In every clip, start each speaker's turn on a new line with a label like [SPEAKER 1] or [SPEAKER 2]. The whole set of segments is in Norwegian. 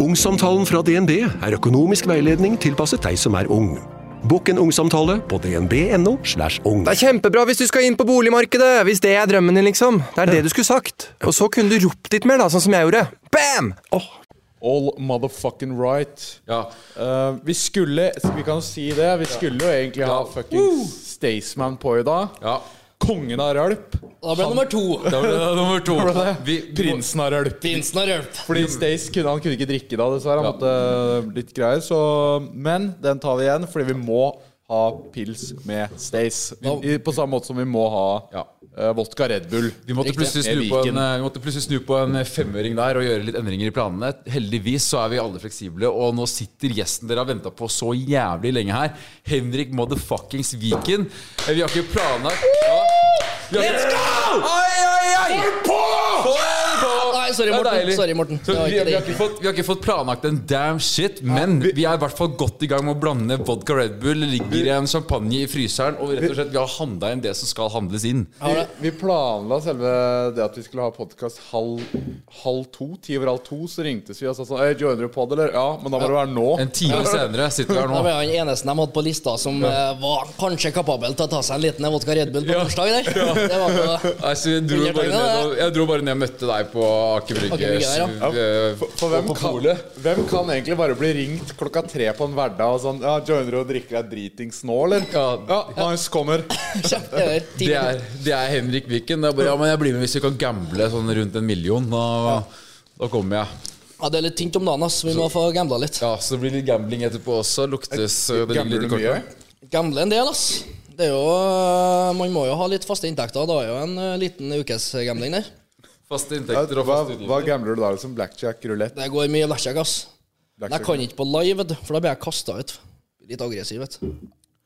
[SPEAKER 1] Ungsamtalen fra DNB er økonomisk veiledning tilpasset deg som er ung. Bokk en ungsamtale på dnb.no. slash ung.
[SPEAKER 2] Det er kjempebra hvis du skal inn på boligmarkedet! Hvis det er drømmen din, liksom. Det er det du skulle sagt. Og så kunne du ropt litt mer, da, sånn som jeg gjorde. Bam!
[SPEAKER 3] All motherfucking right.
[SPEAKER 4] Ja.
[SPEAKER 3] Eh, vi skulle Vi kan jo si det. Vi skulle jo egentlig ha
[SPEAKER 4] Ja.
[SPEAKER 3] fucking Staysman på i dag.
[SPEAKER 4] Ja.
[SPEAKER 3] Kongen av rølp.
[SPEAKER 5] Da ble det nummer to.
[SPEAKER 4] Da ble det nummer to.
[SPEAKER 3] Var det det?
[SPEAKER 4] Vi,
[SPEAKER 3] Prinsen av rølp.
[SPEAKER 5] Prinsen har hjulpet.
[SPEAKER 3] Fordi
[SPEAKER 4] Mm.
[SPEAKER 3] Stays kunne, han kunne ikke drikke da, dessverre. Han måtte eh, litt greier. Så, men den tar vi igjen, fordi vi må ha pils med Stays. I- På samme måte som vi må ha
[SPEAKER 4] Ja.
[SPEAKER 3] eh, vodka Red Bull.
[SPEAKER 4] vi, måtte plutselig snu på en, eh, vi måtte plutselig snu på en femøring der og gjøre litt endringer i planene. Heldigvis så er vi alle fleksible, og nå sitter gjesten dere har venta på så jævlig lenge her. Henrik motherfuckings Viken. Eh, Vi har ikke planlagt ja. Let's go! Oi, oi, oi! Hold på!
[SPEAKER 5] Nei, sorry,
[SPEAKER 4] Det er
[SPEAKER 5] Morten.
[SPEAKER 4] deilig.
[SPEAKER 5] Sorry, Morten.
[SPEAKER 4] Så
[SPEAKER 5] Det var
[SPEAKER 4] vi,
[SPEAKER 5] ikke
[SPEAKER 4] vi,
[SPEAKER 5] det
[SPEAKER 4] har ikke fått, vi har ikke fått planlagt en damn shit, men vi er i hvert fall godt i gang med å blande vodka Red Bull, det ligger en champagne i fryseren, og rett og slett, vi har handla inn det som skal handles inn.
[SPEAKER 3] Vi, vi planla selve det at vi skulle ha podkast halv, halv to. Ti over halv to så ringtes vi og sa sånn «Øy, Joiner du pod, eller? Ja, men da må det være nå.
[SPEAKER 4] En time senere sitter vi her
[SPEAKER 5] Det
[SPEAKER 4] nå.
[SPEAKER 5] var han eneste de hadde på lista som eh, var kanskje kapabel til å ta seg en liten vodka Red Bull på
[SPEAKER 4] Ja.
[SPEAKER 5] bursdag der. Det var på
[SPEAKER 4] Nei, så jeg, dro bare ned, og, jeg dro bare ned og møtte deg på Aker
[SPEAKER 5] Aker
[SPEAKER 4] Brygge.
[SPEAKER 5] Brygge der, ja.
[SPEAKER 4] så, eh,
[SPEAKER 3] For hvem
[SPEAKER 4] på
[SPEAKER 3] kan,
[SPEAKER 4] polet.
[SPEAKER 3] hvem kan egentlig bare bli ringt klokka tre på en hverdag og sånn Ja, joiner du og drikker deg dritings nå, eller?
[SPEAKER 4] Ja.
[SPEAKER 3] ja Hans kommer.
[SPEAKER 5] kjempeøver.
[SPEAKER 4] Det er, det er Henrik Viken. Det er bare, ja, men jeg blir med hvis vi kan gamble sånn rundt en million. Da, da kommer jeg.
[SPEAKER 5] Ja, det er litt tynt om dagen, ass. Vi må få gambla litt.
[SPEAKER 4] Ja, så det blir litt gambling etterpå også. Luktes eh, det ligger
[SPEAKER 3] Gambler
[SPEAKER 4] litt i
[SPEAKER 3] du mye?
[SPEAKER 4] kortet.
[SPEAKER 5] Gamble en del, ass. Det er jo eh, Man må jo ha litt faste inntekter. Det er jo en eh, liten ukesgambling der.
[SPEAKER 4] Faste
[SPEAKER 3] Ja,
[SPEAKER 4] inntekter og
[SPEAKER 3] Hva,
[SPEAKER 4] faste
[SPEAKER 3] hva
[SPEAKER 4] utgifter.
[SPEAKER 3] gambler du da? Liksom blackjack, rulett?
[SPEAKER 5] Det går mye blackjack, ass. Men jeg kan ikke på live, vet du, for da blir jeg kasta ut. Litt aggressiv, vet du.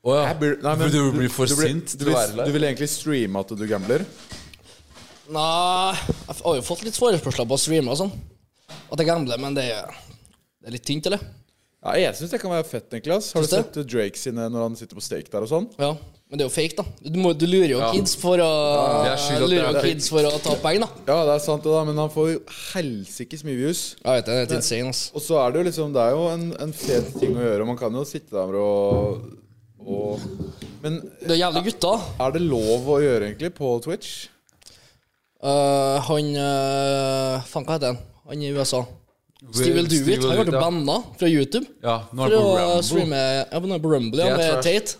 [SPEAKER 4] Å ja.
[SPEAKER 3] Jeg blir- nei, men
[SPEAKER 4] For du blir for
[SPEAKER 3] du blir- Du,
[SPEAKER 4] sint til å
[SPEAKER 3] vil-
[SPEAKER 4] være der.
[SPEAKER 3] du vil egentlig streame at du gambler?
[SPEAKER 5] Nei, jeg har jo fått litt forespørsler på å streame og sånn. At jeg gambler, men det er, det er litt tynt, eller?
[SPEAKER 3] Ja, jeg syns det kan være fett, Niklas. Har du
[SPEAKER 5] Syns
[SPEAKER 3] sett Drake sine når han sitter på stake der og sånn?
[SPEAKER 5] Ja, men det er jo fake, da. Du, må, du lurer jo
[SPEAKER 4] Ja.
[SPEAKER 5] kids for å
[SPEAKER 4] det er skyld at det
[SPEAKER 5] Lurer
[SPEAKER 4] er
[SPEAKER 5] jo
[SPEAKER 4] fake.
[SPEAKER 5] kids for å ta penger, da.
[SPEAKER 3] Ja, det er sant det, da, men han får jo helsikes mye views.
[SPEAKER 5] Jeg vet det, det er helt insane, ass.
[SPEAKER 3] Og så er det jo liksom Det er jo en, en fet ting å gjøre. Man kan jo sitte der og, og Men
[SPEAKER 5] Det er jævlig gutta.
[SPEAKER 3] er det lov å gjøre, egentlig, på Twitch?
[SPEAKER 5] Eh, han eh, Faen, hva heter han? Han i USA. Steve Will Do
[SPEAKER 4] Steve
[SPEAKER 5] It.
[SPEAKER 4] Will
[SPEAKER 5] Han ble
[SPEAKER 4] Do It, ja.
[SPEAKER 5] banna fra YouTube
[SPEAKER 4] Ja, nå er
[SPEAKER 5] for
[SPEAKER 4] det
[SPEAKER 5] å
[SPEAKER 4] på Rumble.
[SPEAKER 5] streame Ja, men nå er det på Rumble, ja,
[SPEAKER 4] Det er trash.
[SPEAKER 5] med Tate.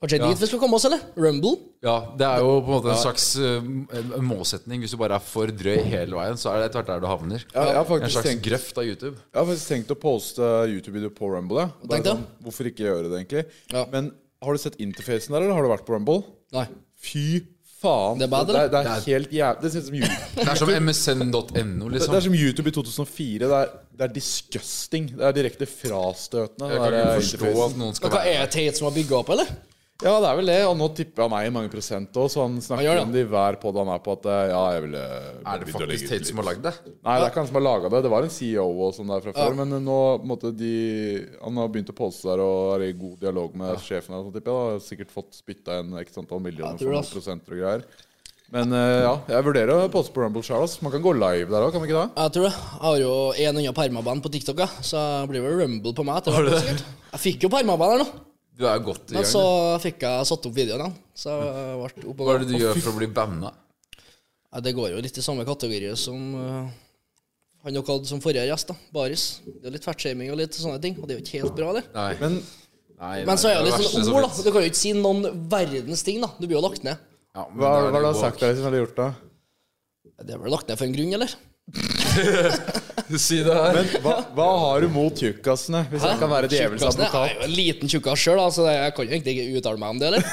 [SPEAKER 5] Kanskje
[SPEAKER 4] Ja.
[SPEAKER 5] dit vi skal komme oss, eller? Rumble?
[SPEAKER 4] Ja, det er jo på en måte en slags eh, en- en målsetning. Hvis du bare er for drøy hele veien, så er det etter hvert der du havner.
[SPEAKER 3] Ja, jeg har
[SPEAKER 4] En
[SPEAKER 3] faktisk
[SPEAKER 4] slags
[SPEAKER 3] tenkt
[SPEAKER 4] grøft av YouTube.
[SPEAKER 3] Jeg har faktisk tenkt å poste YouTube-video på Rumble. Ja. Det er
[SPEAKER 5] Tenk det.
[SPEAKER 3] Sånn, hvorfor ikke gjøre det, egentlig?
[SPEAKER 5] Ja.
[SPEAKER 3] Men har du sett interfacen der, eller har du vært på Rumble?
[SPEAKER 5] Nei.
[SPEAKER 3] Fy faen.
[SPEAKER 5] Det er bad,
[SPEAKER 3] det,
[SPEAKER 5] eller?
[SPEAKER 3] er, det er helt jævlig Det ser ut som YouTube.
[SPEAKER 4] Det er som msn.no,
[SPEAKER 3] Det det
[SPEAKER 4] liksom.
[SPEAKER 3] er som YouTube i 2004. Det er, det er disgusting. Det er direkte frastøtende.
[SPEAKER 4] Jeg
[SPEAKER 3] den
[SPEAKER 4] kan
[SPEAKER 3] der
[SPEAKER 4] ikke forstå
[SPEAKER 3] interfacen.
[SPEAKER 4] at noen
[SPEAKER 5] Men
[SPEAKER 4] skal
[SPEAKER 5] hva
[SPEAKER 4] være
[SPEAKER 5] er det Tate som har bygga opp, eller?
[SPEAKER 3] Ja, det er vel det. Og nå tipper han meg i mange prosent òg, så han snakker
[SPEAKER 5] Han gjør det.
[SPEAKER 3] om det i hver pod han er på, at eh, ja, jeg ville
[SPEAKER 4] Er det faktisk Tate som har lagd det?
[SPEAKER 3] Nei, det er ikke han som har laga det. Det var en CEO og sånn der fra før. Men eh, nå på en måte de Han har begynt å poste der og er i god dialog med sjefen her. og sånn, tipper jeg, da. Har sikkert fått spytta en x antall millioner
[SPEAKER 5] Jeg
[SPEAKER 3] for
[SPEAKER 5] tror det,
[SPEAKER 3] noen
[SPEAKER 5] ass.
[SPEAKER 3] prosenter og greier. Men eh, ja, jeg vurderer å poste på Rumble sjøl. Man kan gå live der òg, kan man ikke det?
[SPEAKER 5] Jeg tror det. Jeg har jo en unna permaband på TikTok, ja. så det blir vel Rumble på meg. etter hvert, sikkert. Jeg fikk jo permaband her nå,
[SPEAKER 4] Du er jo godt i
[SPEAKER 5] men så
[SPEAKER 4] gang.
[SPEAKER 5] fikk jeg satt opp videoen igjen. Så jeg ble opp og
[SPEAKER 4] Hva er det du gjør for å bli banna?
[SPEAKER 5] Nei, det går jo litt i samme kategori som eh, han dere hadde som forrige gjest, da. Baris. Det er litt fettshaming og litt sånne ting, og det er jo ikke helt bra, det.
[SPEAKER 4] Nei.
[SPEAKER 3] Men
[SPEAKER 4] Nei,
[SPEAKER 5] Men så er det
[SPEAKER 4] det
[SPEAKER 5] jo litt
[SPEAKER 4] verste
[SPEAKER 5] sånn
[SPEAKER 4] som
[SPEAKER 5] ord, da.
[SPEAKER 4] finnes.
[SPEAKER 5] Du kan jo ikke si noen verdens ting, da. Du blir jo lagt ned.
[SPEAKER 4] Ja, men
[SPEAKER 3] hva
[SPEAKER 4] da
[SPEAKER 3] hva
[SPEAKER 4] er
[SPEAKER 3] har du
[SPEAKER 4] det
[SPEAKER 3] sagt
[SPEAKER 4] woke.
[SPEAKER 3] der som har gjort det?
[SPEAKER 5] Det er vel lagt ned for en grunn, eller?
[SPEAKER 4] Si det her.
[SPEAKER 3] Men hva, hva har du mot tjukkasene, hvis jeg kan være djevelens
[SPEAKER 5] Tjukkasen,
[SPEAKER 3] advokat?
[SPEAKER 5] Jeg er jo en liten tjukkas sjøl, så jeg kan jo egentlig ikke uttale meg om det, eller?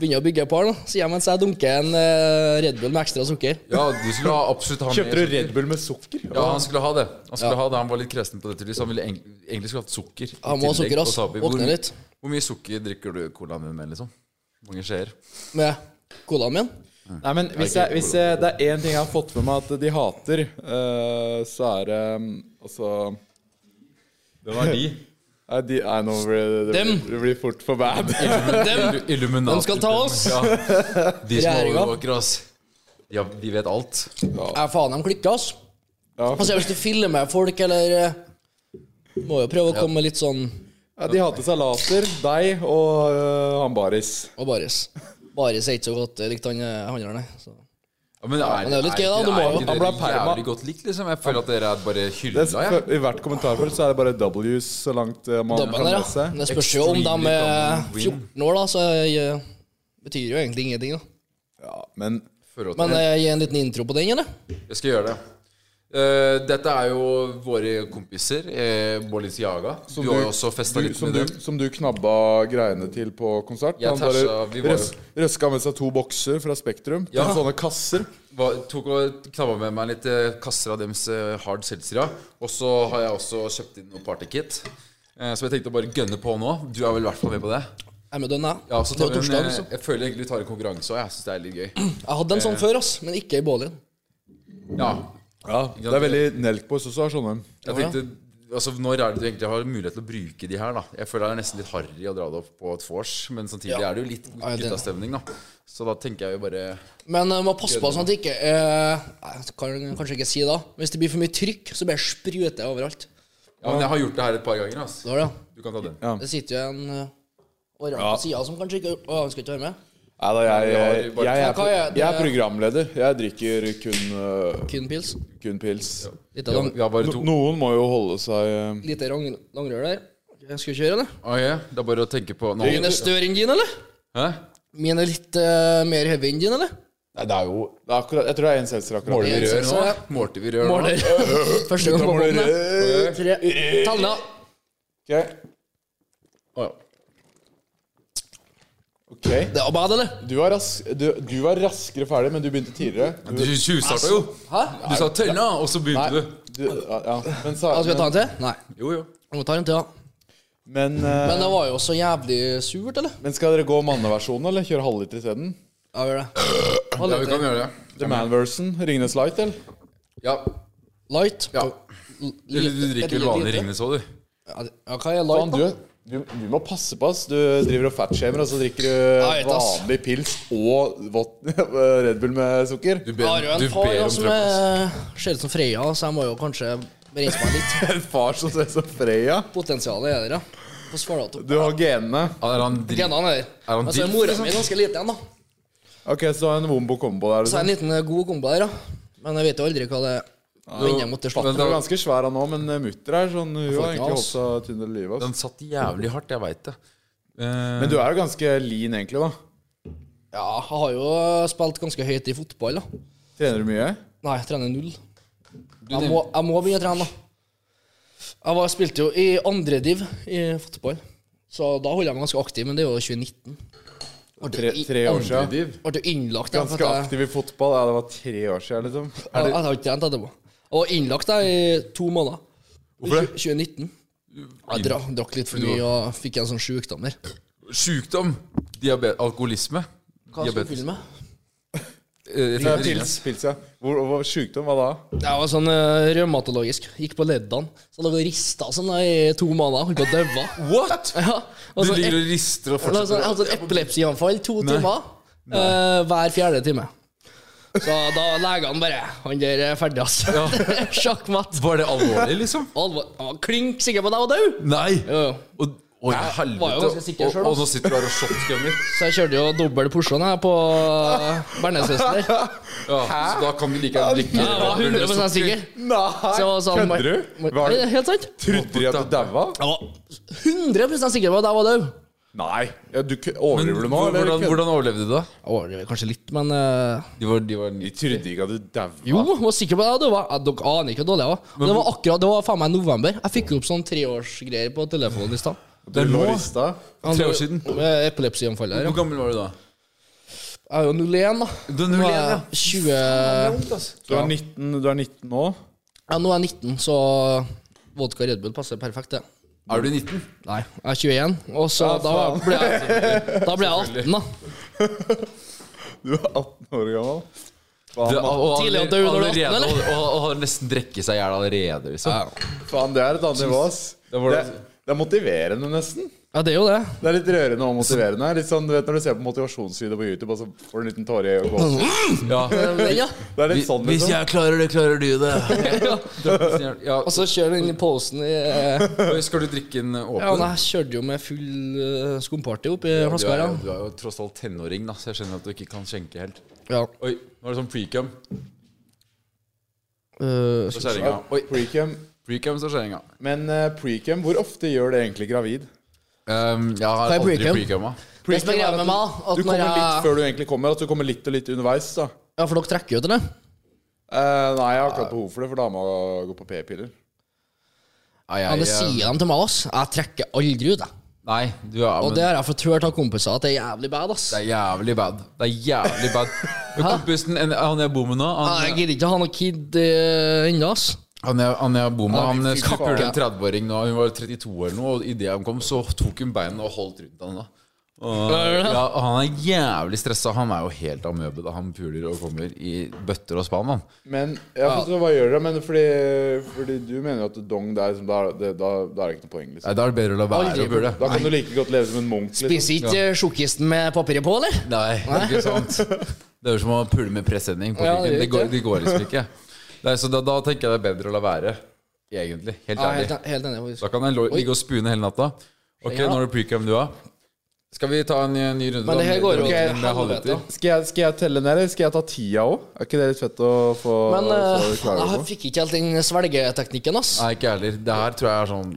[SPEAKER 5] Begynner å bygge par nå, sier jeg mens jeg dunker en eh, Red Bull med ekstra sukker.
[SPEAKER 4] Ja, du skulle ha absolutt ha
[SPEAKER 3] Kjøpte
[SPEAKER 4] mer
[SPEAKER 3] du Red Bull med sukker?
[SPEAKER 4] Ja, han skulle ha det. Han skulle ha det, han var litt kresen på det. tydeligvis. Han ville eng- egentlig skulle hatt sukker. i
[SPEAKER 5] Han må ha
[SPEAKER 4] tillegg
[SPEAKER 5] sukker, ass.
[SPEAKER 4] å ta opp i.
[SPEAKER 5] Våkne
[SPEAKER 4] Hvor my-
[SPEAKER 5] litt.
[SPEAKER 4] Hvor mye sukker drikker du colaen din med, liksom? Mange skjeer?
[SPEAKER 5] Med colaen min.
[SPEAKER 3] Nei, men hvis, jeg, hvis jeg, det er én ting jeg har fått med meg at de hater, eh, så er det mm, Altså
[SPEAKER 4] Hvem er de?
[SPEAKER 3] Nei, de, nei nå blir det, det,
[SPEAKER 5] Dem.
[SPEAKER 3] blir, det blir fort for bad.
[SPEAKER 5] Dem,
[SPEAKER 4] Illuminati.
[SPEAKER 5] de skal ta oss!
[SPEAKER 4] Ja. De som
[SPEAKER 5] Regjeringa.
[SPEAKER 4] overvåker oss. Ja, de vet alt.
[SPEAKER 5] Ja, faen, de klikker, ass. Altså, hvis du filmer folk, eller eh, Må jo prøve å komme med litt sånn
[SPEAKER 3] Ja, de hater salater, deg og øh, han Baris.
[SPEAKER 5] Og baris. Baris er ikke så godt eh, likt han eh, han der, nei. Så.
[SPEAKER 4] Ja, men
[SPEAKER 5] men det er jo litt gøy, da. Du må jo-
[SPEAKER 4] ikke
[SPEAKER 3] Han
[SPEAKER 4] dere
[SPEAKER 3] ble perma.
[SPEAKER 4] jævlig godt likt, liksom? Jeg føler at dere er bare
[SPEAKER 3] Det,
[SPEAKER 4] hylla,
[SPEAKER 3] er-
[SPEAKER 4] jeg.
[SPEAKER 3] I hvert kommentarfelt så er det bare W's så langt øh, man
[SPEAKER 5] Dabben
[SPEAKER 3] kan
[SPEAKER 5] der, ja.
[SPEAKER 3] lese.
[SPEAKER 5] Det spørs jo om de
[SPEAKER 4] Extremely
[SPEAKER 5] er
[SPEAKER 4] dominant win.
[SPEAKER 5] 14 år, da, så eh, betyr jo egentlig ingenting, da.
[SPEAKER 3] Ja, men
[SPEAKER 4] Føler at
[SPEAKER 5] Men
[SPEAKER 4] dere-
[SPEAKER 5] eh, gi en liten intro på den, eller?
[SPEAKER 4] Jeg skal gjøre det. Eh, dette er jo våre kompiser, eh, Balenciaga. Du,
[SPEAKER 3] som
[SPEAKER 4] har jo også festa
[SPEAKER 3] du-
[SPEAKER 4] litt
[SPEAKER 3] som
[SPEAKER 4] med
[SPEAKER 3] du,
[SPEAKER 4] dem.
[SPEAKER 3] som du knabba greiene til på konsert.
[SPEAKER 4] Jeg
[SPEAKER 3] han bare
[SPEAKER 4] tæsja- vi var jo-
[SPEAKER 3] røs, røska med seg to bokser fra Spektrum.
[SPEAKER 4] Ja.
[SPEAKER 3] til Sånne kasser.
[SPEAKER 4] Hva- Tok og knabba med meg litt eh, kasser av deres eh, hard seltzera. Og så har jeg også kjøpt inn noe partykit. eh, Som jeg tenkte å bare gønne på nå. Du er vel i hvert fall med på det?
[SPEAKER 5] Jeg er med den, jeg.
[SPEAKER 4] Ja, så
[SPEAKER 5] det
[SPEAKER 4] tar
[SPEAKER 5] var
[SPEAKER 4] vi en,
[SPEAKER 5] torsdag,
[SPEAKER 4] eh,
[SPEAKER 5] altså.
[SPEAKER 4] jeg føler egentlig vi tar en konkurranse òg. Jeg syns det er litt gøy.
[SPEAKER 5] Jeg hadde en sånn
[SPEAKER 4] eh,
[SPEAKER 5] før, ass, men ikke i Bålien.
[SPEAKER 4] Ja,
[SPEAKER 3] Ja, det er veldig Nelkboys også har sånne.
[SPEAKER 4] jeg tenkte Altså, Når er det du egentlig har mulighet til å bruke de her? da? Jeg føler det er nesten litt harry å dra det opp på et vors, men samtidig
[SPEAKER 5] Ja.
[SPEAKER 4] er det jo litt
[SPEAKER 5] Ja, det er det.
[SPEAKER 4] guttastemning, da. Så da tenker jeg jo bare
[SPEAKER 5] Men eh, man må passe på sånn at det ikke eh, Nei, jeg kan kanskje ikke si det. da. Hvis det blir for mye trykk, så bare spruter jeg overalt.
[SPEAKER 4] Ja, men jeg har gjort det her et par ganger. ass.
[SPEAKER 5] Da, er det, ja.
[SPEAKER 4] Du kan ta den.
[SPEAKER 3] Ja.
[SPEAKER 5] Det sitter jo en eh, orang på sida som kanskje ikke Å, han skal ikke være med?
[SPEAKER 3] Nei da, jeg, jeg, jeg,
[SPEAKER 4] Nei,
[SPEAKER 3] er,
[SPEAKER 5] hva
[SPEAKER 3] pro-
[SPEAKER 5] er det?
[SPEAKER 3] jeg er programleder. Jeg drikker kun, øh,
[SPEAKER 5] Kun pils.
[SPEAKER 3] kun pils.
[SPEAKER 5] Lite, lang,
[SPEAKER 4] Vi har bare
[SPEAKER 3] No,
[SPEAKER 4] to.
[SPEAKER 3] noen må jo holde seg øh,
[SPEAKER 5] lite rang, langrør der. Ok, Skal vi kjøre, eller?
[SPEAKER 4] Ok, Det er bare å tenke på nå.
[SPEAKER 5] Min er større enn din, eller?
[SPEAKER 4] Hæ?
[SPEAKER 5] Min er litt eh, mer heavy enn din, eller?
[SPEAKER 4] Nei, det er jo
[SPEAKER 3] det er akkurat, Jeg tror det er en seltzer akkurat.
[SPEAKER 4] Måler vi rør nå? Målte vi rør nå?
[SPEAKER 5] Måler. Første gang på båten. jeg. Tre. Tall ned.
[SPEAKER 3] Ok.
[SPEAKER 4] Å, ja.
[SPEAKER 3] ok.
[SPEAKER 5] Det var bad, eller?
[SPEAKER 3] Du var, rask, du, du var raskere ferdig, men du begynte tidligere.
[SPEAKER 4] Du tjuvstarta jo.
[SPEAKER 5] Hæ?
[SPEAKER 4] Du sa 'tønna', og så begynte
[SPEAKER 3] Nei,
[SPEAKER 4] du.
[SPEAKER 3] du ja, ja. Men, sa,
[SPEAKER 5] Ja, skal vi ta en til? Nei.
[SPEAKER 4] Jo, jo.
[SPEAKER 5] Vi må ta en til, ja.
[SPEAKER 3] men, øh,
[SPEAKER 5] Men det var jo så jævlig surt, eller?
[SPEAKER 3] men skal dere gå manneversjonen, eller kjøre halvliter isteden?
[SPEAKER 5] Ja, vi gjør det.
[SPEAKER 4] Ja, vi kan gjøre det.
[SPEAKER 3] The Manversen, Ringnes Light, eller?
[SPEAKER 4] Ja.
[SPEAKER 5] Light.
[SPEAKER 4] ja.
[SPEAKER 5] L-
[SPEAKER 4] Du, du
[SPEAKER 5] lite-
[SPEAKER 4] drikker
[SPEAKER 5] lite-
[SPEAKER 4] vel vanlig
[SPEAKER 5] lite.
[SPEAKER 4] Ringnes òg, du?
[SPEAKER 5] Ja, det- ja, hva er
[SPEAKER 3] Faen,
[SPEAKER 5] light,
[SPEAKER 3] du,
[SPEAKER 5] da?
[SPEAKER 3] du, du må passe på, ass. Du driver og fatshamer, og så drikker du
[SPEAKER 5] jeg vet, ass.
[SPEAKER 3] vanlig pils og vått- Red Bull med sukker.
[SPEAKER 4] Du
[SPEAKER 5] Jeg
[SPEAKER 4] ber,
[SPEAKER 5] har jo
[SPEAKER 4] du
[SPEAKER 5] en far
[SPEAKER 4] ber
[SPEAKER 5] ja,
[SPEAKER 4] om
[SPEAKER 5] som
[SPEAKER 4] trøbbel. ass.
[SPEAKER 5] er- ser ut som Freya, så jeg må jo kanskje reise meg litt.
[SPEAKER 3] En far som ser ut som Freya.
[SPEAKER 5] Potensialet er der, ja. På Svalbard.
[SPEAKER 3] Du har genene.
[SPEAKER 4] Ja, Er han drit...
[SPEAKER 5] Genene er der.
[SPEAKER 4] Er han
[SPEAKER 5] Men så
[SPEAKER 4] diff,
[SPEAKER 5] er mora
[SPEAKER 4] liksom?
[SPEAKER 5] mi ganske liten igjen, da.
[SPEAKER 3] Ok, så du har en Wombo combo der.
[SPEAKER 5] Så
[SPEAKER 3] Liksom.
[SPEAKER 5] er en liten eh, god kombo der, ja. Men jeg vet jo aldri hva det ender mot til
[SPEAKER 4] Men
[SPEAKER 5] slutt.
[SPEAKER 3] Du er ganske svær han òg, men mutter er sånn Hun har egentlig holdt seg tynn hele livet. ass.
[SPEAKER 4] Den satt jævlig hardt, jeg veit det. Eh,
[SPEAKER 3] Men du er jo ganske lean, egentlig, da.
[SPEAKER 5] Ja, jeg har jo spilt ganske høyt i fotball, da.
[SPEAKER 3] Trener du mye?
[SPEAKER 5] Nei, jeg trener null. Jeg må, jeg må begynne å trene, da. Jeg var, spilte jo i andre div i fotball, så da holdt jeg meg ganske aktiv, men det er jo 2019.
[SPEAKER 3] Tre, tre år siden.
[SPEAKER 4] div.
[SPEAKER 5] Ble jo innlagt ja, for
[SPEAKER 3] Ganske
[SPEAKER 5] at jeg-
[SPEAKER 3] aktiv i fotball. Ja, det var tre år siden, liksom.
[SPEAKER 5] Jeg jeg har ikke trent etterpå. Jeg var innlagt der i to måneder.
[SPEAKER 4] Hvorfor det?
[SPEAKER 5] I 2019. Jeg drakk, drakk litt for mye og fikk en sånn sjukdom der.
[SPEAKER 4] Sjukdom, diabet, alkoholisme
[SPEAKER 5] Hva skal du
[SPEAKER 4] Diabetes.
[SPEAKER 5] fylle med?
[SPEAKER 4] Eh,
[SPEAKER 3] Ja, Pils,
[SPEAKER 4] Ringnes.
[SPEAKER 3] pils, ja. Hvor, hvor sjukdom var da?
[SPEAKER 5] Jeg var sånn eh, revmatologisk. Gikk på leddene. Så lå jeg og rista sånn da i to måneder. Holdt på å daue.
[SPEAKER 4] What?! Du
[SPEAKER 5] Ja. Og så
[SPEAKER 4] ligger
[SPEAKER 5] ep-
[SPEAKER 4] og rister og
[SPEAKER 5] og så- jeg
[SPEAKER 4] fortsetter. å-
[SPEAKER 5] hadde sånn epilepsianfall to timer eh, hver fjerde time. Så da legene bare Han der er ferdig, ass. Sjakkmatt.
[SPEAKER 4] Var det alvorlig, liksom?
[SPEAKER 5] Alvor. Han var klink sikker på at jeg var død.
[SPEAKER 4] Nei!
[SPEAKER 5] Jo, jo.
[SPEAKER 4] Og, og i helvete.
[SPEAKER 5] var jo ganske sikker
[SPEAKER 4] Og,
[SPEAKER 5] selv,
[SPEAKER 4] og
[SPEAKER 5] ass.
[SPEAKER 4] nå sitter du her og shotscummer.
[SPEAKER 5] Så jeg kjørte jo dobbel porsjon her på Bernesøster.
[SPEAKER 4] Ja, så da kan du like gjerne drikke
[SPEAKER 5] Jeg var 100 sikker.
[SPEAKER 3] Nei!
[SPEAKER 5] Så jeg var sånn,
[SPEAKER 3] Kødder du? Var
[SPEAKER 5] Nei,
[SPEAKER 3] det,
[SPEAKER 5] Helt sant.
[SPEAKER 3] trodde de at du daua?
[SPEAKER 5] Jeg var 100 sikker på at jeg var død.
[SPEAKER 3] Nei. Ja, du kø-
[SPEAKER 4] Men
[SPEAKER 3] Overdriver du nå? eller
[SPEAKER 4] hvordan,
[SPEAKER 3] kødder du?
[SPEAKER 4] hvordan overlevde du, da?
[SPEAKER 5] Jeg overdriver kanskje litt, men eh,
[SPEAKER 4] De var, de var
[SPEAKER 3] De trodde ikke at du daua.
[SPEAKER 5] Jo, jeg var sikker på det. det var, jeg, dere aner ikke hvor dårlig jeg var. Og det var akkurat, det var faen meg november. Jeg fikk opp sånn treårsgreier på telefonen i stad.
[SPEAKER 3] Du
[SPEAKER 4] Det er
[SPEAKER 3] lå
[SPEAKER 4] nå.
[SPEAKER 3] og rista.
[SPEAKER 4] Tre år siden.
[SPEAKER 5] Med epilepsianfall her.
[SPEAKER 4] Hvor
[SPEAKER 5] ja.
[SPEAKER 4] gammel var du da?
[SPEAKER 5] Jeg er jo 01, da.
[SPEAKER 4] Du er 01,
[SPEAKER 5] Nå er
[SPEAKER 4] ja.
[SPEAKER 5] jeg 20...
[SPEAKER 3] Du er 19, du er 19 nå.
[SPEAKER 5] Ja, nå er jeg 19, så vodka Red Bull passer perfekt, det.
[SPEAKER 4] Er du 19?
[SPEAKER 5] Nei, jeg er 21, og så da ble jeg, da ble jeg 18, da.
[SPEAKER 3] Du er 18 år gammel.
[SPEAKER 4] Du,
[SPEAKER 3] Faen,
[SPEAKER 4] og, og,
[SPEAKER 5] Tidlig at du er under 18,
[SPEAKER 4] allerede-
[SPEAKER 5] eller?
[SPEAKER 4] Og, og, og har nesten drukket seg i hjel allerede, liksom.
[SPEAKER 3] faen, det er et annet nivå, ass.
[SPEAKER 4] Da var
[SPEAKER 3] Det,
[SPEAKER 4] det-
[SPEAKER 3] det er motiverende, nesten.
[SPEAKER 5] Ja, det er jo det.
[SPEAKER 3] Det er litt rørende og motiverende. Litt sånn, du vet Når du ser på motivasjonsvideo på YouTube, og så får du en liten tåre i øyet.
[SPEAKER 4] Ja.
[SPEAKER 5] Ja.
[SPEAKER 3] Det er litt sånn,
[SPEAKER 4] Hvis
[SPEAKER 3] liksom.
[SPEAKER 4] jeg klarer det, klarer du det. ja.
[SPEAKER 5] Og så kjører du inn i posen i eh,
[SPEAKER 4] Skal du drikke en åpen?
[SPEAKER 5] Ja, nei, jeg kjørte jo med full eh, skumparty oppi
[SPEAKER 4] Du
[SPEAKER 5] flaska
[SPEAKER 4] er,
[SPEAKER 5] her.
[SPEAKER 4] jo,
[SPEAKER 5] ja.
[SPEAKER 4] du er jo tross alt tenåring, da, så jeg skjønner at du ikke kan skjenke helt.
[SPEAKER 5] Ja.
[SPEAKER 4] Oi, nå er det sånn precum
[SPEAKER 5] Eh,
[SPEAKER 4] på kjerringa. Oi,
[SPEAKER 3] Precam.
[SPEAKER 4] precum står kjerringa.
[SPEAKER 3] Men eh, precam, hvor ofte gjør det egentlig gravid?
[SPEAKER 4] Um, jeg har
[SPEAKER 5] Hva er
[SPEAKER 4] aldri
[SPEAKER 5] precum?
[SPEAKER 4] precumma.
[SPEAKER 5] det som er greia med meg, da, at
[SPEAKER 3] Du
[SPEAKER 5] når
[SPEAKER 3] kommer litt
[SPEAKER 5] jeg
[SPEAKER 3] før du egentlig kommer. At du kommer litt og litt underveis. da
[SPEAKER 5] Ja, for dere trekker jo til det?
[SPEAKER 3] Eh, nei, jeg har ikke hatt behov for det, for dama går på p-piller.
[SPEAKER 4] Nei,
[SPEAKER 5] Ja,
[SPEAKER 4] jeg,
[SPEAKER 5] det sier de til meg, ass. Jeg trekker aldri ut, jeg.
[SPEAKER 4] nei, du er,
[SPEAKER 5] Og
[SPEAKER 4] men,
[SPEAKER 5] det har jeg fått hørt av kompiser at det er jævlig bad, ass.
[SPEAKER 4] det er jævlig bad. Det er jævlig bad. Men Kompisen, en- han jeg bor med nå,
[SPEAKER 5] Ja, Jeg
[SPEAKER 4] han,
[SPEAKER 5] gidder ikke å ha noe kid eh, ennå, ass.
[SPEAKER 4] han, jeg, han jeg bor med,
[SPEAKER 3] Ja,
[SPEAKER 4] han
[SPEAKER 3] fy
[SPEAKER 4] skulle
[SPEAKER 3] faen.
[SPEAKER 4] pule en 30-åring nå, hun var 32 eller noe, og idet han kom, så tok hun beina og holdt rundt han da. Og,
[SPEAKER 5] det det?
[SPEAKER 4] ja, og han er jævlig stressa. Han er jo helt amøbe da han puler og kommer i bøtter og spann. han.
[SPEAKER 3] Men ja, for, så, hva gjør det? Men fordi, fordi du mener jo at dong der liksom, da, er det, da, da er det ikke noe poeng. liksom
[SPEAKER 4] Nei, Da er det bedre å la være
[SPEAKER 5] Aldri.
[SPEAKER 4] å pule.
[SPEAKER 3] Da kan du like godt leve som en munk. Liksom.
[SPEAKER 5] Spiser ikke eh, sjokkisten med papiret på, eller?
[SPEAKER 4] Nei, ikke sant. Det er jo som å pule med presenning på
[SPEAKER 5] Ja,
[SPEAKER 4] ryggen.
[SPEAKER 5] det gjør
[SPEAKER 4] det, går,
[SPEAKER 5] ikke.
[SPEAKER 4] det går liksom ikke. Nei, så da, da tenker jeg det er bedre å la være, egentlig. Helt
[SPEAKER 5] Ja, helt,
[SPEAKER 4] ærlig.
[SPEAKER 5] helt enig. faktisk.
[SPEAKER 4] Da kan jeg lo- ligge og spune hele natta. Ok,
[SPEAKER 5] Ja.
[SPEAKER 4] nå er det precam du har. Skal vi ta en ny, ny runde?
[SPEAKER 5] Men det
[SPEAKER 4] da?
[SPEAKER 5] her går jo
[SPEAKER 4] Ok,
[SPEAKER 5] til
[SPEAKER 4] med halvliter.
[SPEAKER 5] helvete.
[SPEAKER 3] Skal, jeg, skal jeg telle ned, eller skal jeg ta tida òg? Er ikke det litt fett å få,
[SPEAKER 5] Men eh,
[SPEAKER 3] få klare
[SPEAKER 5] jeg
[SPEAKER 3] på?
[SPEAKER 5] fikk ikke helt den svelgeteknikken, ass.
[SPEAKER 4] Nei, ikke jeg heller. Det her tror jeg er sånn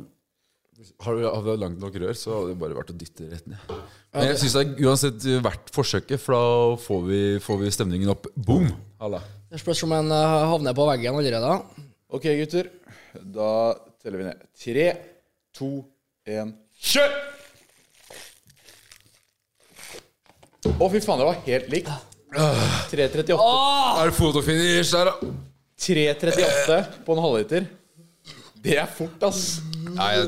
[SPEAKER 4] har du, Hadde du langt nok rør, så hadde det bare vært å dytte rett ned. Men jeg syns det er uansett verdt forsøket, for da får vi, får vi stemningen opp. Boom! Halla.
[SPEAKER 5] Det spørs om en eh, havner på veggen allerede.
[SPEAKER 3] Ok, gutter. Da teller vi ned. Tre, to, én
[SPEAKER 4] Kjør!
[SPEAKER 3] Å, fy faen, det var helt likt. 3.38
[SPEAKER 4] Er det fotofinish der, da?
[SPEAKER 3] 3.38 på en halvliter. Det er fort, ass.
[SPEAKER 4] Nei, jeg,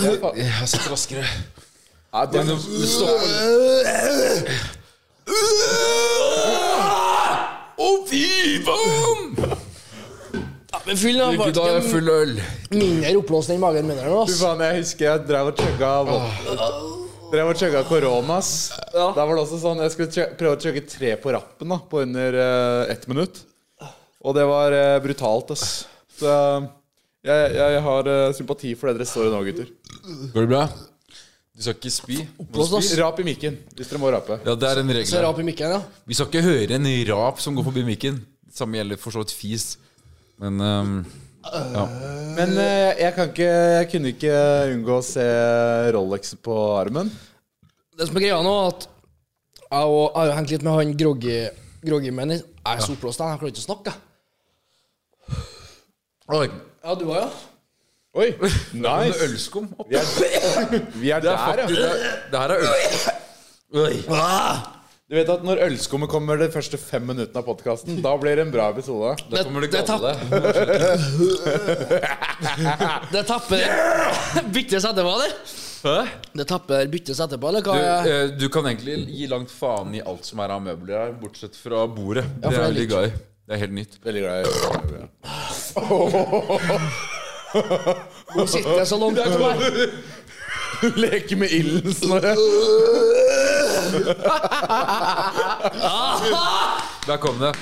[SPEAKER 3] Det er faen-
[SPEAKER 4] jeg har sett raskere.
[SPEAKER 3] Nei, det er,
[SPEAKER 4] Det stopper litt. Å, fy faen!
[SPEAKER 5] Ja, men fyll den,
[SPEAKER 4] Gutta
[SPEAKER 5] bare
[SPEAKER 4] er full øl.
[SPEAKER 5] mindre oppblåsning i magen min her nå,
[SPEAKER 3] Fy
[SPEAKER 5] ass.
[SPEAKER 3] faen, jeg husker jeg drev og chugga vodka. Drev og chugga korona, ass. Der var det også sånn Jeg skulle chug- prøve å chugge tre på rappen da på under eh, ett minutt. Og det var eh, brutalt, ass. Så eh, jeg, jeg har eh, sympati for det dere står i nå, gutter.
[SPEAKER 4] Går det bra? Du skal ikke spy? Må du
[SPEAKER 5] Oppblåst,
[SPEAKER 4] spy?
[SPEAKER 5] ass.
[SPEAKER 3] Rap i mikken hvis dere må rape.
[SPEAKER 4] Ja, det er en
[SPEAKER 5] Så
[SPEAKER 4] regel.
[SPEAKER 5] rap i mikken, ja.
[SPEAKER 4] Vi skal ikke høre en rap som går forbi mikken. Samme gjelder for så vidt fis. Men ehm, ja.
[SPEAKER 3] Men eh, jeg kan ikke Jeg kunne ikke unngå å se Rolexen på armen.
[SPEAKER 5] Det som er greia nå, er at jeg og- jeg har hengt litt med han groggy groggy men jeg er så oppblåst, jeg klarer ikke å snakke. jeg.
[SPEAKER 4] Oi,
[SPEAKER 5] Ja, du òg, ja?
[SPEAKER 3] Oi!
[SPEAKER 4] en
[SPEAKER 3] Nice!
[SPEAKER 4] ølskum opp.
[SPEAKER 3] Vi er, vi er
[SPEAKER 4] Det er
[SPEAKER 3] der,
[SPEAKER 4] faktisk
[SPEAKER 3] ja.
[SPEAKER 4] det, er- det her er øl. Oi.
[SPEAKER 3] Du vet at når ølskummet kommer de første fem minuttene av podkasten, da blir det en bra episode.
[SPEAKER 4] Da kommer det
[SPEAKER 5] Det- det
[SPEAKER 4] galle.
[SPEAKER 5] Det tapper byttes etterpå, eller?
[SPEAKER 4] Hæ?
[SPEAKER 5] Det tapper byttes etterpå, eller hva?
[SPEAKER 4] Du,
[SPEAKER 5] er-
[SPEAKER 4] eh, du kan egentlig gi langt faen i alt som er av møbler her, bortsett fra bordet. det
[SPEAKER 5] for det er
[SPEAKER 4] er jeg veldig
[SPEAKER 5] litt-
[SPEAKER 4] glad i. Det er helt nytt.
[SPEAKER 3] Veldig glad i
[SPEAKER 5] Hun sitter så langt unna meg.
[SPEAKER 3] Leke med ilden, Snorre.
[SPEAKER 4] Der kom det.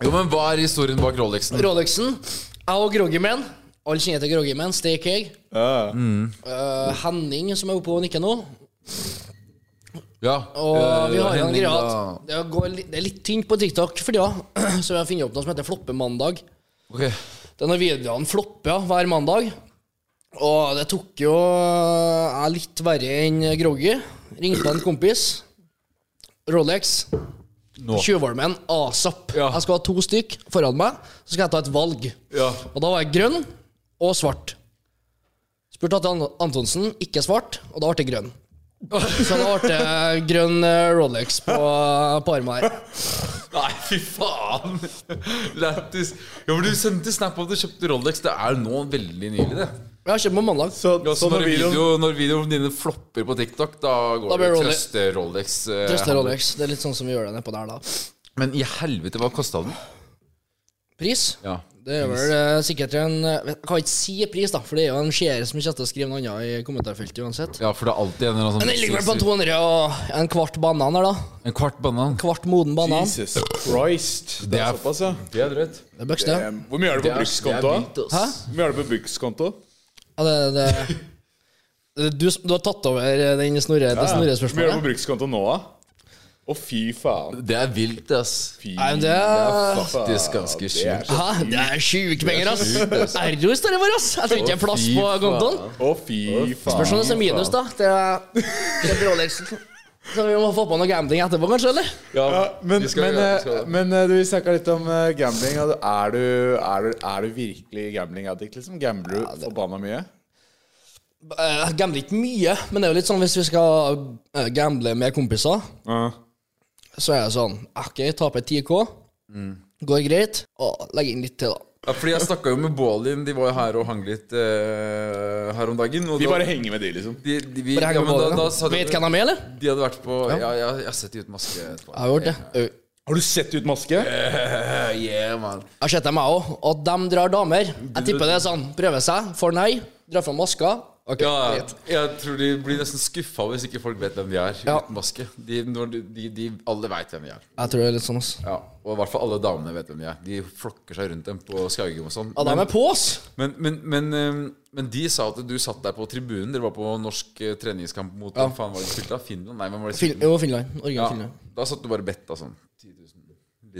[SPEAKER 4] Jo, men hva er historien bak Rolexen?
[SPEAKER 5] Rolexen, jeg og Groggyman. Alle kjenner til Groggyman. Steak egg.
[SPEAKER 3] Ja.
[SPEAKER 5] Eh, Henning, som er oppe og nikker nå.
[SPEAKER 4] Ja,
[SPEAKER 5] Og
[SPEAKER 4] eh,
[SPEAKER 5] vi har jo en
[SPEAKER 4] Henning,
[SPEAKER 5] greie
[SPEAKER 4] da.
[SPEAKER 5] at det, går litt, det er litt tynt på TikTok for tida, så vi har funnet opp noe som heter Floppemandag.
[SPEAKER 4] Ok,
[SPEAKER 5] Det er når videoene flopper ja, hver mandag. Og det tok jo eh, Jeg er litt verre enn Groggy. Ringte en kompis. Rolex.
[SPEAKER 4] nå.
[SPEAKER 5] Tjuvholmen asap.
[SPEAKER 4] Ja.
[SPEAKER 5] Jeg skal ha to stykk foran meg, så skal jeg ta et valg.
[SPEAKER 4] Ja.
[SPEAKER 5] Og da var jeg grønn og svart. Spurte Atte An- Antonsen, ikke svart, og da ble det grønn. Så da ble det grønn eh, Rolex på, eh, på armen her.
[SPEAKER 4] Nei, fy faen! Lættis. Ja, men du sendte snap om at du kjøpte Rolex. Det er nå veldig nylig, det.
[SPEAKER 5] Jeg har kjøpt på mandag.
[SPEAKER 3] Så,
[SPEAKER 4] Ja, så
[SPEAKER 3] så
[SPEAKER 4] når,
[SPEAKER 3] når videoen
[SPEAKER 4] video, når videoene dine flopper på TikTok, da går
[SPEAKER 5] Da
[SPEAKER 4] det
[SPEAKER 5] blir Rolex-
[SPEAKER 4] trøste Rolex. eh,
[SPEAKER 5] Trøster Rolex. Det er litt sånn som vi gjør det nedpå der, da.
[SPEAKER 4] Men i helvete, hva kosta den?
[SPEAKER 5] Pris?
[SPEAKER 4] Ja.
[SPEAKER 5] Det er vel eh, sikkert en eh, Jeg kan ikke si pris, da, for det er jo en seer som kommer til å skrive noe annet i kommentarfeltet uansett.
[SPEAKER 4] Ja, for det er alltid en eller annen
[SPEAKER 5] Men den ligger vel på
[SPEAKER 4] sånn
[SPEAKER 5] 200 og en kvart banan her, da.
[SPEAKER 4] En kvart banan.
[SPEAKER 5] Kvart moden banan.
[SPEAKER 3] Jesus Christ. Det er
[SPEAKER 4] er-
[SPEAKER 3] såpass, ja.
[SPEAKER 4] Det er drøyt.
[SPEAKER 5] Det er bøkste.
[SPEAKER 3] Eh, Hvor mye er det på brukskonto? da?
[SPEAKER 5] Hæ?
[SPEAKER 3] Hvor mye er det på brukskonto?
[SPEAKER 5] Ja, det, det, det, du, som- du har tatt over eh, den snorre, det
[SPEAKER 3] Hvor mye er det på
[SPEAKER 5] Snorre-spørsmålet?
[SPEAKER 3] brukskonto nå, da? Å, fy faen.
[SPEAKER 4] Det er vilt, ass.
[SPEAKER 3] Fy
[SPEAKER 5] Nei, men det er
[SPEAKER 4] Faktisk ganske
[SPEAKER 3] Det er
[SPEAKER 4] sjukt.
[SPEAKER 5] Hæ? Det er sjuke penger, ass! Erro står det for, ass! Jeg tror ikke det er plass på kontoen.
[SPEAKER 3] Å, fy faen.
[SPEAKER 5] Spørs om det er minus, da. Det er, det er Rolexen. Så vi må få på noe gambling etterpå, kanskje? eller?
[SPEAKER 3] Ja, men,
[SPEAKER 4] vi skal
[SPEAKER 3] men,
[SPEAKER 4] gjøre- vi
[SPEAKER 3] eh,
[SPEAKER 4] skal gjøre det.
[SPEAKER 3] men eh, du snakka litt om eh, gambling. og Er du, er du, er du virkelig gambling addict? liksom? Gambler du forbanna mye?
[SPEAKER 5] Eh, Jeg gambler ikke mye, men det er jo litt sånn hvis vi skal eh, gamble med kompiser, så er det sånn OK, taper 10K. Går greit. Og legger inn litt til, da.
[SPEAKER 4] Ja, fordi jeg snakka jo med Bålin, de var jo her og hang litt eh, her om dagen. Og
[SPEAKER 3] Vi
[SPEAKER 4] da-
[SPEAKER 3] bare henger med de, liksom.
[SPEAKER 4] de, de, vi,
[SPEAKER 5] Bare
[SPEAKER 4] ja,
[SPEAKER 5] henger
[SPEAKER 4] men
[SPEAKER 5] på
[SPEAKER 4] da,
[SPEAKER 5] det,
[SPEAKER 4] da,
[SPEAKER 5] da.
[SPEAKER 4] sa de,
[SPEAKER 5] Vet hvem de er, eller?
[SPEAKER 4] de hadde vært på Ja, ja jeg har sett de uten maske. etterpå.
[SPEAKER 5] Jeg har gjort det. Au.
[SPEAKER 3] Har du sett ut maske?
[SPEAKER 4] Eh, yeah, man.
[SPEAKER 5] Jeg har sett dem, jeg òg. Og de drar damer. Jeg tipper det er sånn. Prøver seg, får nei, drar fram maska. OK,
[SPEAKER 4] Ja,
[SPEAKER 5] greit.
[SPEAKER 4] jeg tror de blir nesten skuffa hvis ikke folk vet hvem de er
[SPEAKER 5] Ja.
[SPEAKER 4] uten maske. De, når de, de, de, alle veit hvem de er.
[SPEAKER 5] Jeg tror det er litt sånn, ass.
[SPEAKER 4] Ja, og i hvert fall alle damene vet hvem de er. De flokker seg rundt dem på Skaugum og sånn.
[SPEAKER 5] Ja, de er på oss!
[SPEAKER 4] Men, men, men, eh, men de sa at du satt der på tribunen. Dere var på norsk eh, treningskamp mot Hvem faen var det de spilte av? Finland? Nei, hvem var det de
[SPEAKER 5] Fin
[SPEAKER 4] spilte?
[SPEAKER 5] jo, Finland. Original
[SPEAKER 4] Ja,
[SPEAKER 5] Finland.
[SPEAKER 4] da satt du bare og betta sånn. 10 000.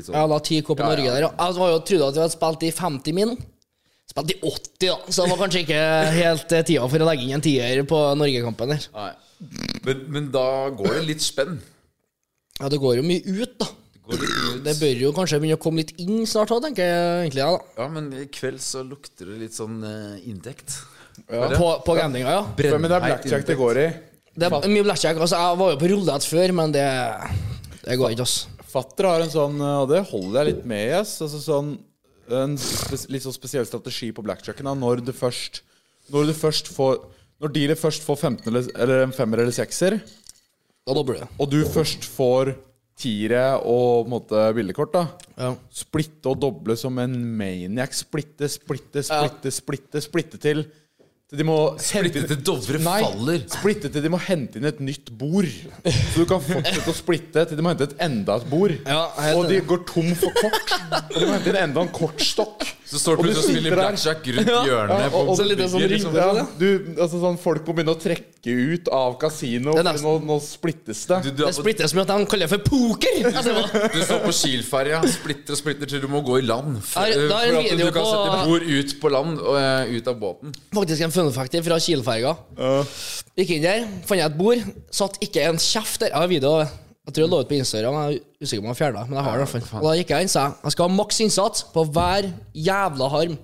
[SPEAKER 4] Litt sånn.
[SPEAKER 5] Ja, la 10K på
[SPEAKER 4] Ja, ja.
[SPEAKER 5] Norge der, ja. Jeg var jo trodde at vi hadde spilt i 50 min. Spilt i 80, da, så det var kanskje ikke helt eh, tida for å legge inn en tier på Norgekampen der.
[SPEAKER 4] Nei. Men, men da går det litt spenn.
[SPEAKER 5] Ja, det går jo mye ut, da.
[SPEAKER 4] Det går litt
[SPEAKER 5] Det
[SPEAKER 4] ut.
[SPEAKER 5] bør jo kanskje begynne å komme litt inn snart òg, tenker jeg egentlig. Ja, da.
[SPEAKER 4] Ja, men i kveld så lukter det litt sånn eh, inntekt.
[SPEAKER 5] På, på gamblinga, ja.
[SPEAKER 3] Ja, Men det er blackjack det går i.
[SPEAKER 5] Det er mye blackjack. Altså, jeg var jo på rullet før, men det, det går ikke, ass.
[SPEAKER 3] Fatter har en sånn, og det holder jeg litt med i, ass. Altså sånn, en spes- litt sånn spesiell strategi på blackjacken. Da. Når du først Når du først får Når dealer først får 15 eller, eller en femmer eller sekser,
[SPEAKER 5] Da dobler du.
[SPEAKER 3] og du først får tiere og på en måte bildekort, da
[SPEAKER 5] Ja.
[SPEAKER 3] Splitte og doble som en maniac. Splitte, splitte, splitte, splitte, splitte til til de må
[SPEAKER 4] Splitte til Dovre
[SPEAKER 3] Nei,
[SPEAKER 4] faller.
[SPEAKER 3] splitte til de må hente inn et nytt bord. Så du kan fortsette å splitte til de må hente et enda et bord.
[SPEAKER 5] Ja, jeg er helt
[SPEAKER 3] og de
[SPEAKER 5] enig.
[SPEAKER 3] går tom for kort. Og de må hente inn enda en kortstokk.
[SPEAKER 4] Så står
[SPEAKER 3] Og
[SPEAKER 4] du
[SPEAKER 3] du
[SPEAKER 4] plutselig og spiller
[SPEAKER 3] sitter der.
[SPEAKER 4] blackjack rundt hjørnet.
[SPEAKER 3] og- og-
[SPEAKER 4] på
[SPEAKER 3] så litt
[SPEAKER 5] sånn
[SPEAKER 4] bygget,
[SPEAKER 5] ring-
[SPEAKER 4] liksom.
[SPEAKER 5] Ja.
[SPEAKER 3] Ja, du, altså sånn, folk må begynne å trekke ut av kasino.
[SPEAKER 5] Det er
[SPEAKER 3] for
[SPEAKER 5] nesten-
[SPEAKER 3] Nå, nå splittes det.
[SPEAKER 4] Du, du,
[SPEAKER 5] Det
[SPEAKER 4] er på,
[SPEAKER 5] splittes med at de kaller det for poker! Altså, etterpå.
[SPEAKER 4] du står på Kiel-ferja, splitter og splitter til du må gå i land. For, eh,
[SPEAKER 5] Der- der
[SPEAKER 4] for
[SPEAKER 5] er en
[SPEAKER 4] at du
[SPEAKER 5] video
[SPEAKER 4] kan
[SPEAKER 5] på-
[SPEAKER 4] sette bord ut på land og eh, ut av båten.
[SPEAKER 5] Faktisk en funfactor fra Kielferga. Gikk inn der, fant jeg et bord. Satt ikke en kjeft der. Jeg har video. Jeg tror jeg la ut på Instagram. Jeg er usikker på om jeg fjerna men jeg har det i hvert fall. Og da gikk jeg inn og sa jeg skal ha maks innsats på hver jævla harm.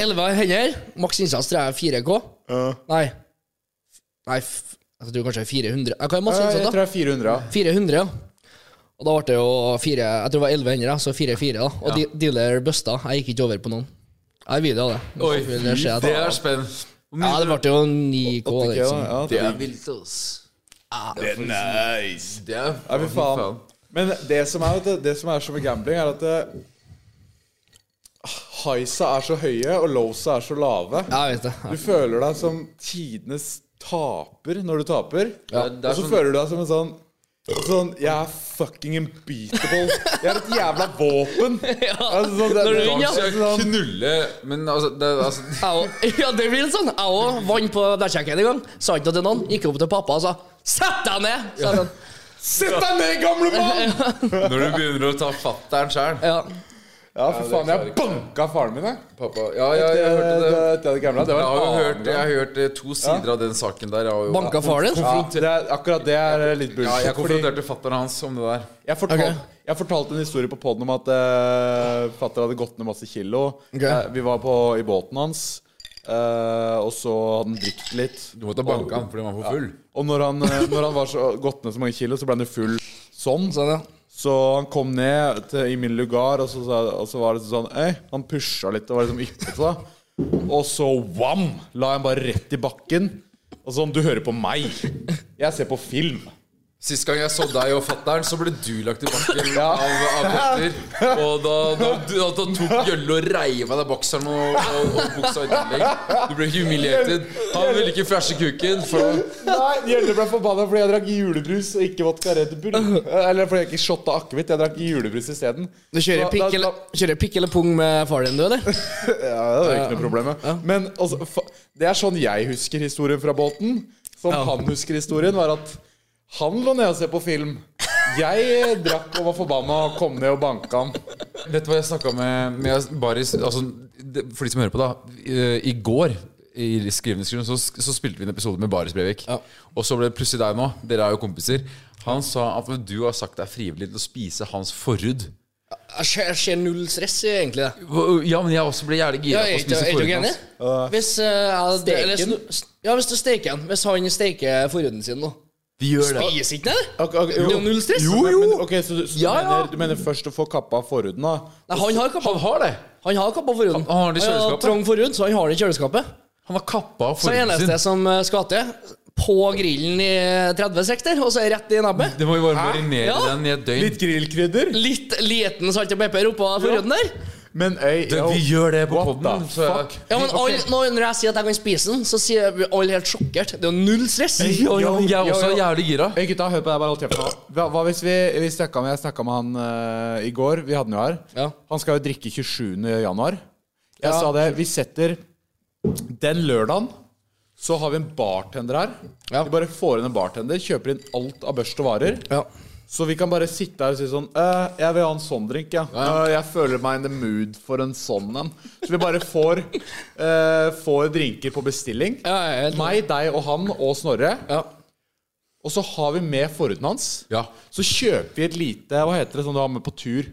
[SPEAKER 5] Elleve hender. Maks innsats tror jeg er 4K. Nei. Nei, f jeg tror kanskje det er 400. Jeg kan ha masse
[SPEAKER 3] Ja, jeg
[SPEAKER 5] innsats,
[SPEAKER 3] tror
[SPEAKER 5] Sånn da.
[SPEAKER 3] jeg er 400. ja.
[SPEAKER 5] 400, ja. Og da ble det jo fire Jeg tror det var 11 hender, da, så 4-4. da Og de- dealer busta. Jeg gikk ikke over på noen. Jeg har video av det.
[SPEAKER 4] Oi,
[SPEAKER 5] Vil dere se at-
[SPEAKER 4] det er spenn. Hvor
[SPEAKER 5] ja,
[SPEAKER 4] mye-
[SPEAKER 5] det ble jo 9K.
[SPEAKER 3] Ikke,
[SPEAKER 5] Liksom.
[SPEAKER 3] ja,
[SPEAKER 4] Det
[SPEAKER 3] ja.
[SPEAKER 4] er vilt, ass.
[SPEAKER 3] Det er nice.
[SPEAKER 4] Det er
[SPEAKER 3] Ja, fy faen. Men det som er, vet du, det som er så med gambling, er at det, highsa er så høye, og lowsa er så lave.
[SPEAKER 5] Ja, Jeg vet det.
[SPEAKER 3] Du føler deg som tidenes taper når du taper.
[SPEAKER 4] Ja, det er
[SPEAKER 3] og så
[SPEAKER 4] sånn-
[SPEAKER 3] føler du deg som en sånn Sånn, Jeg er fucking unbeatable. Jeg er et jævla våpen. Altså, sånn, det,
[SPEAKER 5] Når du
[SPEAKER 3] det-
[SPEAKER 5] vinner,
[SPEAKER 4] Skal jeg
[SPEAKER 3] sånn,
[SPEAKER 4] knulle Men altså, det, er- altså
[SPEAKER 5] Jeg og- Ja, det blir litt sånn. Jeg òg vant på blackjacken en gang. Sa ikke noe til noen. Gikk opp til pappa og sa 'sett deg ned'. Sa han.
[SPEAKER 3] Sett deg ned, gamle mann!
[SPEAKER 4] Når du begynner å ta fatter'n sjæl
[SPEAKER 5] Ja.
[SPEAKER 3] Ja, for faen. Jeg banka faren min, jeg.
[SPEAKER 4] Pappa Ja, ja, jeg hørte
[SPEAKER 3] Det,
[SPEAKER 4] det.
[SPEAKER 3] det, det gamle, det
[SPEAKER 4] Jeg har
[SPEAKER 3] var
[SPEAKER 4] jo
[SPEAKER 3] en
[SPEAKER 4] hørt,
[SPEAKER 3] annen
[SPEAKER 4] jeg
[SPEAKER 3] gang.
[SPEAKER 4] har hørt eh, to sider av den saken der. Jeg har jo
[SPEAKER 5] Banka faren din?
[SPEAKER 3] Ja, det er, akkurat det er eh, litt
[SPEAKER 4] Ja,
[SPEAKER 3] bullshit.
[SPEAKER 4] jeg
[SPEAKER 3] fordi-
[SPEAKER 4] konfronterte fatter'n hans om det der.
[SPEAKER 3] Jeg fortalte, jeg fortalte en historie på poden om at uh, fatter hadde gått ned masse kilo.
[SPEAKER 5] Ok.
[SPEAKER 3] Eh, vi var på, i båten hans, eh, og så hadde han drukket litt.
[SPEAKER 4] Du måtte banke han fordi han var for full.
[SPEAKER 3] Og når han, eh, når han var så, gått ned så mange kilo, så ble han jo full sånn.
[SPEAKER 5] Sånn, ja.
[SPEAKER 3] Så han kom ned til, i min lugar, og så, sa- og så var det sånn Ei, han pusha litt og var liksom yppet seg. Og så wam! La han bare rett i bakken. Og sånn, du hører på meg. Jeg ser på film.
[SPEAKER 4] Sist gang jeg så deg og fatter'n, så ble du lagt i bakken av, av Petter. Og da, da, da, da tok Jølle og reiv av deg bokseren og, og, og buksa i tillegg. Du ble ikke humiliert. Han ville ikke flashe kuken. For
[SPEAKER 3] Nei, Gjelle ble forbanna fordi jeg drakk julebrus og ikke vodka Red Bull. Eller fordi jeg ikke shotta akevitt. Jeg drakk julebrus isteden.
[SPEAKER 5] Du kjører
[SPEAKER 3] Da-
[SPEAKER 5] pikk,
[SPEAKER 3] da-
[SPEAKER 5] eller, kjører pikk eller pung med far din, du, eller?
[SPEAKER 3] Ja, det er ikke noe problem. ja. Men altså, fa- det er sånn jeg husker historien fra Bolten. Som han husker historien, var at han lå nede og så på film. Jeg drakk og var forbanna og kom ned og banka han.
[SPEAKER 4] Vet du hva jeg snakka med, med Baris altså, det, For de som hører på, da. I, i går i skrivende skruen, så, så spilte vi en episode med Baris Brevik.
[SPEAKER 5] Ja.
[SPEAKER 4] Og så ble det plutselig deg nå. Dere er jo kompiser. Han sa at du har sagt deg frivillig til å spise hans forhud.
[SPEAKER 5] Jeg ser- Jeg ser null stress, i, egentlig. det
[SPEAKER 4] Ja, men jeg også ble jævlig gira på
[SPEAKER 5] Ja, er
[SPEAKER 4] å
[SPEAKER 5] ikke-
[SPEAKER 4] spise
[SPEAKER 5] er ikke du
[SPEAKER 4] forhuden
[SPEAKER 5] enig?
[SPEAKER 4] hans.
[SPEAKER 5] Hvis eh, jeg- eller
[SPEAKER 3] Steken?
[SPEAKER 5] snu- s- Ja, hvis du steker den. Hvis han steker forhuden sin, da.
[SPEAKER 4] Vi gjør det.
[SPEAKER 5] Spiser ikke den? eller?
[SPEAKER 3] Ok, ok,
[SPEAKER 5] Det er jo null stress.
[SPEAKER 3] Jo, jo. Men, ok, så du, så du,
[SPEAKER 5] Ja, ja.
[SPEAKER 3] mener, du mener først å få kappa av forhuden, da?
[SPEAKER 5] Nei, han har kappa,
[SPEAKER 4] Han har det!
[SPEAKER 5] han har kappa forhuden.
[SPEAKER 4] Han- han har det i
[SPEAKER 5] har
[SPEAKER 4] kjøleskapet.
[SPEAKER 5] trang forhud, så han har det i kjøleskapet.
[SPEAKER 4] Han har kappa av
[SPEAKER 5] Så det
[SPEAKER 4] forhuden
[SPEAKER 5] eneste
[SPEAKER 4] sin.
[SPEAKER 5] som eh, skal til, på grillen i 30 sekter, og så er rett i nebbet.
[SPEAKER 4] Det må vi bare marinere
[SPEAKER 5] Ja.
[SPEAKER 4] den i et døgn.
[SPEAKER 3] Litt grillkrydder?
[SPEAKER 5] Litt liten salt og pepper oppå forhuden der.
[SPEAKER 3] Men øy,
[SPEAKER 4] Det, vi gjør det på
[SPEAKER 3] What
[SPEAKER 4] poden.
[SPEAKER 3] the
[SPEAKER 4] Så
[SPEAKER 3] fuck?
[SPEAKER 5] Ja, men alle- når når jeg sier at jeg kan spise den, så sier vi alle helt sjokkert. Det er jo null stress.
[SPEAKER 4] Ja, ja, men jeg er
[SPEAKER 3] Yo,
[SPEAKER 4] også
[SPEAKER 3] yo.
[SPEAKER 4] jævlig gira.
[SPEAKER 3] Hey, gutta, hør på deg, bare hold kjeft nå. Hva, hva hvis vi, vi snakka med, jeg snakket med han eh, i går? Vi hadde han jo her.
[SPEAKER 5] Ja.
[SPEAKER 3] Han skal jo drikke 27. januar. Jeg sa det. Vi setter den lørdagen. Så har vi en bartender her.
[SPEAKER 5] Ja.
[SPEAKER 3] Vi bare får inn en bartender, kjøper inn alt av børste varer.
[SPEAKER 5] Ja.
[SPEAKER 3] Så vi kan bare sitte her og si sånn «Eh, Jeg vil ha en sånn drink, ja. Eh, jeg føler meg in the mood for en sånn en. Så vi bare får, eh, får drinker på bestilling.
[SPEAKER 5] Ja, jeg er helt-
[SPEAKER 3] Meg, deg og han og Snorre.
[SPEAKER 5] Ja.
[SPEAKER 3] Og så har vi med forhuden hans.
[SPEAKER 4] Ja.
[SPEAKER 3] Så kjøper vi et lite Hva heter det sånn du har med på tur?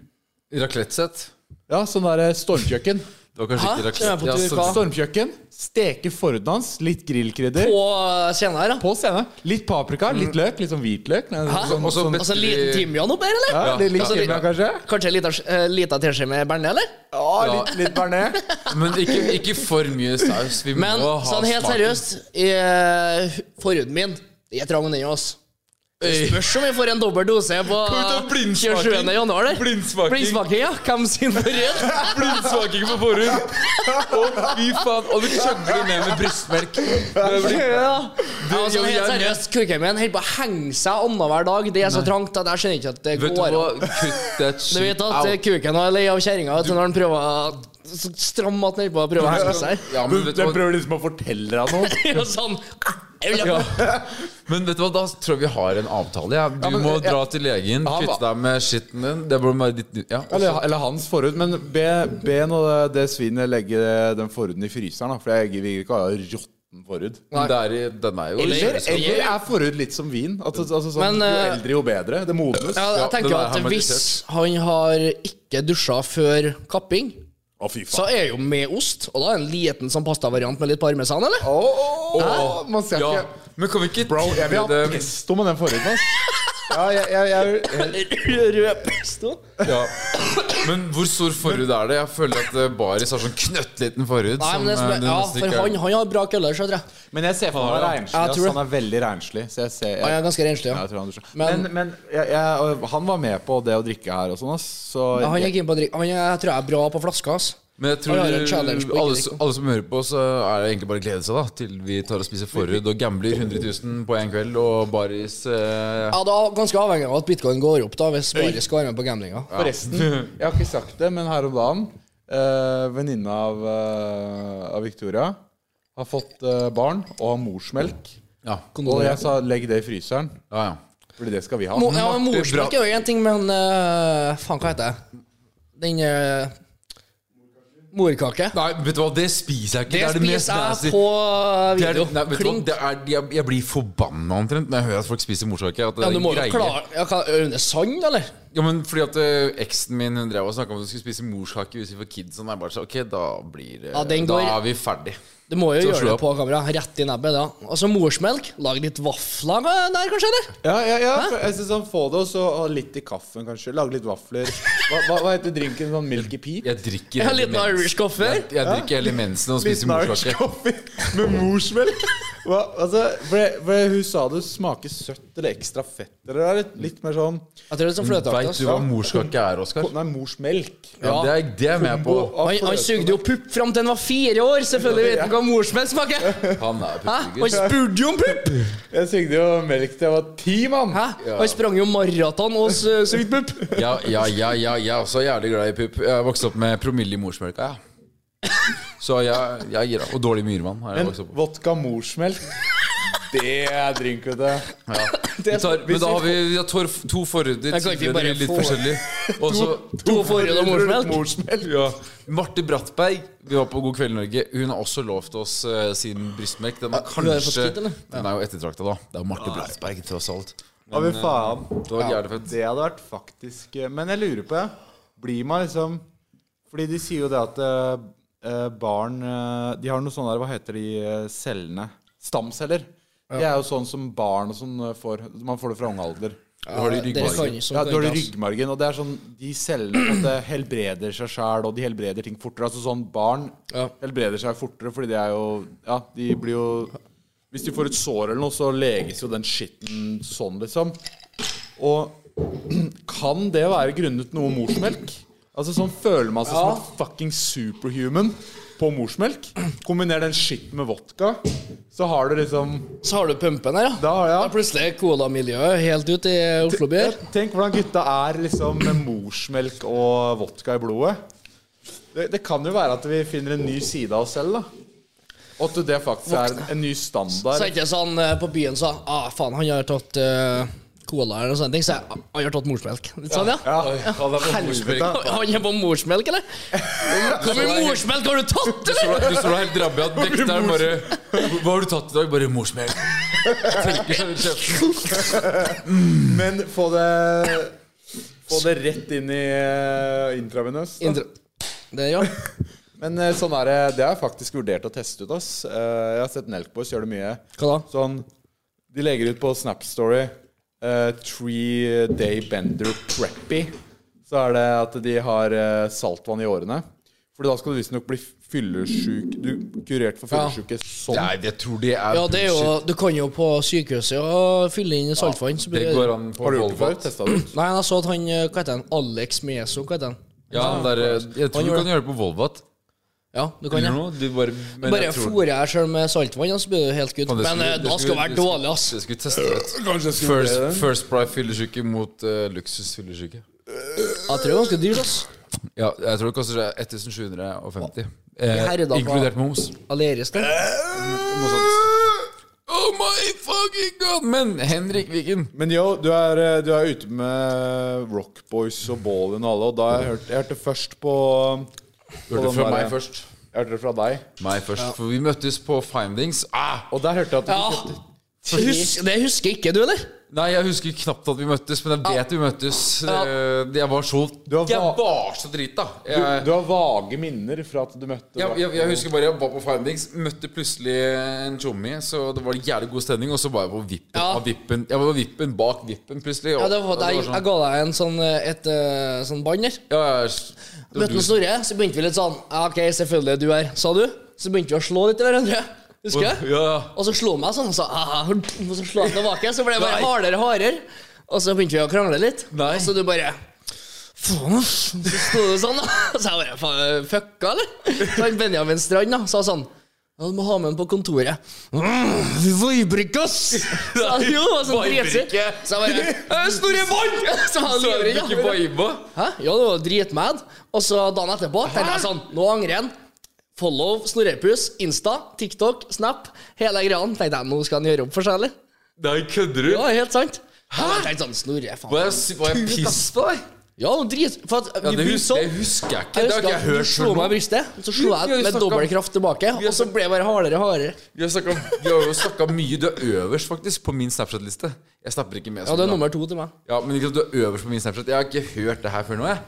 [SPEAKER 4] Raclette-sett.
[SPEAKER 3] Ja, sånn der eh, stormkjøkken.
[SPEAKER 4] Det var kanskje
[SPEAKER 5] Hæ?
[SPEAKER 4] ikke
[SPEAKER 5] Skal jeg på
[SPEAKER 4] raclette.
[SPEAKER 5] tur, hva?
[SPEAKER 3] Stormkjøkken. Steker forhuden hans. Litt grillkrydder.
[SPEAKER 5] På scenen her, da.
[SPEAKER 3] På scenen. Litt paprika, litt løk, litt sånn hvitløk. Nei, Sånn,
[SPEAKER 4] Mm. Og så
[SPEAKER 3] sånn,
[SPEAKER 4] bet-
[SPEAKER 5] Altså liten timian oppi her, eller?
[SPEAKER 3] ja, litt litt
[SPEAKER 4] Ja.
[SPEAKER 3] timian, kanskje?
[SPEAKER 5] Kanskje en liten eh, liten teskje med bearnés, eller?
[SPEAKER 3] Ja, litt, litt bearnés.
[SPEAKER 4] Men ikke, ikke for mye saus. Vi
[SPEAKER 5] Men
[SPEAKER 4] må ha
[SPEAKER 5] sånn helt
[SPEAKER 4] smaken.
[SPEAKER 5] seriøst, eh, forhuden min Det er trang den, altså.
[SPEAKER 4] Øy,
[SPEAKER 5] Spørs om vi får en dobbel dose på
[SPEAKER 4] ut og blindsmaking.
[SPEAKER 5] 27. januar. eller?
[SPEAKER 4] Blindsmaking.
[SPEAKER 5] Blindsmaking, ja. Hvem sin forhud?
[SPEAKER 4] Blindsmaking på forhud! Å, fy faen. Og du kjøgler ned med brystmelk. Det blir-
[SPEAKER 5] Ja.
[SPEAKER 4] Du,
[SPEAKER 5] altså,
[SPEAKER 4] jo,
[SPEAKER 5] helt
[SPEAKER 4] jeg-
[SPEAKER 5] seriøst, kuken min holder på å henge seg annenhver dag. Det er så trangt at jeg skjønner ikke at det
[SPEAKER 4] Vet du
[SPEAKER 5] går.
[SPEAKER 4] hva?
[SPEAKER 5] an.
[SPEAKER 4] Kutt that
[SPEAKER 5] Du
[SPEAKER 4] shit
[SPEAKER 5] vet at eh,
[SPEAKER 4] out.
[SPEAKER 5] kuken er lei av kjerringa vet du, når han prøver å så stram at han holder på å prøve å henge seg.
[SPEAKER 4] Ja, men vet du
[SPEAKER 3] Jeg
[SPEAKER 4] hva?
[SPEAKER 3] prøver liksom å fortelle deg noe.
[SPEAKER 5] Og sånn jeg vil ha-
[SPEAKER 4] Men vet du hva, da tror jeg vi har en avtale. Ja. Du
[SPEAKER 3] Ja, men,
[SPEAKER 4] må
[SPEAKER 3] ja.
[SPEAKER 4] dra til legen,
[SPEAKER 3] Ja,
[SPEAKER 4] kvitte deg med skitten din. Det burde være ditt ja.
[SPEAKER 3] Eller, eller hans forhud. Men be, be nå det, det svinet legge den forhuden i fryseren, da. For jeg vil ikke ha råtten forhud.
[SPEAKER 4] Men det er i- Den er jo
[SPEAKER 5] Eller-
[SPEAKER 3] Eller, eller er forhud litt som vin? Altså, altså sånn,
[SPEAKER 5] Men,
[SPEAKER 3] Jo
[SPEAKER 5] eh,
[SPEAKER 3] eldre, jo bedre. Det modnes.
[SPEAKER 5] ja,
[SPEAKER 3] Å,
[SPEAKER 5] jeg tenker
[SPEAKER 4] det
[SPEAKER 5] jo
[SPEAKER 4] der
[SPEAKER 5] at
[SPEAKER 4] har vært
[SPEAKER 5] Hvis han har ikke dusja før kapping,
[SPEAKER 3] fy faen.
[SPEAKER 5] så er jo med ost. Og da er en liten sånn pastavariant med litt parmesan, eller?
[SPEAKER 3] Å, å, å, man ser
[SPEAKER 4] Ja.
[SPEAKER 3] ikke
[SPEAKER 4] Men kan vi ikke
[SPEAKER 3] Bro, jeg vil ha
[SPEAKER 4] det-
[SPEAKER 3] pesto med den forhuden, ass. Ja, jeg, jeg, jeg, jeg,
[SPEAKER 5] Rød pesto.
[SPEAKER 4] Ja. Men hvor stor forhud er det? Jeg føler at eh, Baris har sånn knøttliten forhud.
[SPEAKER 5] Nei, men det som
[SPEAKER 4] eh,
[SPEAKER 5] er,
[SPEAKER 4] du
[SPEAKER 5] ja,
[SPEAKER 4] nesten
[SPEAKER 5] for
[SPEAKER 4] ikke-
[SPEAKER 5] han, han har bra køller, skjønner jeg.
[SPEAKER 3] Men jeg ser for meg han er renslig.
[SPEAKER 5] Jeg
[SPEAKER 3] ass.
[SPEAKER 5] tror det.
[SPEAKER 3] Han er veldig renslig. Så jeg ser,
[SPEAKER 5] Han er ganske renslig,
[SPEAKER 3] Ja,
[SPEAKER 5] ja.
[SPEAKER 3] jeg tror han dusjer.
[SPEAKER 5] Men-
[SPEAKER 3] Men, men jeg, jeg, han var med på det å drikke her og sånn, ass. Så
[SPEAKER 5] Ja, Han er keen på å drikke. Han er, jeg tror jeg er bra på flaska. ass.
[SPEAKER 4] Men jeg tror
[SPEAKER 5] Han har en challenge på ikke
[SPEAKER 4] alle,
[SPEAKER 5] drikke.
[SPEAKER 4] alle som hører på, så er det egentlig bare å glede seg da til vi tar og spiser forhud og gambler 100 000 på én kveld, og Baris eh,
[SPEAKER 5] Ja, da er Ganske avhengig av at bitcoin går opp, da, hvis bare skal være med på gamblinga.
[SPEAKER 3] Forresten, jeg har ikke sagt det, men her om dagen eh, Venninna av, eh, av Victoria har fått eh, barn og har morsmelk.
[SPEAKER 4] Ja.
[SPEAKER 3] Og
[SPEAKER 5] Kondolerer.
[SPEAKER 3] jeg sa legg det i fryseren,
[SPEAKER 4] ja, ja.
[SPEAKER 3] Fordi det skal vi ha.
[SPEAKER 5] Mo, ja, men
[SPEAKER 4] Martin,
[SPEAKER 5] Morsmelk er jo én ting, men eh, faen, hva heter det? Den eh, Morkake.
[SPEAKER 4] Nei, vet du hva, det spiser jeg ikke. er
[SPEAKER 5] Det
[SPEAKER 4] mest
[SPEAKER 5] spiser
[SPEAKER 4] nasty.
[SPEAKER 5] jeg på
[SPEAKER 4] Det er,
[SPEAKER 5] video.
[SPEAKER 4] nei, vet du hva?
[SPEAKER 5] Klink.
[SPEAKER 4] Det er, jeg, jeg blir forbanna omtrent når jeg hører at folk spiser morskake. At det
[SPEAKER 5] Ja,
[SPEAKER 4] er
[SPEAKER 5] du
[SPEAKER 4] en
[SPEAKER 5] må jo
[SPEAKER 4] greie.
[SPEAKER 5] klare ja, hva, Er det sand, eller?
[SPEAKER 4] Ja, men fordi at eh, eksen min hun drev og snakka om at hun skulle spise morskake ute for kids. Og jeg bare så, ok, da blir eh,
[SPEAKER 5] Ja, den
[SPEAKER 4] Da
[SPEAKER 5] går-
[SPEAKER 4] er vi ferdig.
[SPEAKER 5] Du må jo
[SPEAKER 4] Så
[SPEAKER 5] gjøre
[SPEAKER 4] slå
[SPEAKER 5] det
[SPEAKER 4] opp.
[SPEAKER 5] på kamera. Rett i nebbet. da Og så morsmelk. Lag litt vafler der, kanskje? eller?
[SPEAKER 3] Ja, ja, ja. for Jeg synes han Få det, og så ha litt i kaffen, kanskje. Lage litt vafler. Hva, hva, hva heter drinken? Sånn Milky Pea?
[SPEAKER 4] Jeg drikker
[SPEAKER 5] Jeg har
[SPEAKER 4] hele
[SPEAKER 5] litt
[SPEAKER 4] mens-
[SPEAKER 5] Irish coffee.
[SPEAKER 4] Jeg, jeg drikker hele mensen og spiser
[SPEAKER 3] Liten Irish
[SPEAKER 4] morskake.
[SPEAKER 3] coffee med morsmelk? Hva, altså, for, jeg- for jeg- hun sa det smaker søtt eller ekstra fett. Eller det er litt, litt mer sånn
[SPEAKER 5] Jeg tror det er sånn fløteaktig.
[SPEAKER 4] Veit
[SPEAKER 5] ass.
[SPEAKER 4] du hva morskake er, Oskar?
[SPEAKER 3] Nei, morsmelk.
[SPEAKER 4] Ja, det er, det er jeg med på.
[SPEAKER 5] Han, han sugde jo pupp fram til han var fire år. Selvfølgelig vet han hva morsmelk smaker.
[SPEAKER 4] Han er
[SPEAKER 5] Hæ? Han
[SPEAKER 4] puttegutt.
[SPEAKER 5] spurte jo om pupp!
[SPEAKER 3] Jeg sugde jo melk til jeg var ti, mann.
[SPEAKER 5] Hæ? Han sprang jo maraton og s- sugde pupp.
[SPEAKER 4] Ja, ja, ja, ja, jeg er også jævlig glad i pupp. Jeg vokste opp med promille i morsmelka, ja. Så jeg, jeg gir opp. Og dårlig myrvann har
[SPEAKER 3] Men
[SPEAKER 4] jeg vokst opp med.
[SPEAKER 3] vodka morsmelk, det er drink, vet du.
[SPEAKER 4] Ja. Vi
[SPEAKER 3] Det-
[SPEAKER 4] tar, men da har vi, vi har tor, to forhuder,
[SPEAKER 5] Jeg kan ikke
[SPEAKER 4] tidligere,
[SPEAKER 5] bare
[SPEAKER 4] litt
[SPEAKER 5] få-
[SPEAKER 4] forskjellig. Og så
[SPEAKER 5] To forhold og morsmelk.
[SPEAKER 3] Morsmelk.
[SPEAKER 4] Marte Brattberg, vi var på God kveld Norge, hun har også lovt oss eh, sin brystmelk. Den er
[SPEAKER 5] Ah, du har fått
[SPEAKER 4] kanskje
[SPEAKER 5] skutt, eller?
[SPEAKER 4] Den er jo ettertrakta, da. Det er jo Marte Brattberg, tross alt.
[SPEAKER 3] Å, fy faen.
[SPEAKER 4] eh, Det var jævlig fett.
[SPEAKER 3] Det hadde vært faktisk eh, Men jeg lurer på, ja. Blir man liksom Fordi de sier jo det at eh, barn eh, De har noe sånn der Hva heter de eh, cellene? Stamceller. De er jo sånn som barn og sånn eh, får. Man får det fra ung alder.
[SPEAKER 4] Da har de
[SPEAKER 5] Dere kan
[SPEAKER 4] ryggmargen.
[SPEAKER 5] ikke
[SPEAKER 3] Ja,
[SPEAKER 5] sånn.
[SPEAKER 3] du har det i ryggmargen, og det er sånn De cellene på en måte helbreder seg sjæl, og de helbreder ting fortere. Altså sånn barn
[SPEAKER 5] Ja.
[SPEAKER 3] helbreder seg fortere, fordi de er jo Ja, de blir jo Hvis de får et sår eller noe, så leges jo den skitten sånn, liksom. Og kan det være grunnet noe morsmelk? Altså sånn føler man seg
[SPEAKER 5] Ja.
[SPEAKER 3] som et fucking superhuman på morsmelk. Kombiner den skitten med vodka, så har du liksom
[SPEAKER 5] Så har du pumpen her, ja.
[SPEAKER 3] Da har
[SPEAKER 5] Da
[SPEAKER 3] jeg
[SPEAKER 5] er plutselig cola-miljøet helt ut i Oslo by her.
[SPEAKER 3] Tenk hvordan gutta er liksom med morsmelk og vodka i blodet. Det, det kan jo være at vi finner en ny side av oss selv, da. Og at det faktisk er en ny
[SPEAKER 5] Så
[SPEAKER 3] standard.
[SPEAKER 5] ikke sånn eh, på byen sa ah, faen, han har tatt eh, cola eller noe sånt. Så jeg, ah, han har tatt morsmelk. Litt sånn, ja.
[SPEAKER 3] Ja,
[SPEAKER 4] Helvete.
[SPEAKER 5] Han er på morsmelk, eller? Hvor mye morsmelk har du tatt,
[SPEAKER 4] Du
[SPEAKER 5] eller?
[SPEAKER 4] står- Du står der helt rabbi at dekteren bare Hva har du tatt i dag? Bare morsmelk. Tørker seg rundt kjeften.
[SPEAKER 3] Men få det Få det rett inn i eh, intravenøs. da.
[SPEAKER 5] Indre. Det, ja.
[SPEAKER 3] Men eh, sånn er det. Det har jeg faktisk vurdert å teste ut. ass Eh, Jeg har sett Nelkboys gjøre det mye.
[SPEAKER 5] Hva da?
[SPEAKER 3] Sånn De legger ut på Snap Story eh, Three Day Bender Preppy. Så er det at de har eh, saltvann i årene. For da skal du visstnok bli fyllesyk Du kurert for fyllesyke sånn.
[SPEAKER 4] Nei, jeg tror det er
[SPEAKER 5] ja, det er jo
[SPEAKER 4] bullshit.
[SPEAKER 5] Du kan jo på sykehuset og fylle inn saltvann. så blir
[SPEAKER 4] Det går an på
[SPEAKER 3] Har du gjort det før?
[SPEAKER 4] Volvat.
[SPEAKER 3] Testa det ut?
[SPEAKER 5] Nei, jeg så at han eh, Hva heter han? Alex Meso, hva heter han?
[SPEAKER 4] Ja, han der, eh, jeg tror du kan gjøre det på Volvat.
[SPEAKER 5] Ja, du kan
[SPEAKER 4] Eller
[SPEAKER 5] det.
[SPEAKER 4] noe. Du bare men
[SPEAKER 5] Bare
[SPEAKER 4] jeg tror-
[SPEAKER 5] fôrer jeg sjøl med saltvann, og så blir du helt gutt.
[SPEAKER 4] Faen, det
[SPEAKER 5] Men
[SPEAKER 4] skulle-
[SPEAKER 5] eh,
[SPEAKER 4] det
[SPEAKER 5] da skal
[SPEAKER 4] skulle-
[SPEAKER 5] det være
[SPEAKER 4] det
[SPEAKER 5] dårlig, ass.
[SPEAKER 4] skulle- Det skulle testet ut.
[SPEAKER 3] Kanskje jeg skulle
[SPEAKER 4] First,
[SPEAKER 3] vurdere det.
[SPEAKER 4] first Pride fyllesyke mot eh, luksusfyllesyke.
[SPEAKER 5] Jeg tror det er ganske dyrt, ass.
[SPEAKER 4] Ja, jeg tror det koster seg 1750.
[SPEAKER 5] Herre da,
[SPEAKER 4] Eh,
[SPEAKER 5] hva-
[SPEAKER 4] inkludert moms.
[SPEAKER 5] Aleris, det.
[SPEAKER 4] Oh my fucking god! Men Henrik Viken
[SPEAKER 3] Men yo, du er, eh, du er ute med Rockboys og Ballin og alle, og da har jeg hørt Jeg hørte først på
[SPEAKER 4] Du hørte
[SPEAKER 3] den
[SPEAKER 4] det fra
[SPEAKER 3] der-
[SPEAKER 4] meg først.
[SPEAKER 3] Jeg hørte det fra deg.
[SPEAKER 4] Meg først, For vi møttes på Findings. Ah!
[SPEAKER 3] Og der hørte jeg at du
[SPEAKER 5] Ja. Husk, det husker ikke du, eller?
[SPEAKER 4] Nei, jeg husker knapt at vi møttes, men jeg vet vi møttes.
[SPEAKER 5] Ja.
[SPEAKER 4] Eh, Jeg var så
[SPEAKER 3] har va-
[SPEAKER 4] Jeg var så drita.
[SPEAKER 3] Du,
[SPEAKER 4] Jeg,
[SPEAKER 3] du har vage minner fra at du møtte
[SPEAKER 4] jeg, jeg, jeg husker bare jeg var på Findings, møtte plutselig en tjommi, så det var jævlig god stemning, og så var jeg på vippen.
[SPEAKER 5] Ja.
[SPEAKER 4] Av vippen. Jeg var på vippen bak vippen, plutselig. og-
[SPEAKER 5] Ja, det var,
[SPEAKER 4] og det
[SPEAKER 5] jeg,
[SPEAKER 4] var
[SPEAKER 5] jeg
[SPEAKER 4] sånn,
[SPEAKER 5] ga deg en sånn, eh, et eh, sånn bånd der.
[SPEAKER 4] ja, ja, s- det var
[SPEAKER 5] Møtte
[SPEAKER 4] du-
[SPEAKER 5] han Snorre, så begynte vi litt sånn «Ja, OK, selvfølgelig er du her, sa du. Så begynte vi å slå litt i hverandre. Husker jeg?
[SPEAKER 4] Ja, ja.
[SPEAKER 5] Og så slo han meg sånn, og så, «Ah», og så slo han tilbake. Så ble det bare
[SPEAKER 4] Nei.
[SPEAKER 5] hardere og hardere. Og så begynte vi å krangle litt.
[SPEAKER 4] Nei.
[SPEAKER 5] Og så du bare Faen, ass. Så sto du sånn, da. Så jeg bare faen, Fucka, eller? Så han Benjamin Strand da, sa sånn ja, du må ha med den på kontoret. «Mm, Vibrik, ass! Så han jo, og så dritsur.
[SPEAKER 4] Vibrikke.
[SPEAKER 5] Så jeg bare «Øh, Snorre Vann! Så han
[SPEAKER 4] Så
[SPEAKER 5] gjorde
[SPEAKER 4] jeg
[SPEAKER 5] det,
[SPEAKER 4] ikke
[SPEAKER 5] ja.
[SPEAKER 4] viba.
[SPEAKER 5] Hæ? Ja, det var dritmad. Og så dagen etterpå tenkte jeg sånn Nå angrer jeg. Follow Snorrepus, Insta, TikTok, Snap. Hele greia. Tenkte jeg, nå skal han gjøre opp for seg, eller?
[SPEAKER 4] Nei, kødder du?
[SPEAKER 5] Ja, helt sant. Hæ? Jeg tenkte sånn, Snorre,
[SPEAKER 4] Var
[SPEAKER 5] faen.
[SPEAKER 4] jeg, s- var jeg piss på deg?
[SPEAKER 5] Ja, nå drit. For at
[SPEAKER 4] Ja,
[SPEAKER 5] vi
[SPEAKER 4] det
[SPEAKER 5] blir
[SPEAKER 4] husker,
[SPEAKER 5] sånn.
[SPEAKER 4] det husker jeg ikke.
[SPEAKER 5] Jeg
[SPEAKER 4] Det har
[SPEAKER 5] husker
[SPEAKER 4] ikke jeg
[SPEAKER 5] at du
[SPEAKER 4] hørt
[SPEAKER 5] slo
[SPEAKER 4] før nå.
[SPEAKER 5] meg i brystet, så slo
[SPEAKER 4] Vi har
[SPEAKER 5] jeg
[SPEAKER 4] jo
[SPEAKER 5] med
[SPEAKER 4] snakket-
[SPEAKER 5] dobbel kraft tilbake.
[SPEAKER 4] Vi har
[SPEAKER 5] Og så
[SPEAKER 4] snakket-
[SPEAKER 5] ble jeg bare hardere og hardere.
[SPEAKER 4] Vi har, snakket, om- vi har jo snakka mye. Du er øverst, faktisk, på min Snapchat-liste. Jeg snapper ikke med.
[SPEAKER 5] Ja, det er nummer to til meg.
[SPEAKER 4] Ja, men ikke sant, du er øverst på min Snapchat. Jeg har ikke hørt det her før nå, jeg.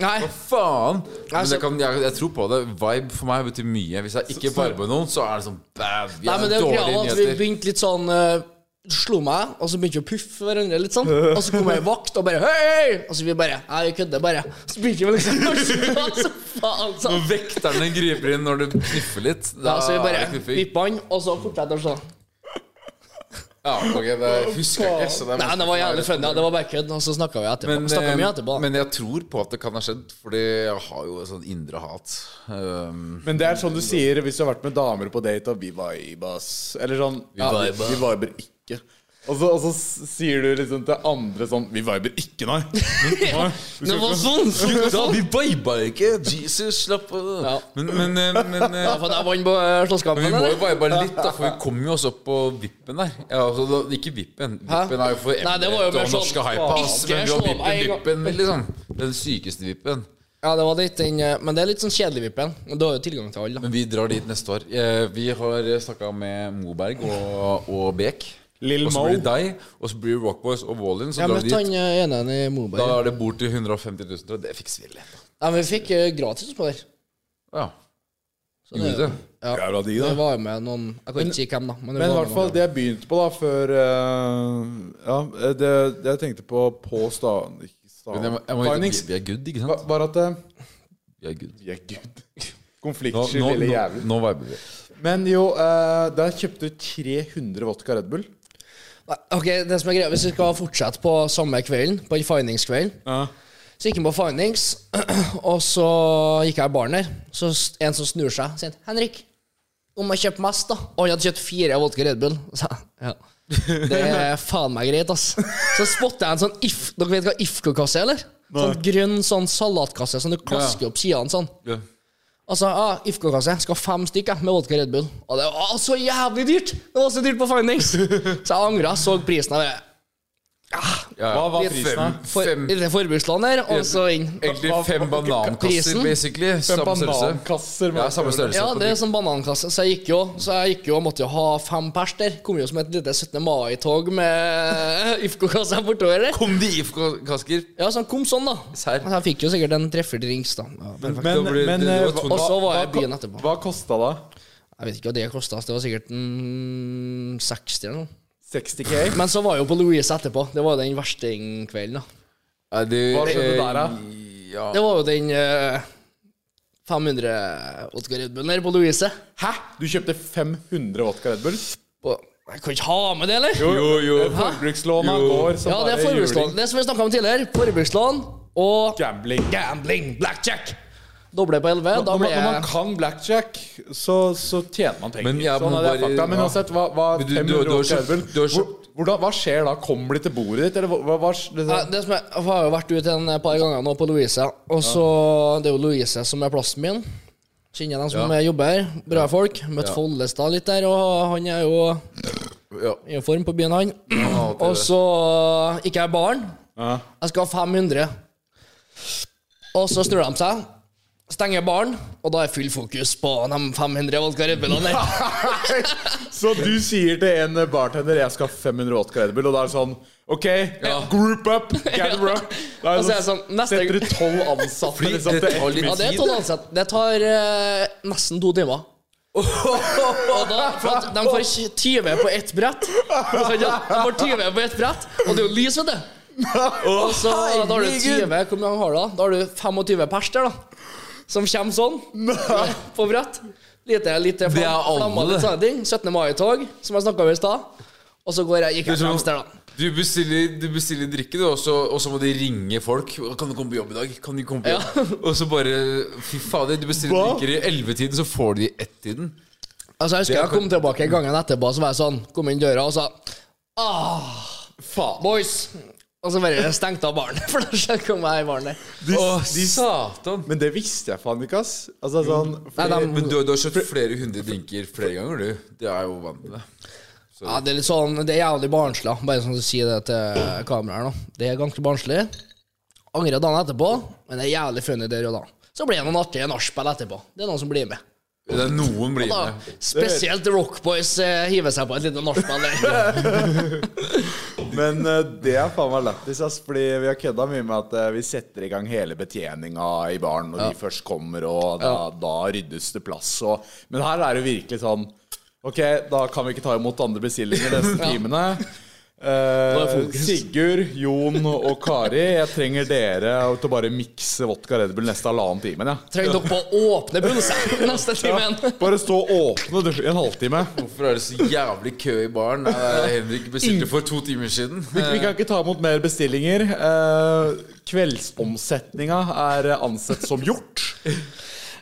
[SPEAKER 5] Nei.
[SPEAKER 4] Hva faen? Men
[SPEAKER 5] Altså-
[SPEAKER 4] jeg, kan, jeg, jeg tror på det. Vibe for meg betyr mye. Hvis jeg ikke viber med noen, så er det sånn bæv.
[SPEAKER 5] Nei,
[SPEAKER 4] Jeg
[SPEAKER 5] men
[SPEAKER 4] har
[SPEAKER 5] det er jo greia
[SPEAKER 4] dårlige
[SPEAKER 5] at vi
[SPEAKER 4] nyheter.
[SPEAKER 5] begynte litt sånn eh, Du slo meg, og så begynte vi å puffe hverandre litt sånn. Og så kom jeg i vakt og bare Hei! Og så vi bare Nei, vi kødder bare. Så begynte vi liksom å slå, så faen, så.
[SPEAKER 4] Når vekterne griper inn når du kniffer litt, da
[SPEAKER 5] Ja, så vi
[SPEAKER 4] er
[SPEAKER 5] bare
[SPEAKER 4] det kniffing.
[SPEAKER 5] vippa han, og så fortsetter han sånn.
[SPEAKER 4] Ja, ok, det husker jeg ikke. Så det er
[SPEAKER 5] Nei, det var jævlig funny. ja. Det var bare kødd, og så snakka vi etterpå.
[SPEAKER 4] Men,
[SPEAKER 5] Snakket mye etterpå.
[SPEAKER 4] eh, men jeg tror på at det kan ha skjedd, Fordi jeg har jo et sånn indre hat. Um,
[SPEAKER 3] Men det er sånn du sier hvis du har vært med damer på date, og vi vibas. Eller sånn Vi,
[SPEAKER 5] viber.
[SPEAKER 3] vi viber ikke. Og så, og så s- sier du liksom til andre sånn Vi viber ikke, nei. nei. vi
[SPEAKER 5] det
[SPEAKER 3] skal
[SPEAKER 5] var
[SPEAKER 3] ikke-
[SPEAKER 5] sånn!
[SPEAKER 4] da, vi viba ikke! Jesus, slapp av.
[SPEAKER 5] Ja.
[SPEAKER 4] Men, men, eh, men, eh,
[SPEAKER 5] Ja, for jeg vant på eh, slåsskampen,
[SPEAKER 4] men vi må jo
[SPEAKER 5] eller?
[SPEAKER 4] vibe litt, da, for vi kom jo også opp på vippen der. Ja, altså, da, ikke vippen.
[SPEAKER 5] Hæ?
[SPEAKER 4] Vippen er jo for
[SPEAKER 5] Nei, det var jo
[SPEAKER 4] emnet
[SPEAKER 5] mer
[SPEAKER 4] og
[SPEAKER 5] sånn,
[SPEAKER 4] norske hypa. altså,
[SPEAKER 5] ikke
[SPEAKER 4] Men vi har
[SPEAKER 5] slå meg en
[SPEAKER 4] vippen,
[SPEAKER 5] gang.
[SPEAKER 4] vippen, liksom. Den sykeste vippen.
[SPEAKER 5] Ja, det var litt den eh, Men det er litt sånn kjedelig, Vippen. Men Du har jo tilgang til alle, da.
[SPEAKER 4] Men vi drar dit neste år. Eh, Vi har snakka med Moberg og, og Bek.
[SPEAKER 3] Lil
[SPEAKER 4] Og så
[SPEAKER 3] Mo.
[SPEAKER 4] blir det deg, og så blir det Rockboys og Wallin. Så
[SPEAKER 5] Jeg
[SPEAKER 4] drar vi
[SPEAKER 5] møtte
[SPEAKER 4] dit.
[SPEAKER 5] han eh, ene i
[SPEAKER 4] Da
[SPEAKER 5] Moberg.
[SPEAKER 4] er det bord til 150 000, tror jeg. Det fikser vi litt.
[SPEAKER 5] Nei, men vi fikk eh, gratis på der.
[SPEAKER 4] Ja.
[SPEAKER 5] det-
[SPEAKER 4] Gjorde det.
[SPEAKER 3] Jævla digg,
[SPEAKER 5] Det
[SPEAKER 3] da.
[SPEAKER 5] var jo med noen Jeg kan ikke si hvem, da. Men, det
[SPEAKER 3] Men i
[SPEAKER 5] var
[SPEAKER 3] hvert fall
[SPEAKER 5] noen.
[SPEAKER 3] det jeg begynte på da før eh, Ja, det, det jeg tenkte på på Stavn... Ikke
[SPEAKER 4] Men jeg
[SPEAKER 3] Stavn...
[SPEAKER 4] må, jeg må, vi,
[SPEAKER 3] Findings
[SPEAKER 4] vi er good, ikke
[SPEAKER 3] var
[SPEAKER 4] sant?
[SPEAKER 3] var at eh,
[SPEAKER 4] Vi er good.
[SPEAKER 3] Vi er good.
[SPEAKER 4] Nå,
[SPEAKER 3] Konfliktsky,
[SPEAKER 4] nå,
[SPEAKER 3] lille
[SPEAKER 4] nå,
[SPEAKER 3] jævel.
[SPEAKER 4] nå viber vi.
[SPEAKER 3] Men jo, eh, der kjøpte du 300 vodka Red Bull.
[SPEAKER 5] Nei, Ok, det som er greia Hvis vi skal fortsette på samme kvelden, på den findingskvelden Så gikk han på findings, og så gikk jeg i baren der. Så s- en som snur seg, sier 'Henrik, du må kjøpe mest', da. Og han hadde kjøpt fire vodka Red Bull. Så, jeg, ja. Det er faen meg greit, ass. Så spotter jeg en sånn if, Dere vet hva Ifko-kasse er, eller? Sånn grønn sånn salatkasse som du klasker opp sidene sånn.
[SPEAKER 4] Ja.
[SPEAKER 5] Altså, ah, IFK-kasse skal ha fem stykk jeg, med vodka Red Bull. Og det var så jævlig dyrt! Det var så dyrt på Findings! Så jeg angra, så prisen av det.
[SPEAKER 4] Ja.
[SPEAKER 3] Hva var
[SPEAKER 4] Litt
[SPEAKER 3] prisen,
[SPEAKER 4] fem-
[SPEAKER 3] da?
[SPEAKER 5] For,
[SPEAKER 4] fem-
[SPEAKER 5] Lite forbrukslån der, og så inn.
[SPEAKER 4] Egentlig
[SPEAKER 3] Hva-
[SPEAKER 4] fem
[SPEAKER 3] hva-
[SPEAKER 4] banankasser,
[SPEAKER 5] prisen?
[SPEAKER 4] basically.
[SPEAKER 3] Fem
[SPEAKER 4] Samme størrelse.
[SPEAKER 3] banankasser. med
[SPEAKER 4] Ja, samme
[SPEAKER 3] Red Bull.
[SPEAKER 4] størrelse.
[SPEAKER 5] Ja,
[SPEAKER 4] på
[SPEAKER 5] det er
[SPEAKER 4] dyr.
[SPEAKER 5] sånn banankasse, så jeg gikk jo Så jeg gikk jo og måtte jo ha fem pers der. Kom jo som et lite 17. mai-tog med IFK-kassa bortover der.
[SPEAKER 4] Kom det IFK-kasker?
[SPEAKER 5] Ja, så han kom sånn, da.
[SPEAKER 4] Serr.
[SPEAKER 5] Men jeg fikk jo sikkert en treffer drinks, da. Ja, perfekt.
[SPEAKER 3] Men,
[SPEAKER 4] Da blir det-
[SPEAKER 3] men
[SPEAKER 4] det
[SPEAKER 3] eh,
[SPEAKER 4] var tungt.
[SPEAKER 5] Og så var
[SPEAKER 3] hva-
[SPEAKER 5] jeg i byen etterpå.
[SPEAKER 3] Hva kosta det?
[SPEAKER 5] Jeg vet ikke hva det kosta, det var sikkert mm, 60 eller noe.
[SPEAKER 3] 60K?
[SPEAKER 5] Men så var jeg jo på Louise etterpå. Det var jo den verstingkvelden, da.
[SPEAKER 4] Nei, det,
[SPEAKER 3] Hva skjedde
[SPEAKER 4] eh,
[SPEAKER 3] der, da?
[SPEAKER 4] Ja.
[SPEAKER 5] Det var jo den eh, 500 vodka Red Bull nede på Louise.
[SPEAKER 3] Hæ? Du kjøpte 500 vodka Red Bull?
[SPEAKER 5] Og jeg kan ikke ha med det, eller?
[SPEAKER 4] Jo, jo.
[SPEAKER 3] Forbrukslåna
[SPEAKER 4] Jo.
[SPEAKER 3] går som
[SPEAKER 5] ja, det er
[SPEAKER 3] bare
[SPEAKER 5] forbrukslån.
[SPEAKER 3] juling.
[SPEAKER 5] Det som vi snakka om tidligere. Forbrukslån og
[SPEAKER 3] Gambling.
[SPEAKER 5] gambling. Blackjack. Doble på 11. Da
[SPEAKER 3] Når man, når
[SPEAKER 5] ble
[SPEAKER 3] man
[SPEAKER 5] jeg
[SPEAKER 3] kan blackjack, så, så tjener man penger.
[SPEAKER 4] Men jeg
[SPEAKER 3] sånn
[SPEAKER 4] må
[SPEAKER 3] er det
[SPEAKER 4] bare-
[SPEAKER 3] fakta. Men
[SPEAKER 4] ja.
[SPEAKER 3] uansett, hva, hva
[SPEAKER 4] Men du-
[SPEAKER 3] 500
[SPEAKER 4] du- du har
[SPEAKER 3] vodka
[SPEAKER 4] kjøpt-
[SPEAKER 3] Red Bull,
[SPEAKER 4] du har
[SPEAKER 3] hvor-
[SPEAKER 4] kjøpt-
[SPEAKER 3] hvordan, Hva skjer da? Kommer de til bordet ditt, eller hva, hva, hva det,
[SPEAKER 5] Nei, det som er, jeg har jo vært ute en par ganger nå på Louise, og så Det er jo Louise som er plassen min. Kjenner dem som
[SPEAKER 4] Ja.
[SPEAKER 5] jobber her. Bra folk. Møtt
[SPEAKER 4] Ja.
[SPEAKER 5] Follestad litt der, og han er jo
[SPEAKER 4] ja.
[SPEAKER 5] i form på byen, han.
[SPEAKER 4] Ja, det-
[SPEAKER 5] Og så gikk jeg i baren.
[SPEAKER 3] Ja.
[SPEAKER 5] Jeg skal ha 500. Og så snur de seg, stenger baren, og da er full fokus på de 500 vodka Red Bullene der.
[SPEAKER 3] Så du sier til en bartender 'jeg skal ha 500 vodka Red Bull', og da er det sånn OK,
[SPEAKER 4] Ja.
[SPEAKER 3] group up, gather up. Da
[SPEAKER 5] Og så er det sånn, neste-
[SPEAKER 3] Setter du tolv ansatte
[SPEAKER 4] Fordi
[SPEAKER 3] liksom,
[SPEAKER 4] det
[SPEAKER 3] til ett
[SPEAKER 4] tar litt
[SPEAKER 5] Ja,
[SPEAKER 3] minutt.
[SPEAKER 5] det er tolv ansatte. Det tar eh, nesten to timer. Og da, for at de får 20 på ett brett. Så ja, De får 20 på ett brett, og det er jo lys, vet du. Og så da har du 20 Hvor mange har du da? Da har du 25 pers der, da. Som kommer sånn på brett. Lite, lite
[SPEAKER 4] Det er
[SPEAKER 5] flam- flammer,
[SPEAKER 4] alle.
[SPEAKER 5] litt sånne ting. 17. mai-tog, som jeg snakka om i stad. Og så går jeg, gikk
[SPEAKER 4] Det er
[SPEAKER 5] jeg
[SPEAKER 4] sånn-
[SPEAKER 5] fremst der, da.
[SPEAKER 4] Du bestiller, du bestiller drikke, du, og så- og så må de ringe folk. 'Kan du komme på jobb i dag?' Kan du komme på
[SPEAKER 5] Ja.
[SPEAKER 4] jobb? Og så bare Fy fader, du bestiller
[SPEAKER 3] Hva?
[SPEAKER 4] drikker i ellevetiden, så får du i ett-tiden.
[SPEAKER 5] Altså, jeg husker
[SPEAKER 4] Det er
[SPEAKER 5] jeg kom tilbake gangen etterpå, så var jeg sånn, kom inn døra og sa Ah, faen, boys! Og så bare stengte av baren, for da kom jeg i baren der.
[SPEAKER 3] De-
[SPEAKER 4] Å,
[SPEAKER 3] de-
[SPEAKER 4] satan!
[SPEAKER 3] Men det visste jeg faen ikke, ass. Altså, sånn, fordi,
[SPEAKER 5] Nei, de-
[SPEAKER 4] Men du, du har kjøpt flere hundre drinker flere ganger, du. Det er jeg jo vant til det.
[SPEAKER 5] Ja, det er litt sånn, det er jævlig barnslig, da. bare sånn å si det til kameraet her nå. Det er ganske barnslig. Angrer dagen etterpå, men det er jævlig funny der og da. Så blir det noen artige nachspiel etterpå. Det er noen som blir med.
[SPEAKER 4] Det er noen blir
[SPEAKER 5] Da,
[SPEAKER 4] med.
[SPEAKER 5] spesielt Rockboys eh, hiver seg på et lite nachspiel der.
[SPEAKER 3] men eh, det er faen meg lættis, ass. Fordi vi har kødda mye med at eh, vi setter i gang hele betjeninga i baren når de først kommer, og da, da ryddes det plass og Men her er det virkelig sånn Ok, da kan vi ikke ta imot andre bestillinger de neste timene. Eh,
[SPEAKER 5] er fokus.
[SPEAKER 3] Sigurd, Jon og Kari, jeg trenger dere til å bare mikse vodka Red Bull neste halvannen timen. Ja.
[SPEAKER 5] Trenger dere på å åpne pølsa neste timen?
[SPEAKER 3] Bare stå og åpne du, i en halvtime.
[SPEAKER 4] Hvorfor er det så jævlig kø i baren? Eh, Henrik bestilte for to timer siden.
[SPEAKER 3] Vi, vi kan ikke ta imot mer bestillinger. Eh, kveldsomsetninga er ansett som gjort.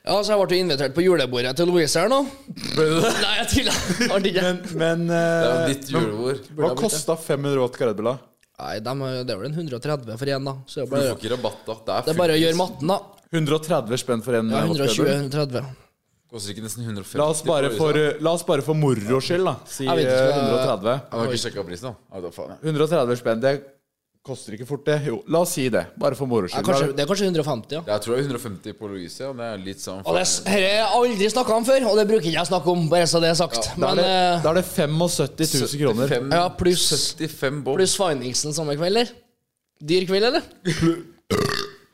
[SPEAKER 5] Ja, så jeg ble jo invitert på julebordet til Louise her nå. Nei, jeg tulla. Ble det ikke.
[SPEAKER 3] Men, men
[SPEAKER 4] Det
[SPEAKER 3] eh,
[SPEAKER 4] er jo ditt julebord.
[SPEAKER 3] hva kosta 500 vodka Red Bull, da?
[SPEAKER 5] Nei, dem er- det er vel en 130 for én, da. Så det er
[SPEAKER 4] Du får
[SPEAKER 5] bare,
[SPEAKER 4] ikke rabatt, da. Det er,
[SPEAKER 5] det er bare å gjøre matten, da.
[SPEAKER 3] 130 spenn for en
[SPEAKER 5] Ja,
[SPEAKER 3] vodka Red Bull.
[SPEAKER 5] 120-130.
[SPEAKER 4] Koster ikke nesten 150
[SPEAKER 3] La oss bare for, eh,
[SPEAKER 4] liksom.
[SPEAKER 3] la oss bare for moro skyld, da, si
[SPEAKER 5] Jeg vet ikke,
[SPEAKER 3] eh,
[SPEAKER 5] jeg-
[SPEAKER 3] 130.
[SPEAKER 4] Jeg har ikke sjekka prisen, da. Ja, da faen, ja.
[SPEAKER 3] 130 spenn, det koster ikke fort, det. Jo, la oss si det. Bare for moro
[SPEAKER 5] Ja,
[SPEAKER 3] skyld.
[SPEAKER 5] kanskje, det er kanskje 150, ja.
[SPEAKER 4] Jeg tror det er 150 på Louise, ja. Det er litt sånn
[SPEAKER 5] Og det har jeg aldri snakka om før, og det bruker ikke jeg å snakke om, bare så det er sagt.
[SPEAKER 3] Da er
[SPEAKER 5] Men
[SPEAKER 3] det,
[SPEAKER 5] eh,
[SPEAKER 3] da er det 75 000 kroner.
[SPEAKER 5] ja, pluss,
[SPEAKER 4] 75 bob.
[SPEAKER 5] pluss Findingsen samme kveld, eller? Dyr kveld, eller?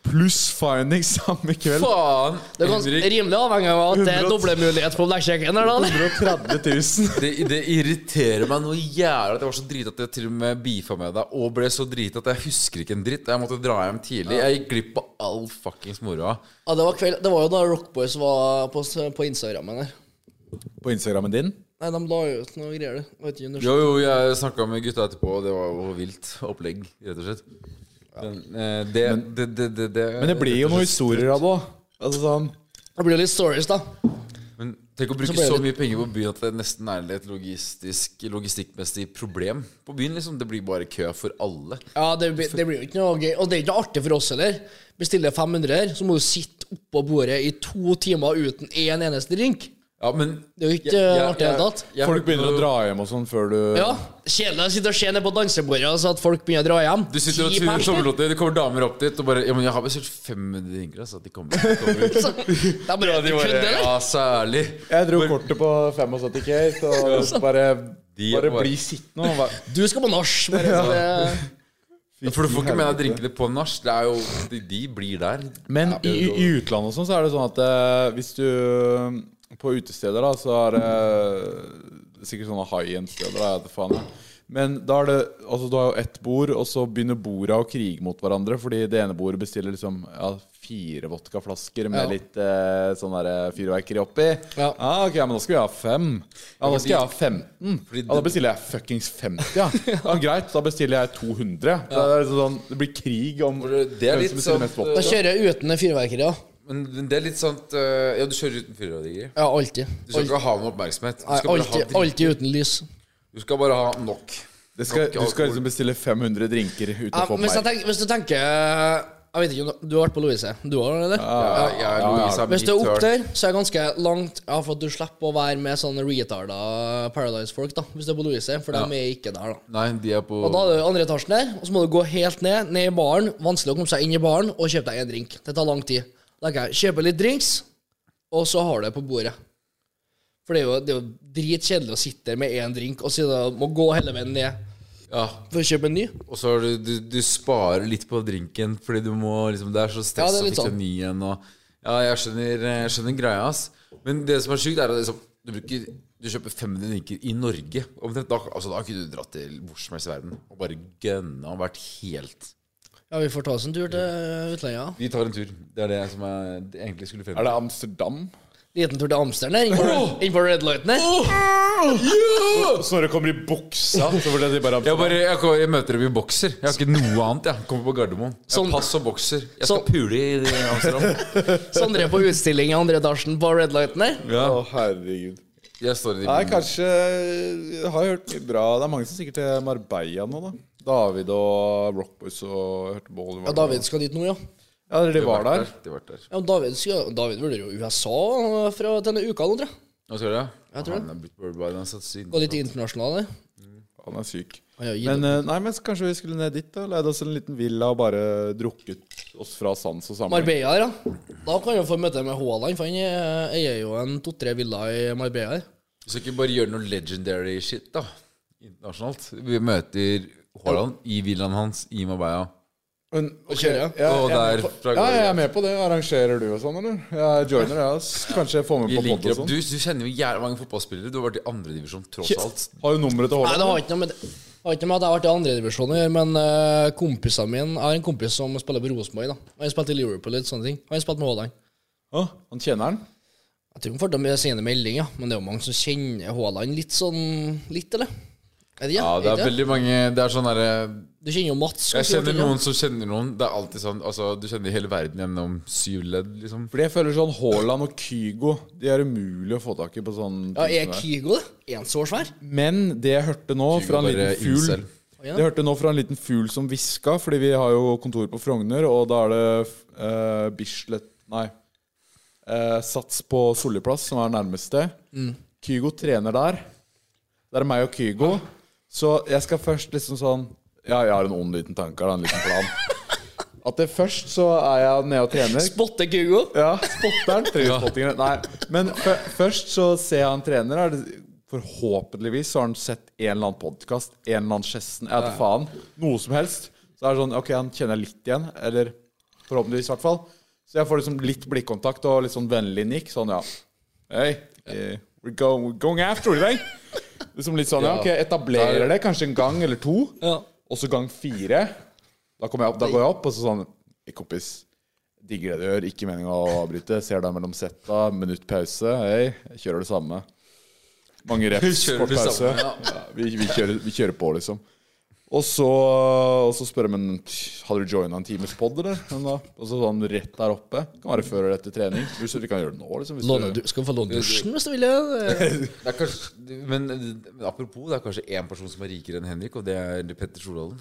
[SPEAKER 3] Pluss finding samme kveld.
[SPEAKER 4] Faen!
[SPEAKER 5] Det er ganske
[SPEAKER 4] Henrik,
[SPEAKER 5] rimelig avhengig av at det er
[SPEAKER 3] 100
[SPEAKER 5] doble mulighet på blackjacken her, da. eller?
[SPEAKER 3] 130 000.
[SPEAKER 4] det, det irriterer meg noe jævlig at jeg var så drita at jeg til og med beefa med deg, og ble så drita at jeg husker ikke en dritt. Jeg måtte dra hjem tidlig. Jeg gikk glipp av all fuckings moroa.
[SPEAKER 5] Ja, det var, kveld, det var jo da Rockboys var på, på Instagrammen her.
[SPEAKER 3] På Instagrammen din?
[SPEAKER 5] Nei, de la jo ut noe greier, det. Jeg vet ikke om det.
[SPEAKER 4] Jo, jo, jeg snakka med gutta etterpå, og det var jo vilt opplegg, rett og slett. Men, eh, det, det, det, det, det
[SPEAKER 3] Men det blir jo noen historier av det òg. Altså sånn
[SPEAKER 5] Det blir jo litt stories, da.
[SPEAKER 4] Men tenk å
[SPEAKER 5] Så
[SPEAKER 4] bruke
[SPEAKER 5] ble
[SPEAKER 4] så
[SPEAKER 5] det-
[SPEAKER 4] mye penger på byen at det nesten er et logistisk, logistikkmessig problem på byen. liksom Det blir bare kø for alle.
[SPEAKER 5] Ja, det, blir- det blir jo ikke noe gøy. Og det er ikke artig for oss heller. Bestiller 500 her, så må du sitte oppå bordet i to timer uten én eneste drink.
[SPEAKER 4] Ja, men
[SPEAKER 5] Det er jo ikke eh, artig i det hele tatt.
[SPEAKER 3] Folk begynner å dra hjem og sånn før du
[SPEAKER 5] Ja, Kjedelig å sitte og se ned på dansebordet og så at folk begynner å dra hjem.
[SPEAKER 4] Du sitter og
[SPEAKER 5] Ti
[SPEAKER 4] turer
[SPEAKER 5] pers,
[SPEAKER 4] sommerlåter, det kommer damer opp dit og bare Ja, men jeg har bestilt 500 drinker, altså. De kommer, de kommer.
[SPEAKER 5] Så, det er bare
[SPEAKER 4] Ja,
[SPEAKER 5] at
[SPEAKER 4] de
[SPEAKER 5] du
[SPEAKER 4] bare,
[SPEAKER 5] kødder, eller?
[SPEAKER 4] ja, særlig.
[SPEAKER 3] Jeg dro kortet på 75 K, og bare,
[SPEAKER 4] De
[SPEAKER 3] bare
[SPEAKER 4] var-
[SPEAKER 3] bli sittende og bare
[SPEAKER 5] Du skal på nach. bare så det-
[SPEAKER 4] For du får ikke med deg drinkene på nach. Det er jo De, de blir der.
[SPEAKER 3] Men i, i utlandet og sånn, så er det sånn at eh, hvis du eh, På utesteder, da, så er det eh, det er sikkert sånne high end-steder. da, jeg vet faen, jeg. Men da er det Altså, du har jo ett bord, og så begynner borda å krige mot hverandre. Fordi det ene bordet bestiller liksom ja, fire vodkaflasker med
[SPEAKER 5] Ja.
[SPEAKER 3] litt eh, sånn derre fyrverkeri oppi.
[SPEAKER 5] Ja.
[SPEAKER 3] Ah, ok, ja, men da skal vi ha fem. Ja, nå skal jeg ha 15.
[SPEAKER 4] fordi
[SPEAKER 3] Ja, da bestiller jeg fuckings 50, ja. ja greit, da bestiller jeg 200. Det, er liksom sånn, det blir krig om
[SPEAKER 4] det er litt sånn,
[SPEAKER 5] Da
[SPEAKER 3] vodka.
[SPEAKER 5] kjører jeg uten det fyrverkeriet. da.
[SPEAKER 4] Men men det er litt sånn at, eh, Ja, du kjører uten fyrverkeri.
[SPEAKER 5] Ja, alltid.
[SPEAKER 4] Du skal ikke ha noe oppmerksomhet. Du
[SPEAKER 5] Nei,
[SPEAKER 4] skal bare ha,
[SPEAKER 5] alltid,
[SPEAKER 4] drink.
[SPEAKER 5] alltid uten lys.
[SPEAKER 4] Du skal bare ha nok.
[SPEAKER 3] Det skal,
[SPEAKER 4] Nok
[SPEAKER 3] du skal
[SPEAKER 4] alkohol.
[SPEAKER 3] liksom bestille 500 drinker uten
[SPEAKER 5] Ja,
[SPEAKER 3] å få
[SPEAKER 5] hvis, jeg
[SPEAKER 3] mer.
[SPEAKER 5] tenker, hvis du tenker eh, Jeg vet ikke om du har vært på Louise. Du har, eller?
[SPEAKER 4] Ja, jeg, Louise, er
[SPEAKER 5] Hvis du er
[SPEAKER 4] mitt
[SPEAKER 5] opp
[SPEAKER 4] turn.
[SPEAKER 5] der, så er det ganske langt Ja, for at du slipper å være med sånne retarda Paradise-folk, da. Hvis du er på Louise, for de er ikke der, da.
[SPEAKER 4] Nei, de er på
[SPEAKER 5] Og da er det jo andre etasjen der, og så må du gå helt ned, ned i baren. Vanskelig å komme seg inn i baren og kjøpe deg en drink. Det tar lang tid. Da kan jeg kjøpe litt drinks, og så har du det på bordet. For det er jo, det er jo dritkjedelig å sitte der med én drink og så må gå hele veien ned
[SPEAKER 4] Ja,
[SPEAKER 5] for å kjøpe en ny.
[SPEAKER 4] Og så har du, du, du sparer litt på drinken fordi du må liksom, Det er så
[SPEAKER 5] Ja,
[SPEAKER 4] stress
[SPEAKER 5] det er
[SPEAKER 4] å
[SPEAKER 5] litt
[SPEAKER 4] fikse
[SPEAKER 5] sånn.
[SPEAKER 4] en ny en. Og, ja, jeg skjønner, jeg skjønner greia, ass. Men det som er sykt, er at liksom, du, bruker, du kjøper 500 drinker i Norge. Omtrent. Da, altså, da kunne du dratt til hvor som helst i verden og bare gønna og vært helt
[SPEAKER 5] Ja, vi får ta oss en tur til utlandet.
[SPEAKER 4] Vi tar en tur. Det er det som jeg egentlig skulle frem
[SPEAKER 3] Er det Amsterdam?
[SPEAKER 5] ja. Liten tur til Amsterdam der, inn på- inn på Red Lighten der.
[SPEAKER 3] Snorre kommer i buksa. Så blir det bare
[SPEAKER 4] Jeg,
[SPEAKER 3] Amsterdam.
[SPEAKER 4] bare, jeg, kommer- jeg møter dem i bokser. Jeg har ikke noe annet. Jeg kommer på Gardermoen. Jeg
[SPEAKER 5] Sånn-
[SPEAKER 4] har pass og bokser. Jeg skal
[SPEAKER 5] Sånn-
[SPEAKER 4] pule i i Amsterdam.
[SPEAKER 5] Sondre er på utstilling i andre etasjen på Red Lighten der.
[SPEAKER 3] Å, herregud.
[SPEAKER 4] Jeg står i
[SPEAKER 3] Nei, kanskje Jeg har hørt mye bra. Det er mange som sikkert til Marbella nå, da. David og Rockboys og hørte på Oliver.
[SPEAKER 5] Ja, David skal dit nå, ja.
[SPEAKER 3] Ja, eller de
[SPEAKER 4] De
[SPEAKER 3] var der.
[SPEAKER 4] De var der.
[SPEAKER 5] ja David, skal, David vurderer jo USA fra denne uka nå, tror jeg.
[SPEAKER 4] Hva skal du gjøre?
[SPEAKER 5] Jeg tror det.
[SPEAKER 4] Han er blitt barbein, han satt siden.
[SPEAKER 5] Gå litt internasjonal, der.
[SPEAKER 3] Han er syk.
[SPEAKER 5] Han har jo gitt
[SPEAKER 3] Men, eh, nei, men så kanskje vi skulle ned dit, da. Leide oss en liten villa og bare drukket oss fra sans og samling.
[SPEAKER 5] Marbella, her, ja. Da kan jeg få møte med Haaland, for han eh, eier jo en to-tre villa i Marbella. her.
[SPEAKER 4] Du skal ikke bare gjøre noe legendary shit, da. Internasjonalt. Vi møter Haaland i villaen hans i Marbella.
[SPEAKER 3] Men, ok,
[SPEAKER 5] kjøre.
[SPEAKER 3] ja,
[SPEAKER 4] Og
[SPEAKER 3] jeg er
[SPEAKER 4] der
[SPEAKER 3] med på-
[SPEAKER 4] fra
[SPEAKER 3] ja, jeg
[SPEAKER 4] Gardermoen.
[SPEAKER 3] er med på det. Arrangerer du og sånn, eller? Jeg joiner, jeg. ass. Kanskje jeg får med
[SPEAKER 4] Vi
[SPEAKER 3] på podd
[SPEAKER 4] linker
[SPEAKER 3] og
[SPEAKER 4] opp.
[SPEAKER 3] sånn.
[SPEAKER 4] Du, du kjenner jo jævlig mange fotballspillere. Du har vært i andredivisjon, tross alt.
[SPEAKER 3] Har jo nummeret til
[SPEAKER 5] Nei, det
[SPEAKER 3] Haaland.
[SPEAKER 5] har ikke noe med det har ikke med at jeg har vært i andredivisjon å gjøre, men eh, kompisene mine Jeg har en kompis som spiller på Rosenborg. da. Han spilte i Liverpool og litt sånne ting. Han spilte med Haaland.
[SPEAKER 3] Å, han kjenner han?
[SPEAKER 5] Jeg tror han får til å sende melding, ja. Men det er jo mange som kjenner Haaland litt sånn Litt, eller? Er det,
[SPEAKER 4] Ja, det er
[SPEAKER 5] ikke
[SPEAKER 4] veldig mange Det er sånn derre
[SPEAKER 5] Du kjenner jo Mats.
[SPEAKER 4] Jeg
[SPEAKER 5] ganske godt,
[SPEAKER 4] kjenner
[SPEAKER 5] ikke?
[SPEAKER 4] noen som kjenner noen. Det er alltid sånn Altså, du kjenner hele verden gjennom syv ledd, liksom.
[SPEAKER 3] Fordi jeg føler sånn Haaland og Kygo De er umulig å få tak i på sånn
[SPEAKER 5] Ja, Er Kygo det? Er han så svær?
[SPEAKER 3] Men det jeg hørte nå
[SPEAKER 4] Kygo
[SPEAKER 3] fra en
[SPEAKER 4] bare
[SPEAKER 3] liten fugl
[SPEAKER 4] incel.
[SPEAKER 3] Det jeg hørte nå fra en liten fugl som hviska, fordi vi har jo kontor på Frogner, og da er det eh, Bislett Nei. Eh, Sats på Solliplass, som er nærmeste. Kygo trener der. Det er meg og Kygo. Så jeg skal først liksom sånn Ja, jeg har en ond liten tanke, her, da, en liten plan. At det først så er jeg nede og trener.
[SPEAKER 5] Spotte Kygo?
[SPEAKER 3] Ja, spotteren. Trøyespottingene. Nei, men fø- først så ser jeg han trener. Er det, forhåpentligvis så har han sett en eller annen podkast, en eller annen Chessen, jeg vet faen. Noe som helst. Så er det sånn Ok, han kjenner jeg litt igjen. Eller forhåpentligvis, i hvert fall. Så jeg får liksom litt blikkontakt og litt sånn vennlig nikk. Sånn, ja. Hey, eh, we're going, we're going after it, eh? Liksom litt sånn, ja. Ok, etablerer det kanskje en gang eller to.
[SPEAKER 5] Ja.
[SPEAKER 3] Og så gang fire. Da, kommer jeg opp, da går jeg opp, og så sånn «Hey, Kompis, digger det du gjør. Ikke meninga å avbryte. Ser deg mellom setta. Minutt pause. Hei, jeg kjører det samme. Mange reps,
[SPEAKER 4] Kjører
[SPEAKER 3] kort
[SPEAKER 4] det
[SPEAKER 3] pause.
[SPEAKER 4] samme, ja.
[SPEAKER 3] Ja, vi, vi, kjører, vi kjører på, liksom. Og så, og så spør jeg men hadde du joina en times pod, eller? Men da- Og så sånn rett der oppe. Kan være før eller etter trening. Hvis du vi kan gjøre det nå, liksom. Hvis
[SPEAKER 5] Låne, du, skal du få låne dusjen hvis du vil? ja. Eh,
[SPEAKER 4] Det er kanskje, men, men apropos, det er kanskje én person som er rikere enn Henrik, og det er Petter Stordalen.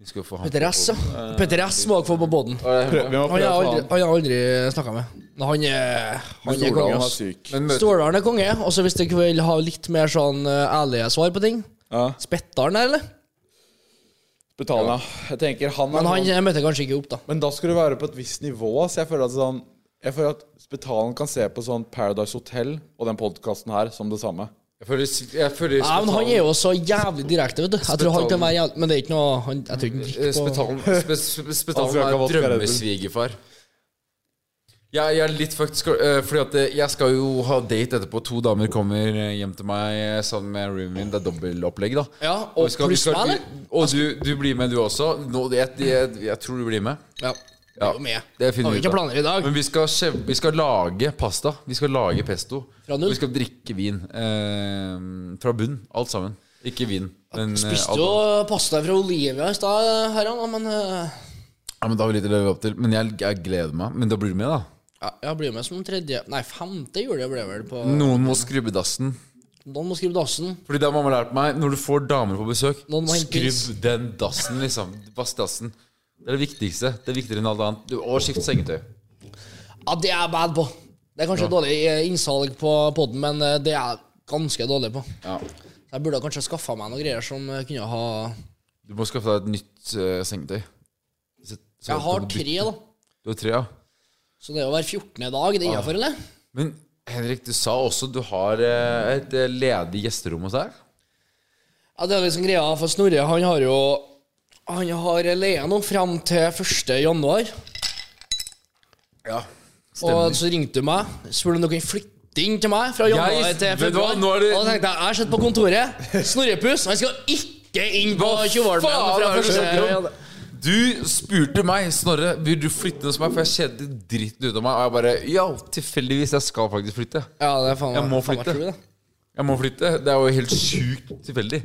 [SPEAKER 4] Vi skal få han
[SPEAKER 5] Petter S, ja.
[SPEAKER 4] Eh.
[SPEAKER 5] Petter S må dere få på båten.
[SPEAKER 3] Prøv- vi må
[SPEAKER 5] Han har
[SPEAKER 3] prøve
[SPEAKER 5] jeg
[SPEAKER 3] å
[SPEAKER 5] aldri,
[SPEAKER 3] få
[SPEAKER 5] han har jeg aldri snakka med. Men han er, han er konge.
[SPEAKER 3] Stordalen er
[SPEAKER 5] ass.
[SPEAKER 3] syk.
[SPEAKER 4] Men møter,
[SPEAKER 5] Stordalen er konge. Og så hvis dere vil ha litt mer sånn eh, ærlige svar på ting
[SPEAKER 3] Ja.
[SPEAKER 5] Spettaren der, eller?
[SPEAKER 3] Betalende. Jeg tenker han er
[SPEAKER 5] Men han eh, møtte jeg kanskje ikke opp, da.
[SPEAKER 3] Men da skal du være på et visst nivå. Så jeg føler at sånn Jeg føler at Spetalen kan se på sånn Paradise Hotel og den podkasten her som det samme.
[SPEAKER 4] jeg føler, jeg føler
[SPEAKER 5] Ja, men han er jo så jævlig direkte, vet du. Jeg tror han kan være jævlig Men det er ikke noe han, Jeg tror ikke
[SPEAKER 4] Eh,
[SPEAKER 5] han gikk på
[SPEAKER 4] Spetalen, spe, spe, spetalen
[SPEAKER 3] Han skal ikke ha
[SPEAKER 4] er
[SPEAKER 3] vodka Red Bull.
[SPEAKER 4] drømmesvigerfar. Jeg, jeg er litt fucked, skal, eh, fordi at eh, jeg skal jo ha date etterpå. To damer kommer eh, hjem til meg eh, sammen med roomien min. Det er dobbeltopplegg, da.
[SPEAKER 5] Ja, og pluss meg, eller?
[SPEAKER 4] og du, du blir med, du også. Nå, jeg, jeg, jeg tror du blir med.
[SPEAKER 5] Ja. Det
[SPEAKER 4] Ja,
[SPEAKER 5] er jo med.
[SPEAKER 4] det finner
[SPEAKER 5] Har
[SPEAKER 4] vi
[SPEAKER 5] vi
[SPEAKER 4] ut
[SPEAKER 5] ikke
[SPEAKER 4] av.
[SPEAKER 5] planer i dag?
[SPEAKER 4] Men vi skal, skjev- vi skal lage pasta. Vi skal lage pesto.
[SPEAKER 5] Fra null?
[SPEAKER 4] Og vi skal drikke vin. Eh, fra bunn. Alt sammen. Ikke vin. Men, eh,
[SPEAKER 5] Spiste
[SPEAKER 4] alt
[SPEAKER 5] jo
[SPEAKER 4] sammen.
[SPEAKER 5] pasta fra Olivia i stad, herran, ja, men eh,
[SPEAKER 4] Ja, men da har vi litt å leve opp til. Men jeg, jeg gleder meg. Men da blir du med, da.
[SPEAKER 5] ja, Jeg blir med som tredje Nei, femte juli ble jeg vel på
[SPEAKER 4] Noen må skrubbe dassen.
[SPEAKER 5] Noen må skrive dassen.
[SPEAKER 4] Fordi det har mamma lært meg. Når du får damer på besøk,
[SPEAKER 5] Noen må hente is.
[SPEAKER 4] skrubb den dassen, liksom. Vask dassen. Det er det viktigste. Det er viktigere enn alt annet. Du- Og skift sengetøy.
[SPEAKER 5] Ja, det er jeg bad på. Det er kanskje dårlig eh, innsalg på poden, men eh, det er jeg ganske dårlig på.
[SPEAKER 4] Ja.
[SPEAKER 5] Så Jeg burde kanskje skaffa meg noen greier som eh, kunne ha
[SPEAKER 4] Du må skaffe deg et nytt eh, sengetøy. Så- så
[SPEAKER 5] Jeg
[SPEAKER 4] du må
[SPEAKER 5] har
[SPEAKER 4] bytte.
[SPEAKER 5] tre, da.
[SPEAKER 4] Du har tre, ja.
[SPEAKER 5] Så det er jo hver 14. dag. Det er innafor, eller?
[SPEAKER 4] Men Henrik, du sa også du har eh, et eh, ledig gjesterom hos deg.
[SPEAKER 5] Ja, det er liksom greia, for Snorre han har jo Han har leia nå fram til 1. januar.
[SPEAKER 4] Ja,
[SPEAKER 5] Og så ringte du meg, spurte om du kunne flytte inn til meg fra januar
[SPEAKER 4] Jeg-
[SPEAKER 5] til
[SPEAKER 4] vet du hva,
[SPEAKER 5] februar.
[SPEAKER 4] nå er det-
[SPEAKER 5] Og da tenkte jeg jeg har sett på kontoret. Snorrepus. Han skal ikke inn på
[SPEAKER 4] Hva faen
[SPEAKER 5] Tjuvholmen fra
[SPEAKER 4] er det du
[SPEAKER 5] første
[SPEAKER 4] snakker om? Du spurte meg, Snorre, vil du flytte inn hos meg, for jeg kjeder dritten ut av meg. Og jeg bare Ja, tilfeldigvis, jeg skal faktisk flytte.
[SPEAKER 5] Ja, det er faen
[SPEAKER 4] Jeg må
[SPEAKER 5] faen meg
[SPEAKER 4] flytte.
[SPEAKER 5] true, det.
[SPEAKER 4] Jeg må flytte. Det er jo helt sjukt tilfeldig.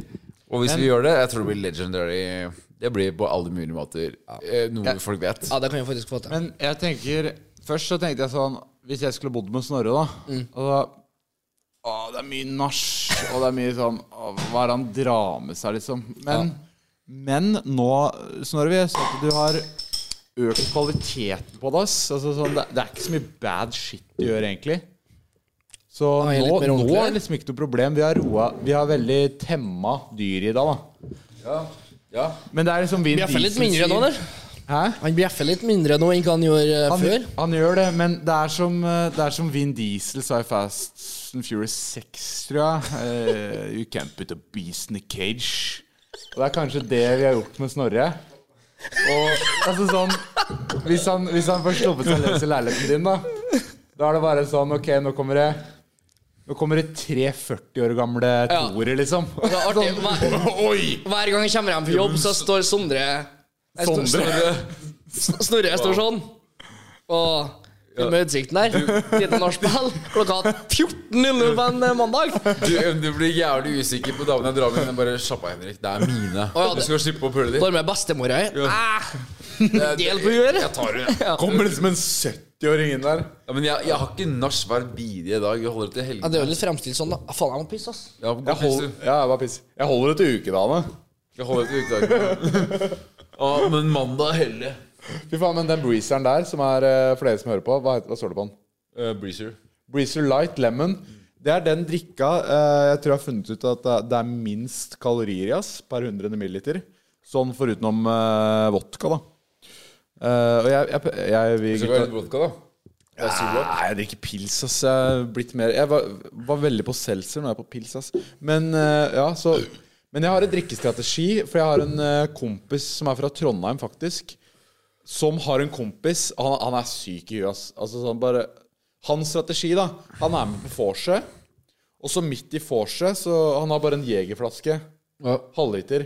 [SPEAKER 4] Og hvis vi gjør det, jeg tror det blir legendary. Det blir på alle mulige måter eh, noe folk vet.
[SPEAKER 5] Ja, det kan jeg faktisk få til.
[SPEAKER 3] Men jeg tenker Først så tenkte jeg sånn Hvis jeg skulle bodd med Snorre, da
[SPEAKER 5] Mm.
[SPEAKER 3] og da Å, det er mye nach, og det er mye sånn å, Hva er det han drar med seg, liksom? Men, men nå, Snorre, vi har sett at du har økt kvaliteten på det. ass. Altså, sånn, det, det er ikke så mye bad shit du gjør, egentlig. Så
[SPEAKER 5] Ah, jeg er
[SPEAKER 3] nå,
[SPEAKER 5] litt mer
[SPEAKER 3] nå
[SPEAKER 5] ordentlig,
[SPEAKER 3] er det liksom ikke noe problem. Vi har roa Vi har veldig temma dyr i dag, da.
[SPEAKER 4] Ja. ja.
[SPEAKER 3] Men det er liksom vi
[SPEAKER 5] Bjeffer litt mindre nå, eller?
[SPEAKER 3] Hæ?
[SPEAKER 5] Han bjeffer litt mindre nå enn hva han gjorde eh,
[SPEAKER 3] Han,
[SPEAKER 5] før.
[SPEAKER 3] han gjør det, men det er som, eh, det er som Vin Diesel sa i Fast and Furious 6, tror jeg. Eh, you can't put a beast in a cage. Og det er kanskje det vi har gjort med Snorre. Og altså sånn Hvis han, hvis han får sluppet seg løs i leiligheten din, da Da er det bare sånn Ok, nå kommer det Nå kommer det tre 40 år gamle
[SPEAKER 5] Ja.
[SPEAKER 3] toere, liksom.
[SPEAKER 5] Det er artig. Hver, hver gang jeg kommer hjem fra jobb, så står Sondre Nei, står-
[SPEAKER 3] Sondre.
[SPEAKER 5] Snorre- Snorre står sånn. Og med utsikten der. Lite nachspiel. Klokka 14.00 på en mandag.
[SPEAKER 4] Du, du blir jævlig usikker på damene jeg drar med. men Bare slapp av, Henrik. Det er mine.
[SPEAKER 5] ja,
[SPEAKER 4] Du
[SPEAKER 5] det-
[SPEAKER 4] skal slippe å pule
[SPEAKER 5] Da
[SPEAKER 4] dem.
[SPEAKER 5] er med bestemora her.
[SPEAKER 4] Det-
[SPEAKER 5] Del på huet, eller?
[SPEAKER 4] Jeg tar det.
[SPEAKER 5] Ja.
[SPEAKER 3] Kommer liksom en 70-åring inn der.
[SPEAKER 4] Ja, men jeg, jeg har ikke nach hver bidige dag. Jeg holder det til
[SPEAKER 5] Ja, det
[SPEAKER 4] helgen.
[SPEAKER 5] er jo litt fremstilt sånn, da. Faen, jeg må pisse, ass.
[SPEAKER 4] Ja, god
[SPEAKER 3] Jeg, hold,
[SPEAKER 4] pils, du.
[SPEAKER 3] ja, jeg, bare pisser. jeg holder det til ukedagene.
[SPEAKER 4] Jeg holder det til ukedagen. Å, men mandag er hellig.
[SPEAKER 3] Fy faen, men den breezeren der, som er eh, for dere som hører på, hva, heter, hva står det på den?
[SPEAKER 4] Eh, breezer.
[SPEAKER 3] Breezer Light Lemon. Det er den drikka eh, jeg tror jeg har funnet ut at det- det er minst kalorier i, ass, per 100 milliliter. Sånn forutenom eh, vodka, da. Eh, og jeg, jeg, jeg, vi
[SPEAKER 4] Skal vi ha litt vodka, da?
[SPEAKER 3] Nei, jeg drikker pils, ass. Jeg, er blitt mer, jeg var, var veldig på seltzer når jeg er på pils, ass. Men, eh, ja, så, men jeg har en drikkestrategi, for jeg har en eh, kompis som er fra Trondheim, faktisk. Som har en kompis Han, han er syk i huet, ass. Altså, sånn bare, hans strategi, da Han er med på vorset, og så midt i vorset så Han har bare en jegerflaske. Halvliter.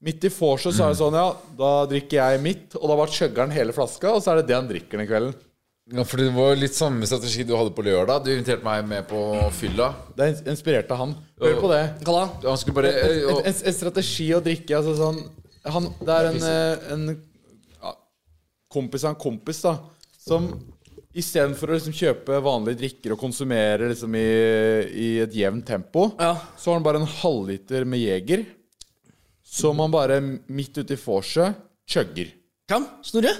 [SPEAKER 3] Midt i vorset så er det sånn, ja, da drikker jeg mitt, og da bare chugger han hele flaska, og så er det det han drikker den kvelden.
[SPEAKER 4] Ja, for Det var litt samme strategi du hadde på lørdag. Du inviterte meg med på fylla.
[SPEAKER 3] Det er inspirert av han. Hør på det.
[SPEAKER 5] Hva da?
[SPEAKER 4] Han skulle bare eh,
[SPEAKER 3] En,
[SPEAKER 4] og,
[SPEAKER 3] en, en strategi å drikke altså sånn, han, Det er en, eh, en ja, kompis av en kompis da som istedenfor å liksom kjøpe vanlige drikker og konsumere liksom i, i et jevnt tempo,
[SPEAKER 5] Ja.
[SPEAKER 3] så har han bare en halvliter med Jeger som han bare midt ute i vorset chugger.
[SPEAKER 5] Hvem? Snorre?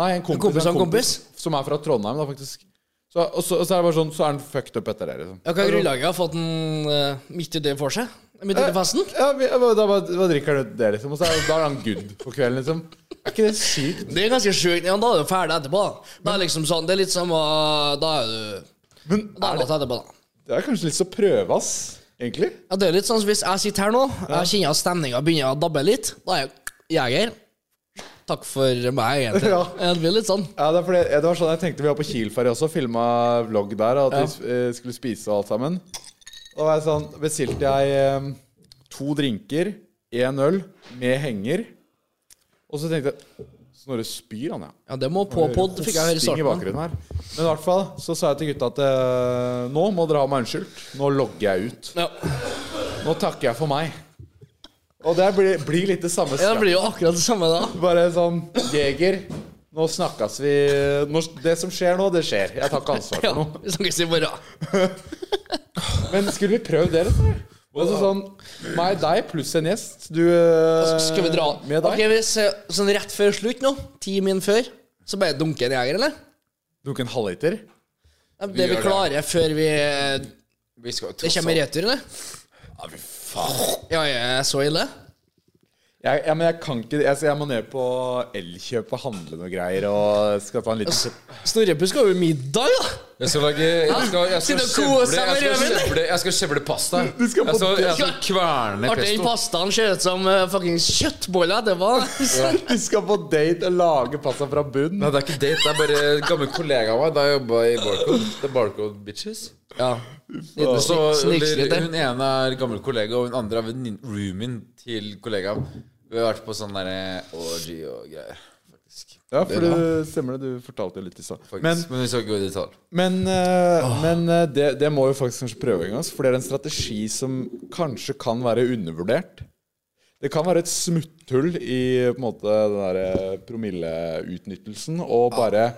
[SPEAKER 3] Nei, en kompis,
[SPEAKER 5] kompis
[SPEAKER 3] av en
[SPEAKER 5] av en
[SPEAKER 3] kompis, som er fra Trondheim, da, faktisk. Så, og, så, og så er det bare sånn Så er han fucked up etter det, liksom.
[SPEAKER 5] Ja, Hva er grunnlaget for at han eh, midt i det for seg? Midt i det festen?
[SPEAKER 3] Eh, Ja, vi, da, bare- da drikker han ut det, liksom. Og så er, da er han good for kvelden, liksom. Er ikke det sykt?
[SPEAKER 5] Det er ganske sjukt. Ja, da er du ferdig etterpå. Da Da er liksom sånn, det er litt som å Da er du
[SPEAKER 3] Men
[SPEAKER 5] Da er
[SPEAKER 3] er det,
[SPEAKER 5] det etterpå, da.
[SPEAKER 3] det er kanskje litt så prøve, ass. Egentlig.
[SPEAKER 5] Ja, det er litt sånn som hvis jeg sitter her nå, jeg kjenner at stemninga begynner å dabbe litt, da er jeg jeger. Takk for meg, egentlig.
[SPEAKER 3] Ja.
[SPEAKER 5] Ja, Det blir litt sånn.
[SPEAKER 3] Ja, det, er fordi, det var sånn jeg tenkte vi var på Kielferja også, filma vlogg der, og at vi eh, skulle spise og alt sammen. Da var jeg sånn, bestilte jeg eh, to drinker, én øl, med henger. Og så tenkte jeg Snorre spyr, han, ja.
[SPEAKER 5] Ja, det må på pod, fikk jeg høre i
[SPEAKER 3] Hosting i
[SPEAKER 5] starten.
[SPEAKER 3] bakgrunnen her. Men i hvert fall så sa jeg til gutta at eh, nå må dere ha meg unnskyldt. Nå logger jeg ut.
[SPEAKER 5] Ja.
[SPEAKER 3] Nå takker jeg for meg. Og det blir, blir litt det samme
[SPEAKER 5] ja, det
[SPEAKER 3] straff.
[SPEAKER 5] blir jo akkurat det samme da.
[SPEAKER 3] Bare sånn Jeger, nå snakkes vi nå, Det som skjer nå, det skjer. Jeg tar ikke ansvar
[SPEAKER 5] Ja,
[SPEAKER 3] for noe.
[SPEAKER 5] Vi snakkes i morgen.
[SPEAKER 3] Men skulle vi prøvd det, eller? Altså sånn meg, deg pluss en gjest. Du eh,
[SPEAKER 5] Altså, Skal vi dra
[SPEAKER 3] med deg.
[SPEAKER 5] Ok, hvis, eh, Sånn rett før slutt nå, ti min før, så bare dunke en jeger, eller?
[SPEAKER 3] Dunke en halvliter.
[SPEAKER 5] Ja, Det
[SPEAKER 4] gjør
[SPEAKER 5] vi
[SPEAKER 4] det.
[SPEAKER 5] klarer før vi eh,
[SPEAKER 4] vi skal jo
[SPEAKER 5] Det
[SPEAKER 4] tross
[SPEAKER 5] kommer
[SPEAKER 4] alt-
[SPEAKER 5] retur, eller? Ja, jeg er så ille?
[SPEAKER 3] Jeg, ja, men jeg kan ikke Jeg, jeg må ned på Elkjøp og handle noe greier og skal ta en
[SPEAKER 5] Altså-
[SPEAKER 3] liten
[SPEAKER 5] Snorrepuss skal jo i middag, da!
[SPEAKER 4] Jeg skal lage Jeg skal, jeg skal,
[SPEAKER 5] Sitte og
[SPEAKER 4] skjevle-
[SPEAKER 5] kose seg med
[SPEAKER 4] jeg skal
[SPEAKER 5] rødvin,
[SPEAKER 4] skjevle- Jeg skal skjevle pasta.
[SPEAKER 3] Du
[SPEAKER 4] Jeg
[SPEAKER 3] skal på
[SPEAKER 4] skal, jeg skal
[SPEAKER 5] det.
[SPEAKER 4] kverne
[SPEAKER 5] Artig, den
[SPEAKER 4] pesto.
[SPEAKER 5] pastaen ser ut som uh, fuckings kjøttboller. Det var sånn
[SPEAKER 3] Vi skal på date og lage pasta fra bunn.
[SPEAKER 4] Nei, det er ikke date. Det er bare en gammel kollega av meg. Da jeg jobba i Barcode. Det er Barcode Bitches.
[SPEAKER 5] Ja.
[SPEAKER 4] Og så
[SPEAKER 5] Snikskritt der.
[SPEAKER 4] Hun ene er gammel kollega, og hun andre er vennin- roomien til kollegaen. Vi har vært på sånn derre orgy og greier. Faktisk.
[SPEAKER 3] Ja, for det stemmer det. Du fortalte det litt i stad.
[SPEAKER 4] faktisk.
[SPEAKER 3] Men
[SPEAKER 4] Men, vi skal ikke gå i detalj.
[SPEAKER 3] Men, eh, men eh, det, det må vi faktisk kanskje prøve en gang. ass, For det er en strategi som kanskje kan være undervurdert. Det kan være et smutthull i på en måte, den der eh, promilleutnyttelsen.
[SPEAKER 5] Ah.
[SPEAKER 3] Og bare,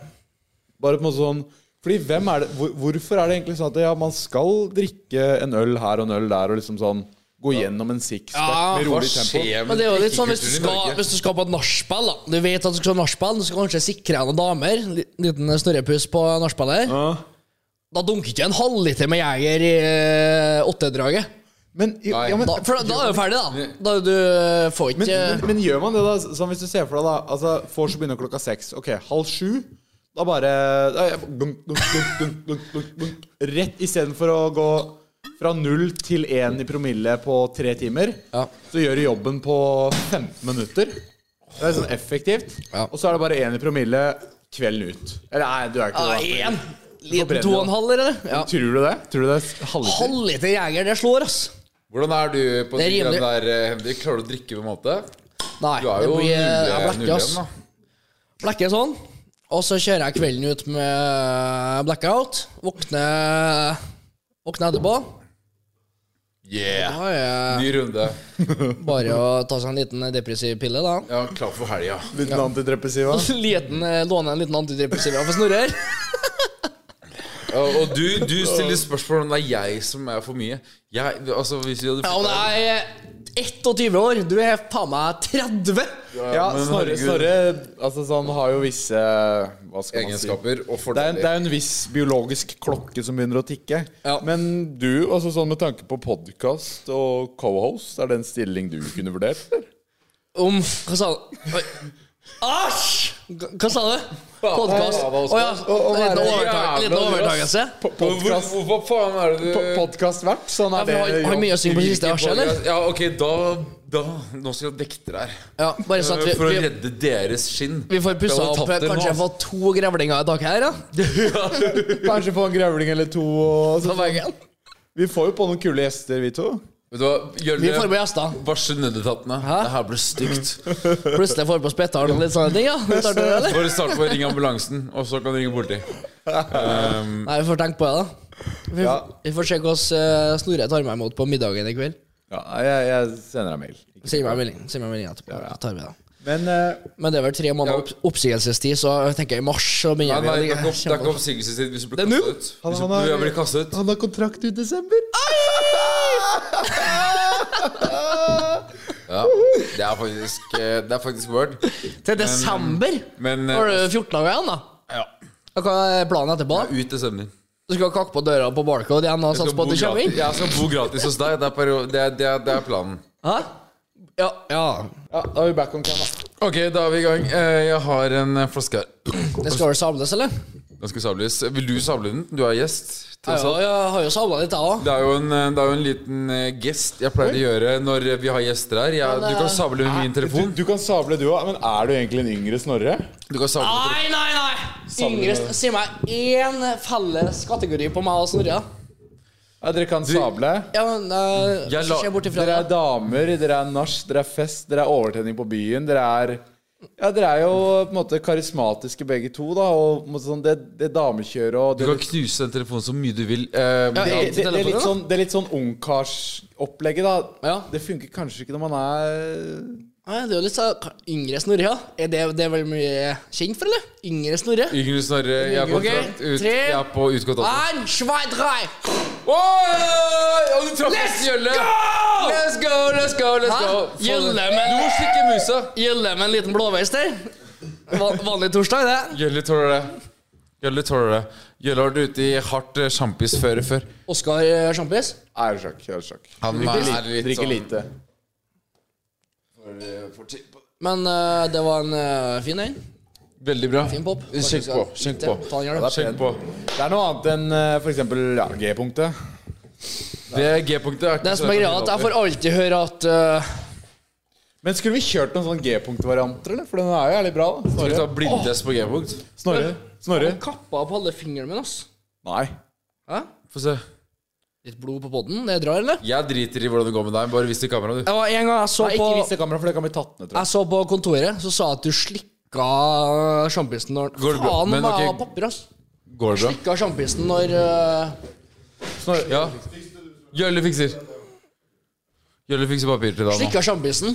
[SPEAKER 3] bare på en måte sånn Fordi hvem er det, hvor, Hvorfor er det egentlig sånn at ja, man skal drikke en øl her og en øl der og liksom sånn Gå gjennom en sixpack
[SPEAKER 5] Ja,
[SPEAKER 3] med rolig tempo?
[SPEAKER 5] Men det er jo litt sånn hvis du skal, hvis du skal på et nachspiel, da. Du vet at du skal på nachspiel, du skal kanskje sikre deg noen damer. en li- Liten snurrepuss på nachspiel her. Da dunker ikke en halvliter med Jeger i eh, åttedraget.
[SPEAKER 3] Men, ja, ja, men,
[SPEAKER 5] Da, for da- da er du ferdig, da. Da er du eh, får
[SPEAKER 3] Men,
[SPEAKER 5] ikke
[SPEAKER 3] men, men gjør man det, da? Sånn hvis du ser for deg, da. Altså, Vors begynner klokka seks. Ok, halv sju. Da bare da, er jeg- dunk, dunk, dunk, dunk, dunk, dunk, dunk. Rett istedenfor å gå fra null til én i promille på tre timer,
[SPEAKER 5] Ja.
[SPEAKER 3] så gjør du jobben på 15 minutter. Det er sånn effektivt.
[SPEAKER 5] Ja.
[SPEAKER 3] Og så er det bare én i promille kvelden ut. Eller nei, du er ikke
[SPEAKER 5] Ah, Ja,
[SPEAKER 3] det.
[SPEAKER 5] Én! Liten
[SPEAKER 3] brenner
[SPEAKER 5] to og en
[SPEAKER 3] det.
[SPEAKER 5] halv, eller? Ja.
[SPEAKER 3] Tror du det? Tror du det er halvliter?
[SPEAKER 5] Halvliter jeger, det slår, ass.
[SPEAKER 4] Hvordan er du på
[SPEAKER 5] Det
[SPEAKER 4] den
[SPEAKER 5] rimer.
[SPEAKER 4] der, eh, Henrik? Klarer du å drikke på en måte?
[SPEAKER 5] Nei,
[SPEAKER 4] Du er
[SPEAKER 5] det
[SPEAKER 4] jo
[SPEAKER 5] blir Jeg
[SPEAKER 4] null-
[SPEAKER 5] blekker,
[SPEAKER 4] null igjen,
[SPEAKER 5] ass.
[SPEAKER 4] da.
[SPEAKER 5] Blekker sånn. Og så kjører jeg kvelden ut med blackout. Våkner Våkner etterpå.
[SPEAKER 4] Yeah!
[SPEAKER 5] Da er
[SPEAKER 4] Ny runde.
[SPEAKER 5] det bare å ta seg en liten depressiv pille, da.
[SPEAKER 4] Ja, klar for helga.
[SPEAKER 3] Liten antidepressiva?
[SPEAKER 5] Liten, eh, låne en liten antidepressiva for Snorre her.
[SPEAKER 4] Og og du, du stiller spørsmål om det er jeg som er for mye. Jeg, altså, hvis vi hadde
[SPEAKER 5] Ja, men jeg er 21 år. Du er faen meg 30.
[SPEAKER 3] Ja,
[SPEAKER 4] men
[SPEAKER 3] Snorre,
[SPEAKER 4] herregud.
[SPEAKER 3] Snorre altså, sånn, har jo visse Hva skal man si?
[SPEAKER 4] egenskaper
[SPEAKER 3] Det
[SPEAKER 4] og
[SPEAKER 3] er, det
[SPEAKER 4] fordeler.
[SPEAKER 3] er en viss biologisk klokke som begynner å tikke.
[SPEAKER 5] Ja.
[SPEAKER 3] Men du, altså sånn med tanke på podkast og cohost, er det en stilling du kunne vurdert? eller?
[SPEAKER 5] Om Hva sa du? Oi. Æsj! Hva- Hva sa du? Podkast.
[SPEAKER 4] hva- hva-
[SPEAKER 5] Å ja.
[SPEAKER 3] å være
[SPEAKER 5] Liten overtak-
[SPEAKER 4] jævla
[SPEAKER 5] liten overtakelse.
[SPEAKER 3] Po-
[SPEAKER 4] Hvor- hvor-
[SPEAKER 3] podcast-
[SPEAKER 4] Hva faen er det
[SPEAKER 3] po-
[SPEAKER 4] du
[SPEAKER 3] Podcastvert? Sånn
[SPEAKER 5] Ja,
[SPEAKER 3] er
[SPEAKER 5] vi
[SPEAKER 3] det.
[SPEAKER 5] har, har mye å synge på siste verset, eller?
[SPEAKER 4] Ja, ok, da, da Nå skal jeg vekte deg.
[SPEAKER 5] Ja, bare så at vi,
[SPEAKER 4] For å
[SPEAKER 5] vi,
[SPEAKER 4] redde deres skinn.
[SPEAKER 5] vi får pussa
[SPEAKER 4] Jeg hadde
[SPEAKER 5] opp.
[SPEAKER 4] tatt
[SPEAKER 5] eh,
[SPEAKER 4] dem nå,
[SPEAKER 5] Kanskje jeg
[SPEAKER 4] altså.
[SPEAKER 5] får to grevlinger i tak her, da.
[SPEAKER 3] Kanskje få en grevling eller to. Og,
[SPEAKER 5] På
[SPEAKER 3] så,
[SPEAKER 5] veggen.
[SPEAKER 3] vi får jo på noen kule gjester, vi to.
[SPEAKER 4] Vet du hva,
[SPEAKER 5] Vi får
[SPEAKER 4] Gjørme,
[SPEAKER 5] med gjester.
[SPEAKER 4] varsel nødetattene.
[SPEAKER 5] Hæ?
[SPEAKER 4] Det her ble stygt.
[SPEAKER 5] Plutselig får vi på Spetalen og litt sånne ting, ja. Vi tar det, eller?
[SPEAKER 4] Bare start på å ringe ambulansen, og så kan du ringe politiet.
[SPEAKER 5] Nei, vi får tenke på det, da. Vi,
[SPEAKER 3] Ja.
[SPEAKER 5] vi får se hvordan uh, Snorre tar meg imot på middagen i kveld.
[SPEAKER 3] Ja, jeg, jeg sender deg mail.
[SPEAKER 5] Send meg en melding send meg en melding etterpå. Så tar vi det.
[SPEAKER 3] Men eh,
[SPEAKER 5] Men det er vel tre måneder opp, oppsigelsestid, så jeg tenker i mars så
[SPEAKER 4] Nei, nei,
[SPEAKER 5] begynner vi.
[SPEAKER 4] det er ikke opp- det er ikke oppsigelsestid hvis du blir
[SPEAKER 5] Det er
[SPEAKER 4] kastet ut. Hvis du,
[SPEAKER 3] Han- han er-
[SPEAKER 4] du blir kastet ut.
[SPEAKER 3] han har kontrakt ut desember.
[SPEAKER 4] Ja, det er faktisk eh, Det er faktisk word.
[SPEAKER 5] Til desember?
[SPEAKER 4] Men
[SPEAKER 5] Da
[SPEAKER 4] eh,
[SPEAKER 5] har du 14 dager igjen, da.
[SPEAKER 4] ja,
[SPEAKER 5] Og Hva er planen etterpå?
[SPEAKER 4] ut desember.
[SPEAKER 5] Du skal kakke på døra på Barcode igjen og
[SPEAKER 4] Jeg
[SPEAKER 5] satse
[SPEAKER 4] skal,
[SPEAKER 5] på
[SPEAKER 4] bo
[SPEAKER 5] at du kommer
[SPEAKER 4] gratis,
[SPEAKER 5] inn?
[SPEAKER 4] jeg skal bo gratis hos deg. Det er, perio- det er, det er, det er planen.
[SPEAKER 5] Hæ? Ja. ja.
[SPEAKER 3] Ja, da er vi back on cam. da.
[SPEAKER 4] Ok, da er vi i gang. Eh, Jeg har en eh, flaske her.
[SPEAKER 5] Det skal vel samles, eller?
[SPEAKER 4] Den skal sables. Vil du sable den? Du er gjest.
[SPEAKER 5] Ja,
[SPEAKER 4] tross alt.
[SPEAKER 5] ja, jeg har jo samla litt, jeg òg.
[SPEAKER 4] Det er jo en, eh, det er jo en liten eh, gest jeg pleier å gjøre når eh, vi har gjester her. Jeg, du kan sable med
[SPEAKER 5] Ah,
[SPEAKER 4] min
[SPEAKER 3] Du,
[SPEAKER 4] telefon.
[SPEAKER 3] du kan sable, du òg. Men er du egentlig en yngre Snorre?
[SPEAKER 4] Du kan sable med
[SPEAKER 5] Nei, nei, nei! Yngre Si meg én felles kategori på meg og Snorre. da.
[SPEAKER 3] Ja, dere kan sable.
[SPEAKER 5] Ja, men uh,
[SPEAKER 4] Jeg la-
[SPEAKER 5] Se bort ifra
[SPEAKER 3] Dere
[SPEAKER 5] det.
[SPEAKER 3] er damer, dere er nach, dere er fest, dere er overtenning på byen. Dere er ja, dere er jo på en måte karismatiske begge to, da. Og på en måte sånn, det, det damekjøret og
[SPEAKER 4] Du
[SPEAKER 3] det,
[SPEAKER 4] kan knuse den telefonen så mye du vil. eh, men
[SPEAKER 5] Ja,
[SPEAKER 3] det, det, det er litt
[SPEAKER 5] telefonen,
[SPEAKER 3] sånn, det er litt sånn ungkarsopplegget, da.
[SPEAKER 5] Ja.
[SPEAKER 3] Det funker kanskje ikke når man er
[SPEAKER 5] Nei, det er jo litt sånn Yngre Snorre, ja. Er det, det er vel mye kjent for, eller? Yngre Snorre?
[SPEAKER 4] Yngre Snorre, jeg er på,
[SPEAKER 5] Ok,
[SPEAKER 4] kontrakt ut,
[SPEAKER 5] tre.
[SPEAKER 4] jeg er på utgått dato.
[SPEAKER 5] Ein, zwei, drei!
[SPEAKER 4] Oi! Og du traff
[SPEAKER 5] Let's
[SPEAKER 4] nesten gjølle.
[SPEAKER 5] go!
[SPEAKER 4] Let's go, let's go, let's
[SPEAKER 5] Hæ?
[SPEAKER 4] go.
[SPEAKER 5] Gjølle
[SPEAKER 4] det.
[SPEAKER 5] med-
[SPEAKER 4] Du må slikke musa.
[SPEAKER 5] Gjølle med en liten blåveis der. Va- Vanlig torsdag, det.
[SPEAKER 4] Gjølle tåler det. Gjølle tåler det. Gjølle har vært ute i hardt eh, sjampisføre før.
[SPEAKER 5] Oskar eh, Sjampis.
[SPEAKER 3] æresjakk. æresjakk.
[SPEAKER 4] Han er litt
[SPEAKER 3] Drikker
[SPEAKER 4] sånn
[SPEAKER 3] lite.
[SPEAKER 5] Men eh, det var en eh, fin en.
[SPEAKER 4] Veldig bra.
[SPEAKER 5] Fin pop.
[SPEAKER 4] Skjenk på. Skjenk på.
[SPEAKER 5] Ta den gjerne.
[SPEAKER 4] Skjenk på.
[SPEAKER 3] Det er noe annet enn eh, for eksempel ja, G-punktet.
[SPEAKER 4] Det G-punktet er ikke
[SPEAKER 5] Det som er greia, er at jeg får alltid høre at eh,
[SPEAKER 3] Men skulle vi kjørt noen sånne G-punktvarianter, eller? For den er jo jævlig bra. da.
[SPEAKER 4] Skal vi
[SPEAKER 3] Snorre.
[SPEAKER 4] ta blindtest på G-punkt?
[SPEAKER 3] Snorre. Snorre.
[SPEAKER 5] Kappa på alle fingrene mine, ass.
[SPEAKER 3] Nei.
[SPEAKER 5] Hæ?
[SPEAKER 4] Få se.
[SPEAKER 5] Litt blod på podden. Det drar, eller?
[SPEAKER 4] Jeg driter i hvordan det går med deg. Bare vis til kameraet, du.
[SPEAKER 5] Det var en gang jeg så
[SPEAKER 3] Nei,
[SPEAKER 5] på
[SPEAKER 3] ikke vis det kameraet, for det kan bli tatt ned, tror jeg.
[SPEAKER 5] Jeg så på kontoret, så sa jeg at du slikka sjampisen når
[SPEAKER 4] Går det bra?
[SPEAKER 5] Faen,
[SPEAKER 4] Men
[SPEAKER 5] men,
[SPEAKER 4] ok.
[SPEAKER 5] okay. papper, ass.
[SPEAKER 4] Går det bra?
[SPEAKER 5] Slikka sjampisen når eh,
[SPEAKER 4] Ja. Gjølle fikser. Gjølle fikser papir til deg nå.
[SPEAKER 5] Slikka sjampisen.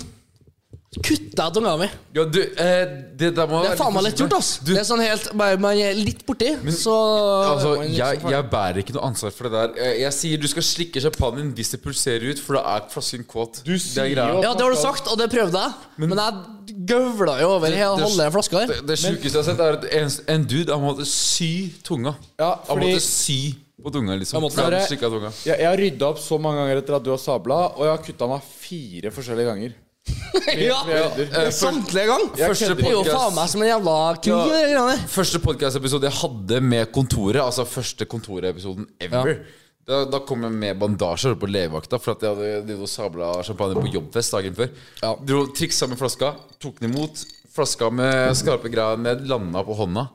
[SPEAKER 5] Kutta jeg tunga mi.
[SPEAKER 4] Ja, du, eh, det der må
[SPEAKER 5] Det er faen meg lett gjort, ass. Det er sånn helt Bare man er litt borti, så
[SPEAKER 4] Altså,
[SPEAKER 5] man liksom
[SPEAKER 4] jeg,
[SPEAKER 5] får-
[SPEAKER 4] jeg bærer ikke noe ansvar for det der. Eh, Jeg sier du skal slikke sjampanjen hvis det pulserer ut, for da er flasken kåt.
[SPEAKER 3] Du
[SPEAKER 4] det
[SPEAKER 3] sier
[SPEAKER 4] er greia.
[SPEAKER 3] jo-
[SPEAKER 5] Ja, det har du sagt, og det prøvde jeg. Men, jeg gøvla jo over hele
[SPEAKER 4] det-
[SPEAKER 5] halve flaska her.
[SPEAKER 4] Det, det sjukeste jeg har sett, er at en, en dude han måtte sy tunga.
[SPEAKER 3] Ja,
[SPEAKER 4] Han
[SPEAKER 3] fordi-
[SPEAKER 4] måtte sy på tunga, liksom.
[SPEAKER 5] Han måtte-
[SPEAKER 4] for han
[SPEAKER 3] Dere-
[SPEAKER 4] slikket tunga.
[SPEAKER 3] Jeg, jeg har rydda opp så mange ganger etter at du har sabla, og jeg har kutta meg fire forskjellige ganger.
[SPEAKER 5] ja,
[SPEAKER 4] Eh, for,
[SPEAKER 5] Samtlige gang.
[SPEAKER 3] Jeg
[SPEAKER 4] Første
[SPEAKER 3] kødder
[SPEAKER 5] Det er jo
[SPEAKER 3] ikke.
[SPEAKER 5] faen meg som en jævla krig.
[SPEAKER 4] Ja.
[SPEAKER 5] det greiene der.
[SPEAKER 4] første podcast-episode jeg hadde med Kontoret, altså første Kontoret-episoden ever Da, da kom jeg med bandasjer på legevakta for at jeg hadde de hadde sabla champagne på jobbfest dagen før.
[SPEAKER 5] Ja.
[SPEAKER 4] Dro triksa med flaska, tok den imot. Flaska med skarpe greier ned, landa på hånda.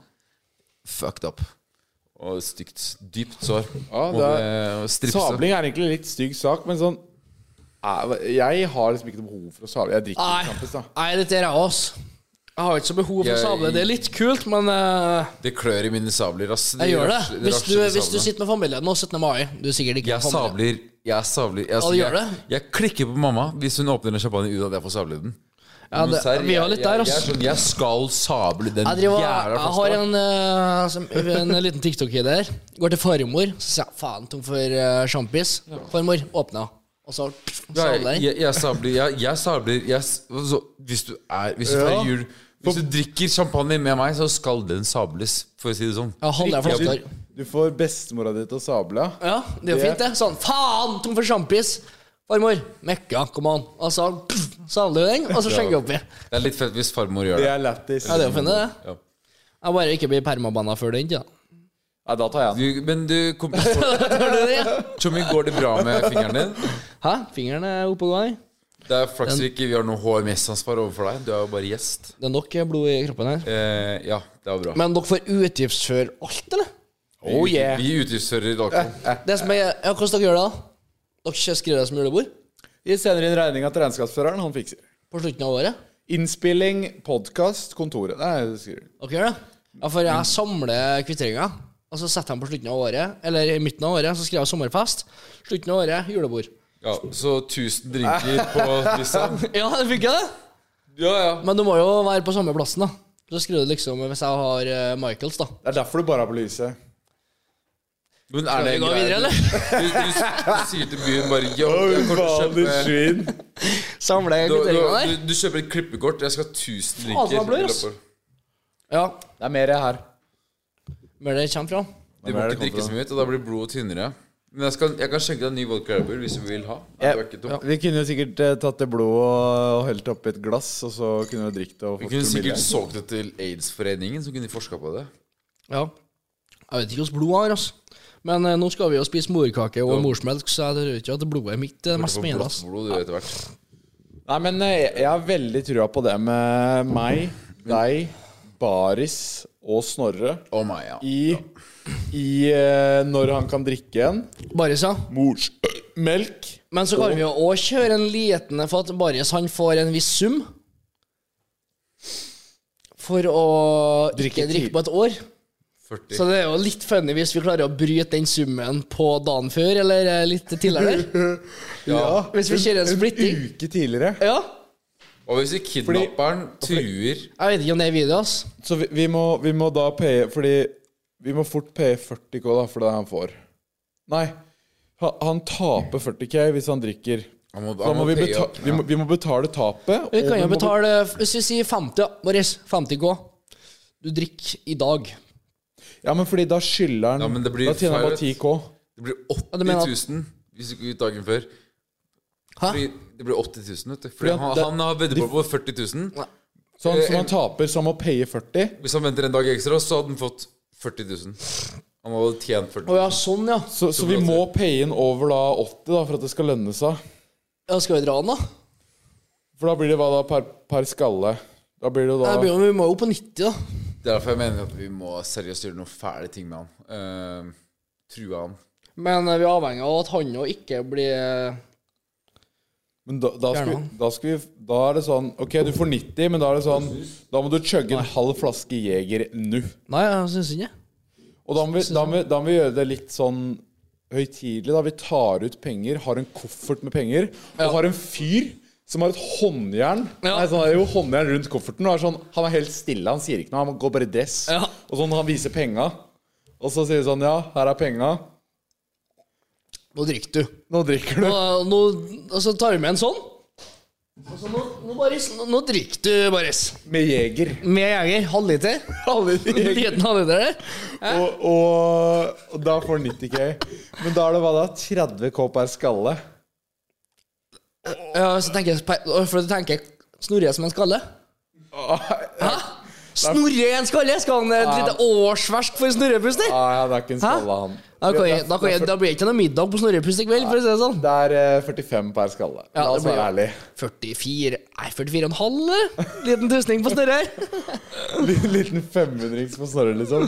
[SPEAKER 4] Fucked up. Og et stygt, dypt sår.
[SPEAKER 3] Ja,
[SPEAKER 4] Må
[SPEAKER 3] det er-
[SPEAKER 4] vi, eh, stripse.
[SPEAKER 3] Sabling er egentlig en litt stygg sak, men sånn eh, Jeg har liksom ikke noe behov for å sable. Jeg drikker
[SPEAKER 5] Nei.
[SPEAKER 3] ikke Campus, da.
[SPEAKER 5] Nei, dette er jeg også. Jeg har ikke så behov for å
[SPEAKER 4] Jeg-
[SPEAKER 5] sable. Det er litt kult, men eh,
[SPEAKER 4] Det klør i mine sabler, ass.
[SPEAKER 5] jeg gjør det.
[SPEAKER 4] rasler-
[SPEAKER 5] Hvis du,
[SPEAKER 4] rasler i
[SPEAKER 5] hvis du
[SPEAKER 4] sablene.
[SPEAKER 5] sitter med familien nå 17. mai Du er sikkert ikke
[SPEAKER 4] Jeg
[SPEAKER 5] med familien.
[SPEAKER 4] sabler. Jeg sabler. Jeg,
[SPEAKER 5] Ja, du gjør
[SPEAKER 4] jeg,
[SPEAKER 5] det?
[SPEAKER 4] jeg klikker på mamma hvis hun åpner en champagne ut av at jeg får sable den.
[SPEAKER 5] Ja,
[SPEAKER 4] Men
[SPEAKER 5] det-
[SPEAKER 4] serr,
[SPEAKER 5] vi var litt
[SPEAKER 4] jeg, jeg,
[SPEAKER 5] der,
[SPEAKER 4] jeg,
[SPEAKER 5] ass.
[SPEAKER 4] er sånn, jeg skal sable den
[SPEAKER 5] Jeg, driver,
[SPEAKER 4] jævla
[SPEAKER 5] jeg har en, eh, som- en liten TikTok-idé her. Går til farmor, så sier jeg faen tom for eh, sjampis. Farmor, åpna. Og så
[SPEAKER 4] Ja, jeg,
[SPEAKER 5] sabler jeg.
[SPEAKER 4] jeg, jeg sabler, jeg, jeg sabler jeg, s- så, Hvis du er Hvis du,
[SPEAKER 3] Ja.
[SPEAKER 4] feirer jul, hvis du drikker champagne med meg, så skal den sables, for å si det sånn.
[SPEAKER 5] Ja, holder jeg for
[SPEAKER 4] Riktig.
[SPEAKER 5] hofter.
[SPEAKER 3] Du får bestemora di til å sable.
[SPEAKER 5] Ja, det er jo
[SPEAKER 3] Det-
[SPEAKER 5] fint, det. Sånn faen tom for sjampis. Farmor, mekka, kom an. Og så sabler du den, og så skjenker jeg oppi.
[SPEAKER 4] Det er litt fett hvis farmor gjør
[SPEAKER 3] Det
[SPEAKER 4] det.
[SPEAKER 3] er lættis.
[SPEAKER 5] Ja, det er jo fint, det.
[SPEAKER 4] Ja.
[SPEAKER 5] Jeg bare ikke blir permabanna før den tid. da.
[SPEAKER 3] Nei, da tar jeg den.
[SPEAKER 4] Du, men du, kompis,
[SPEAKER 5] Tar du det?
[SPEAKER 4] Tommy, går det bra med fingeren din?
[SPEAKER 5] Hæ? Fingeren er oppe og går?
[SPEAKER 4] Det er flaks vi ikke vi har noe HMS-ansvar overfor deg. Du er jo bare gjest.
[SPEAKER 5] Det er nok blod i kroppen her.
[SPEAKER 4] Eh, ja, det var bra.
[SPEAKER 5] Men dere får utgiftsføre alt, eller?
[SPEAKER 3] Oh yeah.
[SPEAKER 4] Vi utgiftsfører alkohol.
[SPEAKER 5] Det som er, ja, Hvordan dere gjør det, da? Dere skriver det som julebord?
[SPEAKER 3] Vi sender inn regninga til regnskapsføreren, han fikser.
[SPEAKER 5] På slutten av året?
[SPEAKER 3] Innspilling, podkast, kontoret. Nei, det skriver du.
[SPEAKER 5] Dere gjør det? Ja, for jeg samler kvitteringer. Og så setter jeg dem på slutten av året, eller i midten av året. Så skriver jeg sommerfest. Slutten av året, julebord.
[SPEAKER 4] Ja, så 1000 drinker på liksom
[SPEAKER 5] Ja, det funker, det!
[SPEAKER 4] Ja, ja.
[SPEAKER 5] Men du må jo være på samme plassen, da. Så skriver du liksom Hvis jeg har eh, Michaels, da.
[SPEAKER 3] Det er derfor du bare har på lyset.
[SPEAKER 4] Men er
[SPEAKER 5] Skal
[SPEAKER 4] det
[SPEAKER 5] vi
[SPEAKER 4] en
[SPEAKER 5] gå
[SPEAKER 4] greie?
[SPEAKER 5] videre, eller?
[SPEAKER 4] Du, du, du, du sier til byen bare Yo, jeg kommer til å kjøpe
[SPEAKER 3] svin.
[SPEAKER 5] Samler
[SPEAKER 4] du, du,
[SPEAKER 5] kvitteringene der.
[SPEAKER 4] du, du kjøper et klippekort. Jeg skal ha 1000
[SPEAKER 5] Faen,
[SPEAKER 4] drinker.
[SPEAKER 5] han blør, ass. Ja.
[SPEAKER 3] Det er mer her.
[SPEAKER 5] Hvor det kommer fra.
[SPEAKER 4] Du må ikke drikke så mye, og da blir blodet tynnere. Men jeg, skal, jeg kan skjenke deg en ny vodka Red Bull hvis du vil ha. Det var ikke dumt.
[SPEAKER 3] Vi kunne jo sikkert eh, tatt det blodet og og helt oppi et glass, og så kunne vi drukket det og
[SPEAKER 4] Vi
[SPEAKER 3] fått
[SPEAKER 4] kunne sikkert
[SPEAKER 3] promille.
[SPEAKER 4] solgt det til Aids-foreningen, som kunne forska på det.
[SPEAKER 5] Ja. Jeg vet ikke hvordan blodet har, altså. Men eh, nå skal vi jo spise morkake og morsmelk, så jeg tror ikke at blodet mitt er det
[SPEAKER 4] Få
[SPEAKER 5] mest spennende.
[SPEAKER 4] blått
[SPEAKER 5] Altså.
[SPEAKER 4] blod du, etter hvert.
[SPEAKER 3] Nei, men eh, jeg jeg har veldig trua på det med meg, deg, Baris og Snorre
[SPEAKER 4] Oh my, ja.
[SPEAKER 3] i, i eh, når han kan drikke igjen.
[SPEAKER 5] Baris, ja.
[SPEAKER 3] Morsmelk.
[SPEAKER 5] Men så kan vi jo òg kjøre en liten For at Baris han får en viss sum for å
[SPEAKER 3] Drikke
[SPEAKER 5] ikke
[SPEAKER 3] ti-
[SPEAKER 5] drikke på et år.
[SPEAKER 4] 40.
[SPEAKER 5] Så det er jo litt funny hvis vi klarer å bryte den summen på dagen før, eller eh, litt tidligere.
[SPEAKER 3] Ja.
[SPEAKER 5] Hvis vi kjører en splitting.
[SPEAKER 3] Uke tidligere.
[SPEAKER 5] Ja.
[SPEAKER 4] Og hvis kidnapperen truer
[SPEAKER 5] Jeg vet ikke om det er altså. video, ass.
[SPEAKER 3] Så vi, vi, må, vi må da paye Fordi vi må fort paye 40K da for det han får. Nei, han, han taper 40K hvis han drikker.
[SPEAKER 4] Han må-
[SPEAKER 3] Så
[SPEAKER 4] han
[SPEAKER 3] da må
[SPEAKER 4] må
[SPEAKER 3] vi,
[SPEAKER 4] paye
[SPEAKER 3] beta
[SPEAKER 4] opp, ja.
[SPEAKER 3] vi, må, vi må betale tapet.
[SPEAKER 5] Vi
[SPEAKER 3] og
[SPEAKER 5] kan jo
[SPEAKER 3] må
[SPEAKER 5] betale Hvis vi sier 50, ja, Boris. 50 K. Du drikker i dag.
[SPEAKER 3] be- Ja, men fordi da skylder han
[SPEAKER 4] Ja, men det blir
[SPEAKER 3] Da tjener han bare
[SPEAKER 4] feil.
[SPEAKER 3] 10K.
[SPEAKER 4] Det blir
[SPEAKER 5] Ja, du
[SPEAKER 4] 80
[SPEAKER 5] mener at-
[SPEAKER 4] 000 hvis du går ut dagen før.
[SPEAKER 5] Hæ?
[SPEAKER 4] Fordi det blir 80 000, vet du. Fordi
[SPEAKER 3] Ja,
[SPEAKER 4] han,
[SPEAKER 3] det-
[SPEAKER 4] han har veddemål på 40 000.
[SPEAKER 3] Så
[SPEAKER 4] Eh,
[SPEAKER 3] han som han taper, så han må paye 40.
[SPEAKER 4] Hvis han venter en dag ekstra, så hadde han fått 40 000. Han hadde tjent 40
[SPEAKER 5] Å
[SPEAKER 4] 000.
[SPEAKER 5] ja, sånn, ja.
[SPEAKER 3] Så, så vi må paye inn over da 80 da for at det skal lønne seg.
[SPEAKER 5] ja. Skal vi dra den, da?
[SPEAKER 3] For da blir det hva da? Par, par skalle. Da blir det jo da
[SPEAKER 5] Nei, Bjørn, vi må jo på 90, da.
[SPEAKER 4] Det er derfor jeg mener at vi må seriøst gjøre noen fæle ting med han. Eh, true han.
[SPEAKER 5] Men eh, vi er avhengig av at han jo ikke blir eh,
[SPEAKER 3] Men da, da,
[SPEAKER 5] Gjerne.
[SPEAKER 3] skal, da, skal vi, da er det sånn Ok, du får 90, men da er det sånn Da må du chugge en halv flaske Jeger nå.
[SPEAKER 5] Nei, jeg syns ikke
[SPEAKER 3] Og da må, vi, da, må, vi- da må vi gjøre det litt sånn høytidelig. da Vi tar ut penger, har en koffert med penger, og har en fyr som har et håndjern
[SPEAKER 5] Ja.
[SPEAKER 3] Nei, sånn, er det jo håndjern rundt kofferten. Og er sånn, han er helt stille, han sier ikke noe. Han går bare i dress.
[SPEAKER 5] Ja.
[SPEAKER 3] Og sånn, han viser penga. Og så sier vi sånn Ja, her er penga.
[SPEAKER 5] Nå drikker du.
[SPEAKER 3] Nå drikker du.
[SPEAKER 5] Nå, nå, og så tar vi med en sånn. Og så nå, nå, Boris, nå, nå drikker du, Boris.
[SPEAKER 3] Med Jeger.
[SPEAKER 5] Med jeger. Halvliter.
[SPEAKER 3] Alle de
[SPEAKER 5] En
[SPEAKER 3] Jeger.
[SPEAKER 5] liten halvliter der.
[SPEAKER 3] Og, og, og da får han 90K. Men da er det hva da? 30K per skalle?
[SPEAKER 5] Ja, så tenker jeg spe- å, For du tenker Snorre som en skalle? Hæ? Snorre er en skalle? Skal han et lite årsverk for snorrepuster?
[SPEAKER 3] Nei, han er ikke en skalle, han.
[SPEAKER 5] Da, kan jeg, da, kan jeg, da blir det ikke noe middag på snorrepust i kveld, for å si det sånn.
[SPEAKER 3] Det er eh, 45 per skalle. La
[SPEAKER 5] Ja, det
[SPEAKER 3] oss
[SPEAKER 5] blir
[SPEAKER 3] være
[SPEAKER 5] jo-
[SPEAKER 3] ærlig
[SPEAKER 5] 44 Nei, 44,5? eller? Liten tusning på Snorre her.
[SPEAKER 3] Liten 500-rings på Snorre, liksom.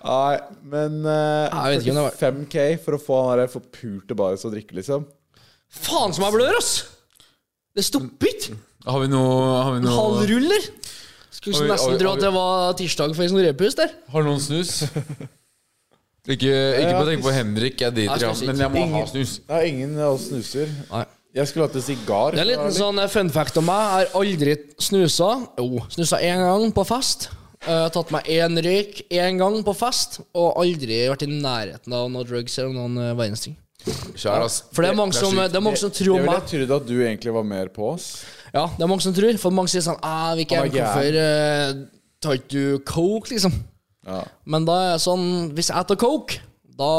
[SPEAKER 3] Nei, men eh,
[SPEAKER 5] Jeg vet ikke om det
[SPEAKER 3] 45K for å få han der forpulte baris å drikke, liksom.
[SPEAKER 5] Faen som jeg blør, ass! Det stopper ikke!
[SPEAKER 4] Har vi noe, har vi noe
[SPEAKER 5] Halv ruller! Skulle
[SPEAKER 4] Oi, oi,
[SPEAKER 5] nesten tro
[SPEAKER 4] oi.
[SPEAKER 5] at det var tirsdag for en sånn repus der.
[SPEAKER 4] Har noen snus? Ikke, ikke på å tenke på Henrik, jeg driter i
[SPEAKER 5] Jeg
[SPEAKER 4] ham,
[SPEAKER 5] skal
[SPEAKER 4] men jeg må ha
[SPEAKER 3] Ingen-
[SPEAKER 4] snus.
[SPEAKER 3] Det er ingen av oss snuser.
[SPEAKER 5] Nei.
[SPEAKER 3] Jeg skulle hatt en sigar.
[SPEAKER 5] Det er en liten sånn eh, fun fact om meg. Jeg har aldri snusa. Jo, snusa én gang på fest. Eh, Jeg har tatt meg én røyk én gang på fest, og aldri vært i nærheten av noe drugs eller noen eh, verdens ting.
[SPEAKER 4] Kjære, ass.
[SPEAKER 5] For det er mange som,
[SPEAKER 4] sykt.
[SPEAKER 5] det er mange som
[SPEAKER 3] Jeg
[SPEAKER 5] tror
[SPEAKER 3] ville
[SPEAKER 5] meg
[SPEAKER 3] trodd at du egentlig var mer på oss.
[SPEAKER 5] Ja, det er mange som tror. For mange sier sånn «Ah, vi
[SPEAKER 3] Han
[SPEAKER 5] kan
[SPEAKER 3] er gæren.»
[SPEAKER 5] Hvorfor eh, tar ikke du coke, liksom?
[SPEAKER 3] Ja.
[SPEAKER 5] Men da er jeg sånn Hvis jeg tar coke, da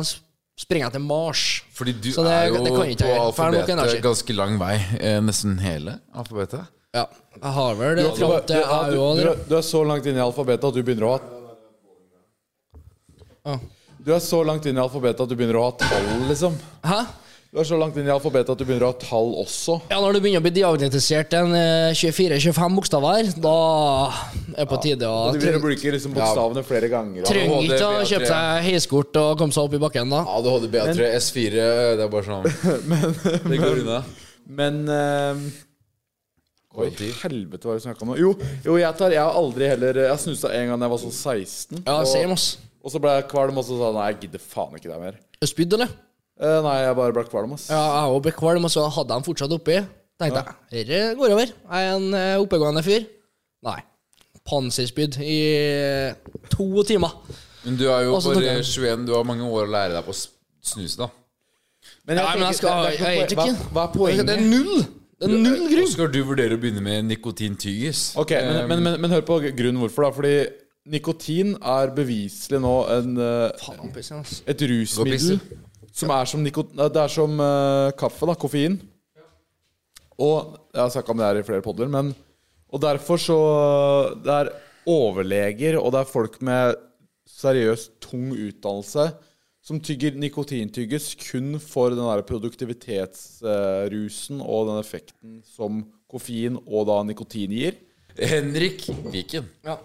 [SPEAKER 5] s- springer jeg til Mars.
[SPEAKER 4] Fordi du
[SPEAKER 5] Så det-
[SPEAKER 4] er jo
[SPEAKER 5] det kan jeg ikke
[SPEAKER 4] på
[SPEAKER 5] gjøre. Feil nok energi.
[SPEAKER 4] alfabetet ganske lang vei. Eh, nesten hele alfabetet.
[SPEAKER 5] Ja, jeg har vel det fram
[SPEAKER 3] du,
[SPEAKER 5] til jeg er jo
[SPEAKER 3] du, du er så langt inne i alfabetet at du begynner å ha
[SPEAKER 5] Ah.
[SPEAKER 3] Du er så langt inne i alfabetet at du begynner å ha tall, liksom.
[SPEAKER 5] Hæå. Hæ?
[SPEAKER 3] Du er så langt inne i alfabetet at du begynner å ha tall også.
[SPEAKER 5] Ja, når du begynner å bli diagnostisert en eh, 24-25 bokstaver, da er det på tide å
[SPEAKER 3] Du begynner å bruke liksom bokstavene flere ganger. og-
[SPEAKER 5] Trenger
[SPEAKER 4] det
[SPEAKER 5] ikke
[SPEAKER 4] vet
[SPEAKER 5] å
[SPEAKER 4] jeg.
[SPEAKER 5] kjøpe seg heiskort og komme seg opp i bakken da.
[SPEAKER 4] ADHD, B3, S4 Det er bare sånn Det går unna.
[SPEAKER 3] Men ehm, Oi,
[SPEAKER 4] Kollektiv.
[SPEAKER 3] helvete hva er det vi snakka om nå? Jo, jo jeg, tar, jeg har aldri heller Jeg snusa en gang da jeg var sånn 16.
[SPEAKER 5] Ja, same,
[SPEAKER 3] og,
[SPEAKER 5] ass.
[SPEAKER 3] og så ble jeg kvalm, og så sa jeg nei, jeg gidder faen ikke det mer.
[SPEAKER 5] Er du Spydd, eller?
[SPEAKER 3] Eh, nei, jeg bare ble kvalm, ass.
[SPEAKER 5] Ja, jeg òg ble kvalm, og så hadde jeg den fortsatt oppi. Tenkte jeg, dette går over. Jeg er en eh, oppegående fyr. Nei. Panserspydd i eh, to timer.
[SPEAKER 4] Men du er jo
[SPEAKER 5] Også
[SPEAKER 4] bare
[SPEAKER 5] tok jeg.
[SPEAKER 4] 21, du har mange år å lære deg på å s- snuse, da.
[SPEAKER 5] Ja, men jeg skal
[SPEAKER 3] det- det er ikke noe
[SPEAKER 5] Jeg vet ikke.
[SPEAKER 3] poeng. Hva, hva er poenget?
[SPEAKER 5] Det er null! Det er null
[SPEAKER 4] Og
[SPEAKER 5] grunn.
[SPEAKER 4] skal Eh, du vurdere å begynne med nikotintyggis.
[SPEAKER 3] Ok, men, men, men, men hør på grunnen hvorfor, da. Fordi nikotin er beviselig nå en, eh,
[SPEAKER 5] Faen, pissen, ass.
[SPEAKER 3] et
[SPEAKER 4] Gå og pisse.
[SPEAKER 3] rusmiddel som er som, nikot nei, det er som eh, kaffe, da, koffein. Og Jeg har snakka om det her i flere podder, men Og derfor så Det er overleger, og det er folk med seriøst tung utdannelse som tygger nikotintyggis kun for den der produktivitetsrusen og den effekten som koffein og da nikotin gir.
[SPEAKER 4] Henrik Viken,
[SPEAKER 5] Ja.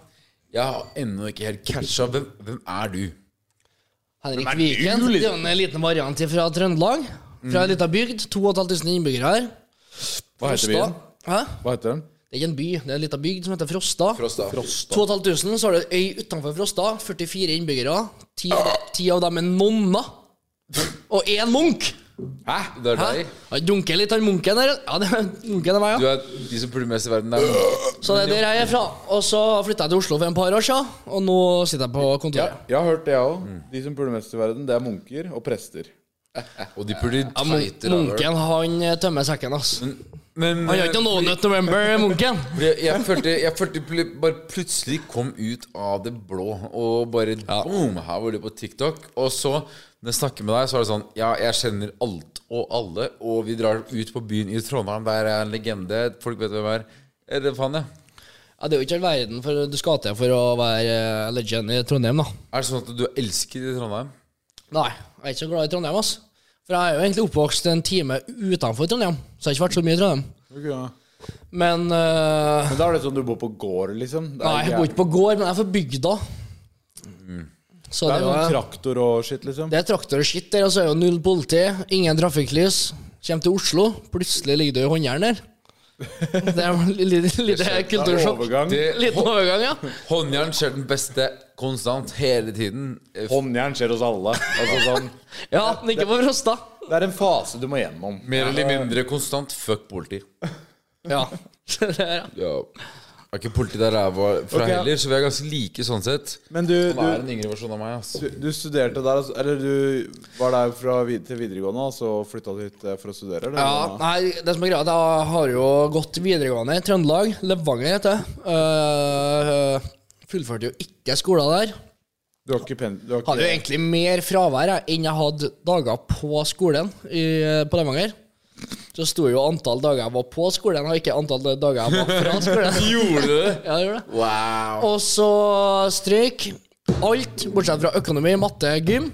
[SPEAKER 4] jeg har ennå ikke helt catcha. Hvem, hvem er du?
[SPEAKER 5] Henrik Viken. Det er jo en liten variant fra Trøndelag. Fra ei lita bygd. 2500 innbyggere her.
[SPEAKER 3] Hva heter
[SPEAKER 5] Frosta.
[SPEAKER 3] byen?
[SPEAKER 5] Hæ?
[SPEAKER 3] Hva heter den?
[SPEAKER 5] Det er ikke en by, det er ei lita bygd som heter Frosta.
[SPEAKER 4] Frosta.
[SPEAKER 5] 2500, så har du ei øy utenfor Frosta. 44 innbyggere. Ti av, ti av dem er nonner. Og én munk!
[SPEAKER 4] Hæ? Det er
[SPEAKER 5] Hæ?
[SPEAKER 4] deg?
[SPEAKER 5] Han dunker litt, han munken der. Ja, det er munken er meg,
[SPEAKER 4] Du
[SPEAKER 5] ja.
[SPEAKER 4] er de som puler mest i verden. Der.
[SPEAKER 5] Så det er der jeg er fra. Og så flytta jeg til Oslo for en par år siden, og nå sitter jeg på kontoret.
[SPEAKER 3] Jeg har hørt det, jeg òg. De som puler mest i verden, det er munker og prester.
[SPEAKER 4] Og de puler
[SPEAKER 5] Ja, mun-
[SPEAKER 4] tighter. da, vel.
[SPEAKER 5] munken, han eh, tømmer sekken, ass.
[SPEAKER 4] Men, eh,
[SPEAKER 5] Han gjør ikke noe No Nut November, munken.
[SPEAKER 4] Fordi Jeg, jeg følte, jeg følte pl- bare plutselig kom ut av det blå, og bare boom, her var du på TikTok. Og så, når jeg snakker med deg, så er det sånn Ja, jeg kjenner alt og alle, og vi drar ut på byen i Trondheim, der er en legende, folk vet hvem jeg er. Er det faen, jeg?
[SPEAKER 5] Ja, det er jo ikke all verden for du skal til for å være eh, legend i Trondheim, da.
[SPEAKER 4] Er det sånn at du er elsket i Trondheim?
[SPEAKER 5] Nei, jeg er ikke så glad i Trondheim, ass. For jeg er jo egentlig oppvokst en time utenfor Trondheim, så jeg har ikke vært så mye i Trondheim. Men eh,
[SPEAKER 3] Men da er det sånn du bor på gård, liksom? Det er
[SPEAKER 5] Nei, jeg
[SPEAKER 3] jævlig- Mm.
[SPEAKER 5] bor ikke på gård, men jeg er fra bygda. Så
[SPEAKER 3] Det
[SPEAKER 5] det
[SPEAKER 3] er
[SPEAKER 5] er,
[SPEAKER 3] noen
[SPEAKER 5] jo,
[SPEAKER 3] traktor og shit, liksom.
[SPEAKER 5] det er traktor og skitt der, og så er det jo null politi, ingen trafikklys. Kjem til Oslo, plutselig ligger du i håndjern der. Det er jo litt, litt kultursjokk.
[SPEAKER 3] Overgang.
[SPEAKER 4] Det,
[SPEAKER 5] Liten overgang, ja.
[SPEAKER 4] håndjern skjer den beste konstant, hele tiden. Eh,
[SPEAKER 3] Håndjern skjer hos alle. Altså sånn
[SPEAKER 5] Ja, men ikke på Frosta.
[SPEAKER 3] Det er en fase du må gjennom.
[SPEAKER 4] Mer eller mindre konstant. Fuck politi.
[SPEAKER 5] Ja. Det er, ja.
[SPEAKER 4] Ja. Jeg er ikke politi der jeg var fra
[SPEAKER 3] Ok.
[SPEAKER 4] heller, så vi er ganske like sånn sett.
[SPEAKER 3] Men du,
[SPEAKER 4] Han er
[SPEAKER 3] du,
[SPEAKER 4] en yngre versjon av meg, ass.
[SPEAKER 3] du, du studerte der, altså, eller du var der fra vid til videregående, og så flytta du hit eh, for å studere? Eller?
[SPEAKER 5] Ja, nei, det som er greia, er at jeg har jo gått videregående i Trøndelag. Levanger heter det. Eh, fullførte jo ikke skolen der.
[SPEAKER 3] Du har ikke pen... Du har
[SPEAKER 5] Hadde jo
[SPEAKER 3] ikke,
[SPEAKER 5] egentlig mer fravær jeg, enn jeg hadde dager på skolen i, på Levanger. Så sto jo antall dager jeg var på skolen, og ikke antall dager jeg var fra skolen.
[SPEAKER 4] Gjorde du det?
[SPEAKER 5] Ja, det gjorde det.
[SPEAKER 4] Wow.
[SPEAKER 5] Og så strøyk alt, bortsett fra økonomi, matte, gym.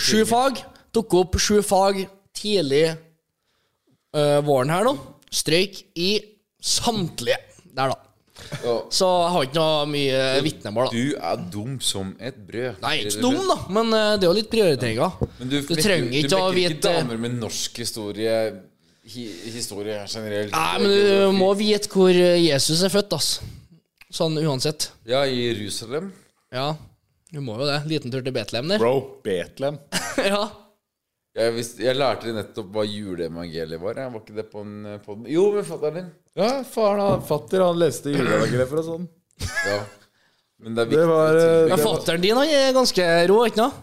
[SPEAKER 5] Sju fag. Tok opp sju fag tidlig eh, våren her nå. Strøyk i samtlige der, da. Så jeg har ikke noe mye vitnemål, da.
[SPEAKER 4] Du er dum som et brød.
[SPEAKER 5] Nei, jeg er ikke så dum, da, men eh, det er jo litt prioriteringer.
[SPEAKER 4] Men
[SPEAKER 5] Du, trenger
[SPEAKER 4] du
[SPEAKER 5] ikke å
[SPEAKER 4] vekker
[SPEAKER 5] vite
[SPEAKER 4] damer med norsk historie hi, Historie generelt.
[SPEAKER 5] Nei, men du må vite hvor Jesus er født, ass. Sånn uansett.
[SPEAKER 4] Ja, i Jerusalem.
[SPEAKER 5] Ja, du må jo det. Liten tur til Betlehem der.
[SPEAKER 3] Bro, Betlehem.
[SPEAKER 5] ja.
[SPEAKER 4] Jeg, visste, jeg lærte nettopp hva juleevangeliet var. Jeg var ikke det på en eh, podden? Jo, men fatter'n din.
[SPEAKER 3] Ja, faren han fatter, han leste juleevangeliet for oss sånn.
[SPEAKER 4] Ja. Men det er viktig.
[SPEAKER 3] Det var eh,
[SPEAKER 5] Men
[SPEAKER 3] det-
[SPEAKER 5] fatter'n din han er ganske rå, ikke noe?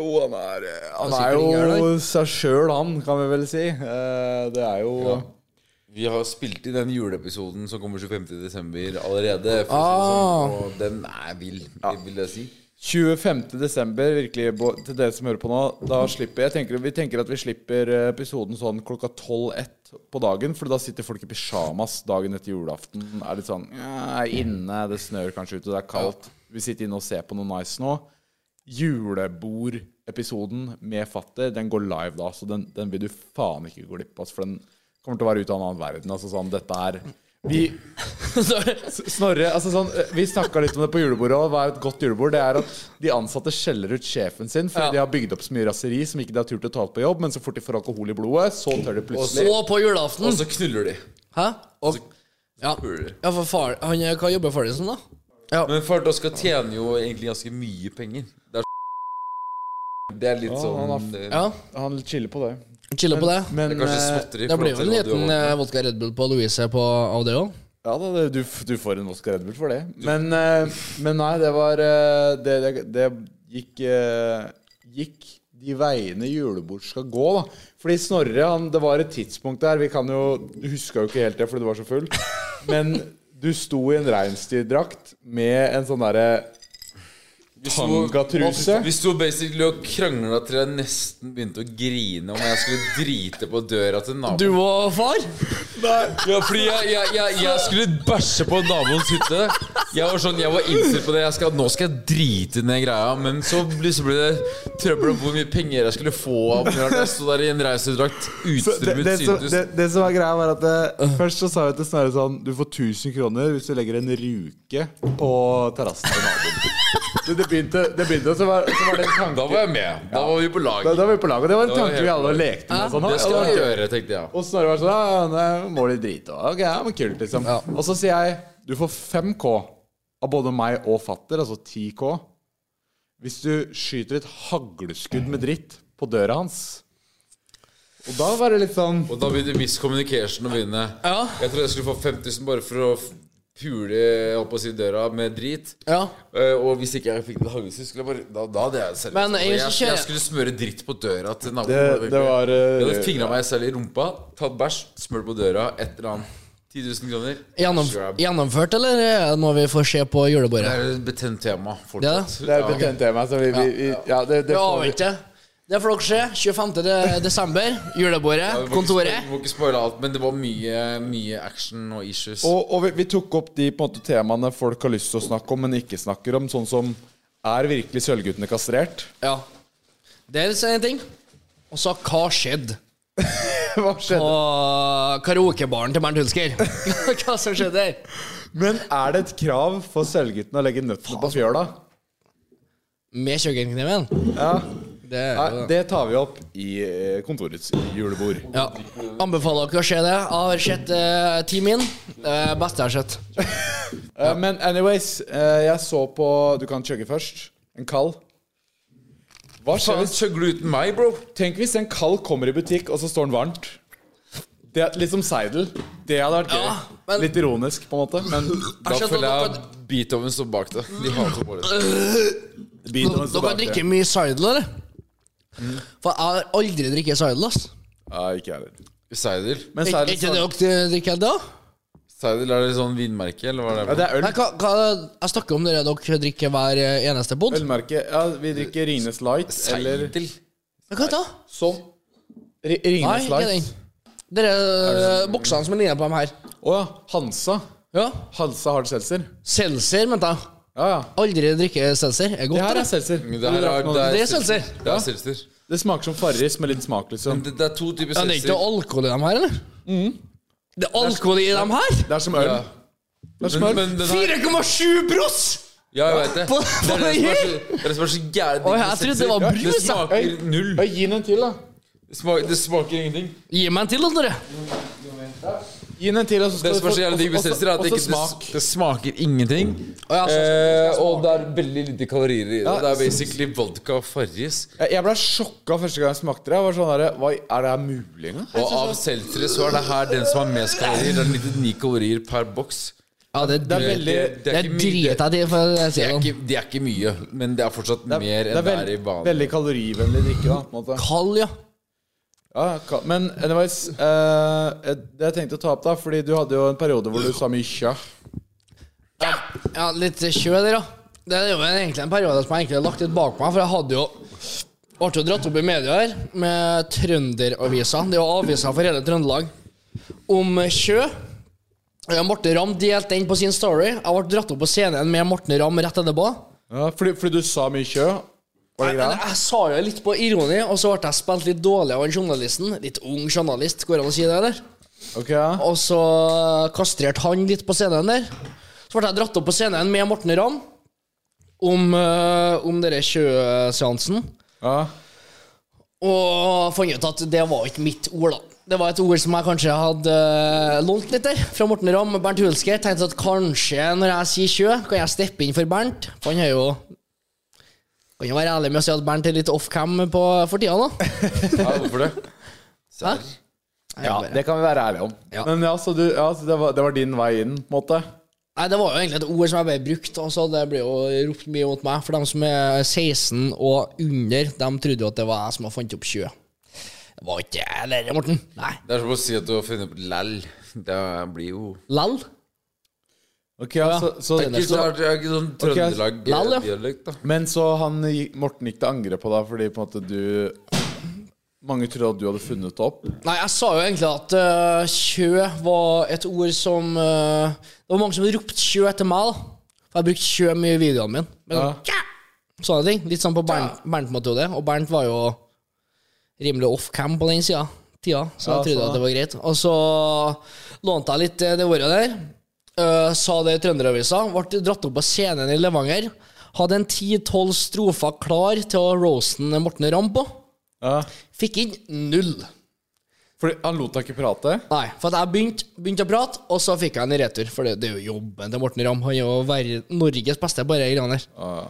[SPEAKER 3] Jo, han er eh, Han
[SPEAKER 5] Han
[SPEAKER 3] er
[SPEAKER 5] er sikkert
[SPEAKER 3] jo seg sjøl, han, kan vi vel si. Eh, Det er jo
[SPEAKER 4] Vi har spilt inn den juleepisoden som kommer 25.12. allerede. For å
[SPEAKER 5] Ah.
[SPEAKER 4] si det sånn, og den er vill, vil jeg si.
[SPEAKER 3] 25. desember, virkelig, bo- til dere som hører på nå, da slipper jeg tenker, Vi tenker at vi slipper eh, episoden sånn klokka 12-1 på dagen, for da sitter folk i pysjamas dagen etter julaften. Er litt sånn ja, er inne, det snør kanskje ute, det er kaldt. Vi sitter inne og ser på noe nice nå. Julebordepisoden med Fatter, den går live da, så den, den vil du faen ikke gå glipp av, altså, for den kommer til å være ute av en annen verden. Altså sånn, dette er vi, Snorre, altså sånn, vi snakka litt om det på julebordet òg. Hva er et godt julebord? Det er at de ansatte skjeller ut sjefen sin fordi
[SPEAKER 5] Ja.
[SPEAKER 3] de har bygd opp så mye raseri som ikke de har turt å ta opp på jobb, men så fort de får alkohol i blodet, så tør de plutselig
[SPEAKER 5] Og på
[SPEAKER 4] Og
[SPEAKER 5] julaften.
[SPEAKER 4] så knuller de.
[SPEAKER 5] Hæ? Og, ja.
[SPEAKER 4] puler.
[SPEAKER 5] ja, for far han, eh, Hva jobber faren din som, da?
[SPEAKER 4] Men far Oskar tjener jo egentlig ganske mye penger. Det er, det er litt
[SPEAKER 3] han
[SPEAKER 4] sånn eh,
[SPEAKER 5] Ja,
[SPEAKER 3] Han chiller på det.
[SPEAKER 5] Chiller på det.
[SPEAKER 3] Men
[SPEAKER 4] Det er kanskje
[SPEAKER 3] eh,
[SPEAKER 4] småtteri. i
[SPEAKER 5] Det blir
[SPEAKER 4] forhold
[SPEAKER 5] jo
[SPEAKER 4] til hva
[SPEAKER 5] en
[SPEAKER 4] du
[SPEAKER 5] liten
[SPEAKER 4] har-
[SPEAKER 5] eh, vodka Red Bull på Louise på, av det òg.
[SPEAKER 3] Ja da, det- du, f- du får en Oscar Edmund for det. Men, eh, men nei, det var eh, Det, det, det gikk, eh, gikk de veiene julebord skal gå, da. Fordi Snorre, han, det var et tidspunkt der Vi kan jo Du huska jo ikke helt det fordi du var så full. Men du sto i en reinsdyrdrakt med en sånn derre
[SPEAKER 4] Vi sto-
[SPEAKER 3] tangatruse.
[SPEAKER 4] Vi sto basically og krangla til jeg nesten begynte å grine om jeg skulle drite på døra til naboen.
[SPEAKER 5] Du og far?
[SPEAKER 4] Ja, fordi jeg, jeg, jeg, jeg skulle bæsje på naboens hytte. Jeg var sånn, jeg var innstilt på det. Jeg skal, nå skal jeg drite i den greia. Men så ble, så ble det trøbbel om hvor mye penger jeg skulle få. av når Jeg sto der i en reisedrakt.
[SPEAKER 3] Så det,
[SPEAKER 4] Utstyret
[SPEAKER 3] det,
[SPEAKER 4] mitt
[SPEAKER 3] som,
[SPEAKER 4] syntes.
[SPEAKER 3] det, det som var greia, var at eh, først så sa jeg til Snorre sånn Du får 1000 kroner hvis du legger en ruke på terrassen til naboen. Det, det begynte, det begynte og så, var, så var det en tanke
[SPEAKER 4] Da var jeg med. Da var vi på lag.
[SPEAKER 3] da, da var vi på lag, og det var en
[SPEAKER 4] Da var jeg
[SPEAKER 3] tanke vi
[SPEAKER 4] helt
[SPEAKER 3] alle
[SPEAKER 4] på lag.
[SPEAKER 3] lekte med. Sånn,
[SPEAKER 4] Det skal
[SPEAKER 3] og,
[SPEAKER 4] jeg gjøre, tenkte jeg.
[SPEAKER 3] og Snorre var sånn Ja, ja, nei, må litt drite og Ok, ja, men kult, liksom. Og så sier jeg Du får 5K av både meg og fatter, altså 10K, hvis du skyter et hagleskudd med dritt på døra hans. Og da var det litt sånn
[SPEAKER 4] Og da begynte miscommunication å begynne.
[SPEAKER 5] Ja.
[SPEAKER 4] Jeg trodde jeg skulle få 5000 bare for å f- pule jeg holdt på å si, døra med drit.
[SPEAKER 5] Ja.
[SPEAKER 4] Eh, og hvis ikke jeg fikk det hagleskudd, skulle jeg bare Da, da hadde jeg seriøst
[SPEAKER 5] Men jeg
[SPEAKER 4] jeg,
[SPEAKER 5] husker ikke-
[SPEAKER 4] jeg skulle smøre dritt på døra til naboen.
[SPEAKER 3] Det, det var
[SPEAKER 4] jeg
[SPEAKER 3] eh,
[SPEAKER 4] hadde fingra meg selv i rumpa, tatt bæsj, smurt på døra, et eller annet. 10 000 kroner.
[SPEAKER 5] Gjennom,
[SPEAKER 4] Grab.
[SPEAKER 5] gjennomført, eller er det noe vi får se på
[SPEAKER 4] Det
[SPEAKER 5] julebordet?
[SPEAKER 4] er et betent tema.
[SPEAKER 5] Det
[SPEAKER 4] Fortsatt.
[SPEAKER 5] er det.
[SPEAKER 3] Det er betent tema, så vi, vi, vi ja, det, det
[SPEAKER 5] Vi
[SPEAKER 3] får vi.
[SPEAKER 5] avventer. Det får dere se. 25. de- desember. Julebordet.
[SPEAKER 4] Vi må ikke spoil-
[SPEAKER 5] Kontoret.
[SPEAKER 4] vi Må ikke spoile alt, men det var mye, mye action og issues.
[SPEAKER 3] Og, og vi, vi tok opp de på en måte, temaene folk har lyst til å snakke om, men ikke snakker om. Sånn som er virkelig Sølvguttene kastrert?
[SPEAKER 5] Ja. Det er en ting. Og så hva skjedde?
[SPEAKER 3] Hva skjedde?
[SPEAKER 5] Og karaokebaren til Bernt Hulsker. hva som skjedde der?
[SPEAKER 3] Men er det et krav for Sølvguttene å legge nøttene på fjøla?
[SPEAKER 5] Med kjøkkenkniven.
[SPEAKER 3] Ja,
[SPEAKER 5] Det er
[SPEAKER 3] Nei,
[SPEAKER 5] jo
[SPEAKER 3] Eh, det tar vi opp i eh, kontorets julebord.
[SPEAKER 5] ja. Anbefaler dere å se det. Jeg har sett eh, Team In. Det er det beste jeg har sett.
[SPEAKER 3] Eh, men anyways, eh, jeg så på Du kan chugge først. En kald. Hva skjer
[SPEAKER 4] Faen,
[SPEAKER 3] hvis
[SPEAKER 4] kjøgler du uten meg, bro?
[SPEAKER 3] Tenk hvis en kald kommer i butikk, og så står den varmt. Det er Litt som Seidel. Det hadde vært gøy.
[SPEAKER 5] Ja, men-
[SPEAKER 3] Litt ironisk, på en måte. Men
[SPEAKER 4] Da
[SPEAKER 5] skjønte
[SPEAKER 4] føler
[SPEAKER 5] at
[SPEAKER 4] jeg Beethoven står bak det. De hater på det.
[SPEAKER 3] Beethoven står
[SPEAKER 5] Dere
[SPEAKER 3] bak det.
[SPEAKER 5] drikker mye Seidel, eller? For jeg har aldri drikket Seidel. ass.
[SPEAKER 3] Ja, ikke jeg heller.
[SPEAKER 4] Seidel?
[SPEAKER 3] Men
[SPEAKER 5] Er
[SPEAKER 3] Seidel
[SPEAKER 5] ikke
[SPEAKER 3] står-
[SPEAKER 5] det dere drikker da?
[SPEAKER 4] Seidel er det sånn vinmerke, eller hva er
[SPEAKER 3] ja,
[SPEAKER 4] det?
[SPEAKER 3] det er øl.
[SPEAKER 5] Nei, hva, hva, jeg snakker om dere dere drikker hver eh, eneste bod.
[SPEAKER 3] Ølmerke. Ja, vi drikker Ringnes Light eller
[SPEAKER 4] Seidel?
[SPEAKER 5] Men Hva da?
[SPEAKER 3] sånn. Ri-
[SPEAKER 5] Nei,
[SPEAKER 3] Ringnes
[SPEAKER 5] ikke den.
[SPEAKER 3] Light.
[SPEAKER 5] Dere eh, boksene som er linja på dem her.
[SPEAKER 3] Å ja. Hansa.
[SPEAKER 5] Ja.
[SPEAKER 3] Hansa Hard Seltzer.
[SPEAKER 5] Seltzer, mente jeg.
[SPEAKER 3] Ja, ja.
[SPEAKER 5] Aldri drikke seltzer. Er
[SPEAKER 3] Det
[SPEAKER 5] godt,
[SPEAKER 3] her
[SPEAKER 5] det.
[SPEAKER 3] er seltzer.
[SPEAKER 4] Men Det, her er, det,
[SPEAKER 5] Det
[SPEAKER 4] er
[SPEAKER 5] er seltzer.
[SPEAKER 4] Det er seltzer.
[SPEAKER 3] Det smaker som Farris med litt smak, liksom.
[SPEAKER 4] Men det, det er to typer
[SPEAKER 5] Ja, det er ikke
[SPEAKER 4] seltzer.
[SPEAKER 3] Mm.
[SPEAKER 5] noe alkohol i dem her, eller? Det er alkohol i dem her?
[SPEAKER 3] Det er som øl.
[SPEAKER 4] Ja. Men, men den her
[SPEAKER 5] 4,7 bros!
[SPEAKER 4] Ja, jeg vet det.
[SPEAKER 5] På-
[SPEAKER 4] Det er det som er så, det er det som er så gærent.
[SPEAKER 5] Oi, jeg trodde det var brus,
[SPEAKER 4] Det
[SPEAKER 5] jeg.
[SPEAKER 4] smaker null.
[SPEAKER 3] Øy, Gi den en til, da.
[SPEAKER 4] Det smaker, det smaker ingenting.
[SPEAKER 5] Gi meg en til, da, Snorre.
[SPEAKER 3] Gi den en til, og så
[SPEAKER 4] Det
[SPEAKER 3] skal
[SPEAKER 4] som er så jævlig digg med seltzer, er at det,
[SPEAKER 3] Også
[SPEAKER 4] ikke,
[SPEAKER 3] smak.
[SPEAKER 4] det, det smaker ingenting.
[SPEAKER 5] Å, ja, så-
[SPEAKER 4] Eh, og det er veldig lite kalorier i det.
[SPEAKER 3] Ja.
[SPEAKER 4] Det er basically vodka og Farris.
[SPEAKER 3] Jeg jeg ble sjokka første gang jeg smakte det. Jeg var sånn der, Hva Er det her mulig engang?
[SPEAKER 4] Og av seltzere så er det her den som har mest kalorier. Det er 99 kalorier per boks.
[SPEAKER 5] Ja, det,
[SPEAKER 3] Det er veldig
[SPEAKER 4] Det
[SPEAKER 5] det
[SPEAKER 4] er ikke mye.
[SPEAKER 5] driter jeg til, for å si
[SPEAKER 4] Det
[SPEAKER 5] det
[SPEAKER 4] er,
[SPEAKER 5] sånn.
[SPEAKER 4] ikke, det er ikke mye, men det er fortsatt mer enn
[SPEAKER 3] det er
[SPEAKER 4] det
[SPEAKER 3] veld-
[SPEAKER 4] er i vanlig.
[SPEAKER 3] veldig kalorivennlig drikke, da. På en måte.
[SPEAKER 5] Kald, ja.
[SPEAKER 3] Ja, ja, ka- men anyways eh, Det jeg tenkte å ta opp, da Fordi du hadde jo en periode hvor du sa mye kjø.
[SPEAKER 5] Ja, litt kjø der, ja. Det er jo en- egentlig en periode som jeg egentlig har lagt litt bak meg, for jeg hadde jo ble jo dratt opp i media her med Trønderavisa. Det er jo aviser for hele Trøndelag. Om Kjø. Ja, Morten Ramm delte den på sin story. Jeg ble dratt opp på scenen med Morten Ramm rett etterpå.
[SPEAKER 3] Ja, fordi, fordi du sa mye kjø? Var det
[SPEAKER 5] Men
[SPEAKER 3] greia?
[SPEAKER 5] jeg sa jo litt på ironi, og så ble jeg spilt litt dårlig av han journalisten. Litt ung journalist, går det an å si det, eller?
[SPEAKER 3] Ok, ja.
[SPEAKER 5] Og så kastrerte han litt på scenen der. Så ble jeg dratt opp på scenen med Morten Ramm om, uh, om denne sjøseansen.
[SPEAKER 3] ja.
[SPEAKER 5] Og fant ut at det var ikke mitt ord, da. Det var et ord som jeg kanskje hadde eh, lånt litt der, fra Morten Ramm og Bernt Hulsker. Tenkte at kanskje når jeg sier sjø, kan jeg steppe inn for Bernt. For han er jo Kan jo være ærlig med å si at Bernt er litt off-cam på- for tida, da.
[SPEAKER 4] Ja, hvorfor det?
[SPEAKER 5] Hæ?
[SPEAKER 3] ja, det kan vi være ærlige om.
[SPEAKER 5] Ja.
[SPEAKER 3] Men ja, så, du, ja, så det, var, det var din vei inn, på en måte?
[SPEAKER 5] Nei, Det var jo egentlig et ord som jeg ble brukt. Altså, det ble jo ropt mye mot meg. For dem som er 16 og under, de trodde jo at det var jeg som hadde funnet opp sjø. Det var ikke jeg, eller, Morten. Nei.
[SPEAKER 4] Det er som å si at du har funnet opp læll. Det blir jo
[SPEAKER 5] Lell.
[SPEAKER 3] Ok, ja, så, så,
[SPEAKER 4] Det er ikke, så, det er ikke sånn
[SPEAKER 5] Lall, ja.
[SPEAKER 4] Trøndelag-dialekt, da.
[SPEAKER 3] Men så han, gikk- Morten gikk til angrep på deg fordi på en måte du Mange trodde at du hadde funnet det opp.
[SPEAKER 5] Nei, jeg sa jo egentlig at eh, sjø var et ord som eh, Det var mange som ropte sjø etter meg, da. For jeg brukte sjø mye i videoene mine. Men,
[SPEAKER 3] Ja.
[SPEAKER 5] tja! Sånne ting. Litt sånn på Bernt- Bernt-metode. og Bernt var jo rimelig off-cam på den sida. Tida, så
[SPEAKER 3] Ja,
[SPEAKER 5] jeg trodde
[SPEAKER 3] sånn,
[SPEAKER 5] at det var greit. Og så lånte jeg litt eh, det ordet der. eh, sa det i Trønderavisa. Ble dratt opp på scenen i Levanger. Hadde en 10-12 strofer klar til å roasten Morten Ramm på.
[SPEAKER 3] Ja.
[SPEAKER 5] Fikk inn null.
[SPEAKER 3] Fordi han lot deg ikke prate?
[SPEAKER 5] Nei, for at jeg begynte, begynte å prate, og så fikk jeg en i retur. For det, det er jo jobben til Morten Ramm. Han er jo ver- Norges beste på disse greiene der.
[SPEAKER 3] Ah.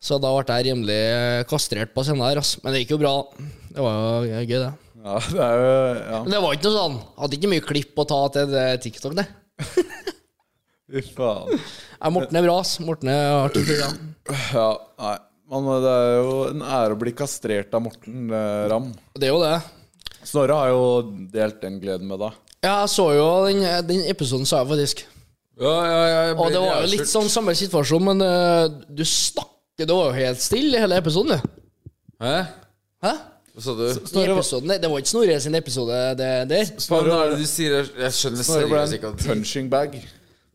[SPEAKER 5] Så da ble jeg rimelig eh, kastrert på scenen her, ass. Men det gikk jo bra. Det var jo gøy, det.
[SPEAKER 3] Ja, det er jo Ja,
[SPEAKER 5] Men det var ikke noe sånn Hadde ikke mye klipp å ta til det TikTok, det.
[SPEAKER 3] fy faen.
[SPEAKER 5] Ja, Morten er bra, ass. Morten er artig. fyr, ja.
[SPEAKER 3] Ja, nei. Man, det er jo en ære å bli kastrert av Morten eh, Ramm.
[SPEAKER 5] Det er jo det.
[SPEAKER 3] Snorre har jo delt den gleden med deg.
[SPEAKER 5] Ja, jeg så jo den, den episoden, sa jeg faktisk.
[SPEAKER 4] Ja, ja, ja, jeg
[SPEAKER 5] Og
[SPEAKER 4] ble
[SPEAKER 5] det var jo
[SPEAKER 4] jævlig
[SPEAKER 5] litt
[SPEAKER 4] surt.
[SPEAKER 5] sånn samme situasjon, men eh, du snakker Det var jo helt stille i hele episoden, du.
[SPEAKER 4] Hæ?
[SPEAKER 5] Hæ?
[SPEAKER 4] Hva sa du?
[SPEAKER 5] I episoden, det, det var ikke Snorre sin episode det, der.
[SPEAKER 4] Faen, hva er det du sier? Jeg, jeg skjønner
[SPEAKER 3] Snorre ble
[SPEAKER 4] seriøst ikke
[SPEAKER 3] en
[SPEAKER 4] at du
[SPEAKER 3] punching bag.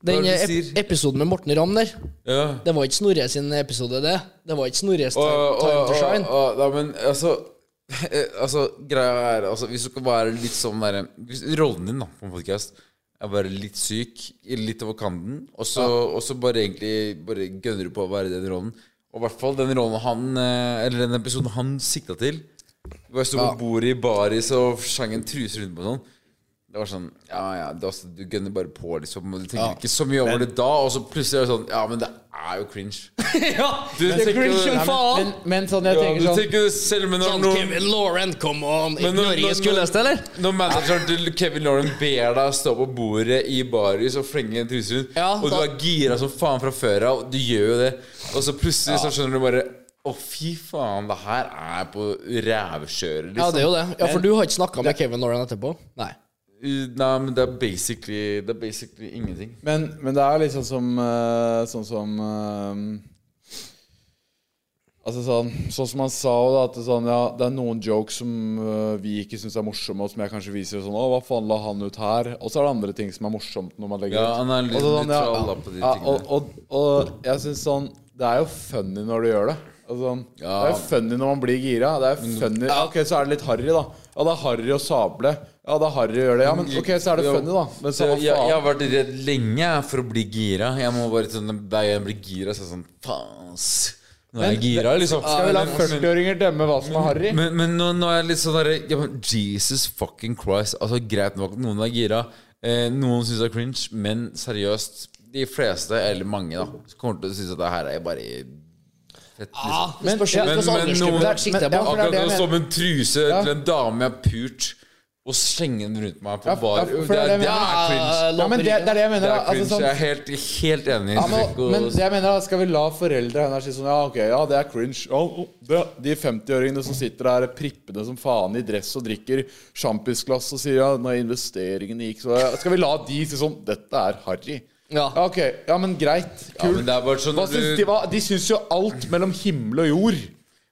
[SPEAKER 5] Den
[SPEAKER 4] Hva er det du
[SPEAKER 5] ep
[SPEAKER 4] sier?
[SPEAKER 5] episoden med Morten Ramm der,
[SPEAKER 4] ja.
[SPEAKER 5] det var ikke Snorre sin episode, det. Det var ikke Snorres
[SPEAKER 4] Og,
[SPEAKER 5] time, time
[SPEAKER 4] og,
[SPEAKER 5] to
[SPEAKER 4] og,
[SPEAKER 5] shine.
[SPEAKER 4] og, da, men altså eh, Altså, greia er altså, Hvis du skal være litt sånn derre hvis- Rollen din da, på en podcast er bare litt syk, litt over kanten, og så, og så bare egentlig Bare gønner du på å være i den rollen. Og i hvert fall den rollen han eh, Eller den episoden han sikta til. Du bare sto på bordet i baris og sang en truse rundt på noen. Det var sånn Ja, ja, det, altså, du gønner bare på, liksom. Og du tenker ikke så mye over det da, og så plutselig er det sånn Ja, men det er jo cringe.
[SPEAKER 5] ja!
[SPEAKER 4] Du
[SPEAKER 5] Det er
[SPEAKER 4] tenker-
[SPEAKER 5] cringe som
[SPEAKER 4] Nei, men-
[SPEAKER 5] faen!
[SPEAKER 3] men sånn jeg
[SPEAKER 4] Ja, du tenker selv men når
[SPEAKER 5] Sånn
[SPEAKER 4] noen
[SPEAKER 5] Kevin Lauren, come on!
[SPEAKER 4] Men
[SPEAKER 5] Ikke
[SPEAKER 4] når- når-
[SPEAKER 5] Norges kuleste, eller?
[SPEAKER 4] når manageren til Kevin Lauren ber deg stå på bordet i baris og flenge en truse rundt,
[SPEAKER 5] Ja,
[SPEAKER 4] og du
[SPEAKER 5] da-
[SPEAKER 4] er gira som faen fra før av, du gjør jo det, og så plutselig så skjønner du bare Å, fy faen, det her er på rævkjøret,
[SPEAKER 5] Ja,
[SPEAKER 4] liksom.
[SPEAKER 5] det er jo det. Ja, For du har ikke snakka med Kevin Lauren etterpå? Nei.
[SPEAKER 4] Uh, Nei, men det er basically Det er basically ingenting.
[SPEAKER 3] Men, men det er liksom som eh, Sånn som eh, Altså sånn Sånn som han sa jo da At det, sånn, ja, det er noen jokes som eh, vi ikke synes er morsomme Og som jeg kanskje viser sånn Å, hva faen la han ut her Og så er det andre ting som er morsomt Når man legger
[SPEAKER 4] Ja, han er
[SPEAKER 3] ut. Og
[SPEAKER 4] litt
[SPEAKER 3] så sånn, ja,
[SPEAKER 4] nøytral da på de
[SPEAKER 3] ja,
[SPEAKER 4] tingene.
[SPEAKER 3] og, og, og jeg synes sånn Det er jo funny når du gjør det altså, sånn, Det
[SPEAKER 4] Ja.
[SPEAKER 3] er jo funny når man blir gira Det er funny Ok, så er det litt harry da Ja, det er Harry og Sable. Ja, det er Harry og gjør det. Ja, men ok, så er det
[SPEAKER 4] Mm, Jo.
[SPEAKER 3] funny, da. Men
[SPEAKER 4] Så
[SPEAKER 3] samme
[SPEAKER 4] jeg, jeg har
[SPEAKER 3] faen.
[SPEAKER 4] vært redd lenge for å bli gira. Jeg må bare sånn Hver gang jeg blir gira, så er jeg sånn Faen, ass. Nå er jeg gira, liksom.
[SPEAKER 3] Skal vi la 40-åringer dømme hva som er Harry?
[SPEAKER 4] Men, men nå, nå er jeg litt sånn derre ja, men Jesus fucking Christ. Altså Greit nok, noen er gira. Eh, noen syns det er cringe, men seriøst, de fleste, eller mange, da, kommer til å synes at det her er bare fett.
[SPEAKER 3] Ah,
[SPEAKER 4] Liksom.
[SPEAKER 5] Ja, det spørs jo
[SPEAKER 4] men-
[SPEAKER 3] sånn
[SPEAKER 4] men
[SPEAKER 5] hvilken aldersgruppe
[SPEAKER 4] noen-
[SPEAKER 5] det er sikta
[SPEAKER 3] men-
[SPEAKER 5] på.
[SPEAKER 4] Akkurat
[SPEAKER 3] det er det jeg
[SPEAKER 4] nå
[SPEAKER 3] mener.
[SPEAKER 4] som en truse til en dame jeg har pult, og slenge den rundt meg på
[SPEAKER 3] Ja,
[SPEAKER 4] bar.
[SPEAKER 3] ja, for det er
[SPEAKER 4] det, er,
[SPEAKER 3] det jeg
[SPEAKER 4] det er
[SPEAKER 3] mener.
[SPEAKER 4] cringe.
[SPEAKER 3] Ja, men det, det er det jeg mener.
[SPEAKER 4] Det
[SPEAKER 3] da.
[SPEAKER 4] er cringe.
[SPEAKER 3] Altså, sånn,
[SPEAKER 4] jeg er helt, helt enig.
[SPEAKER 3] ja, men,
[SPEAKER 4] Ikke å-
[SPEAKER 3] men det jeg mener da, Skal vi la foreldre her si sånn Ja, ok, ja, det er cringe. Ja, å, det, de 50-åringene som sitter der prippende som faen i dress og drikker sjampisglass og sier ja, når investeringene gikk så Skal vi la de si sånn Dette er harry.
[SPEAKER 5] Ja.
[SPEAKER 3] ok. Ja, men greit.
[SPEAKER 4] ja,
[SPEAKER 3] Kult.
[SPEAKER 4] men det er bare sånn
[SPEAKER 3] Hva
[SPEAKER 4] at
[SPEAKER 3] syns
[SPEAKER 4] du-
[SPEAKER 3] de, hva? de syns jo alt mellom himmel og jord.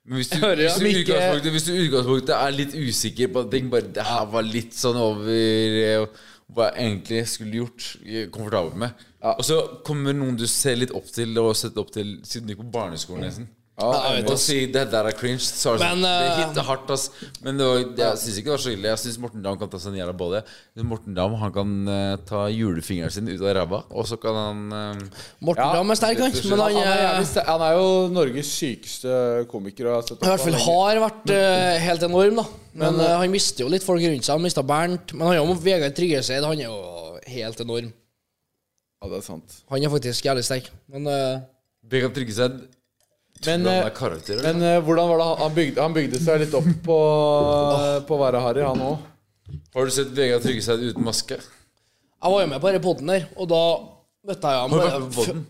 [SPEAKER 4] Men Hvis du,
[SPEAKER 5] Jeg hører, ja.
[SPEAKER 4] hvis, du
[SPEAKER 5] Som
[SPEAKER 4] i
[SPEAKER 5] ikke-
[SPEAKER 4] utgangspunktet, hvis du i utgangspunktet er litt usikker på at ting bare Det her var litt sånn over eh, hva jeg egentlig skulle gjort. eh, Komfortabel med. Og så kommer noen du ser litt opp til, og setter opp til siden du gikk på barneskolen. nesten
[SPEAKER 5] Ja, jeg vet
[SPEAKER 4] og si det der er cringe. Så er det, sånn,
[SPEAKER 5] Men,
[SPEAKER 4] det
[SPEAKER 5] eh,
[SPEAKER 4] hitter hardt, ass. Men det var, jeg syns ikke det var så ille. Jeg syns Morten Dam kan ta seg en jævla bolle. Morten Dam han kan eh, ta julefingeren sin ut av ræva, og så kan han eh,
[SPEAKER 5] Morten
[SPEAKER 3] Ja,
[SPEAKER 5] Ramm er sterk, han.
[SPEAKER 3] Han
[SPEAKER 5] Men han
[SPEAKER 3] er,
[SPEAKER 5] eh,
[SPEAKER 3] jævlig st- han er jo Norges sykeste komiker. og jeg har sett
[SPEAKER 5] i
[SPEAKER 3] opp
[SPEAKER 5] hvert fall
[SPEAKER 3] han lenge.
[SPEAKER 5] har vært eh, helt enorm, da. Men eh, han mister jo litt folk rundt seg. Han mista Bernt. Men han har jo Vegard Tryggeseid. Han er jo helt enorm.
[SPEAKER 3] Ja, det er sant.
[SPEAKER 5] Han er faktisk jævlig sterk. Men eh,
[SPEAKER 4] Bekan Tryggeseid.
[SPEAKER 3] Men,
[SPEAKER 4] Han
[SPEAKER 3] eh,
[SPEAKER 4] er karakter.
[SPEAKER 3] men eh, hvordan var det han- han bygde, han bygde seg litt opp på, eh, på å være harry, han òg?
[SPEAKER 4] Har du sett Vegard Tryggeseid uten maske?
[SPEAKER 5] jeg var jo med på denne podden der, og da møtte jeg
[SPEAKER 4] Har du
[SPEAKER 5] ham.
[SPEAKER 4] vært på podden?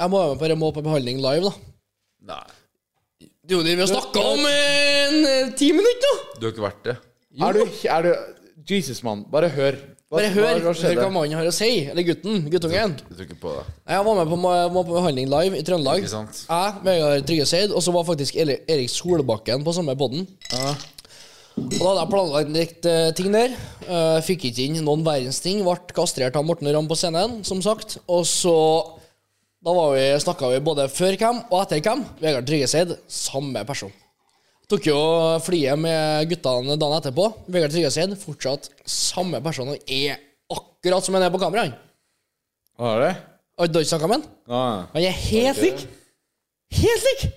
[SPEAKER 5] Jeg var jo med på denne Må på behandling live, da.
[SPEAKER 4] Nei,
[SPEAKER 5] Det er jo det vi har snakka om i en, eh, ti minutter nå!
[SPEAKER 4] du har ikke vært det.
[SPEAKER 3] Er du, er du Jesus, mann. Bare hør. Hva-
[SPEAKER 5] Bare
[SPEAKER 3] hva-
[SPEAKER 5] hør
[SPEAKER 3] Hva
[SPEAKER 5] hør
[SPEAKER 3] skjedde?
[SPEAKER 5] hva mannen har å si. Eller gutten. Guttungen.
[SPEAKER 4] Jeg tror ikke på det.
[SPEAKER 5] Nei, Jeg var med på, ma- var på behandling live i Trøndelag.
[SPEAKER 4] Ikke sant.
[SPEAKER 5] Jeg, Vegard Tryggeseid, og så var faktisk Eli- Erik Solbakken på samme podden. Og da hadde jeg planlagt litt eh, ting der. Eh, fikk ikke inn noen verdens ting. Ble kastrert av Morten Ramm på scenen, som sagt. Og så Da var vi, snakka vi både før hvem og etter hvem. Vegard Tryggeseid, samme person. Tok jo flyet med guttene dagen etterpå. Vegard Tryggeseid, fortsatt samme person. Han er akkurat som han er på kamera. han.
[SPEAKER 3] Hva er det?
[SPEAKER 5] Har du ikke snakka med han?
[SPEAKER 3] Ah,
[SPEAKER 5] Han er helt lik. Helt lik!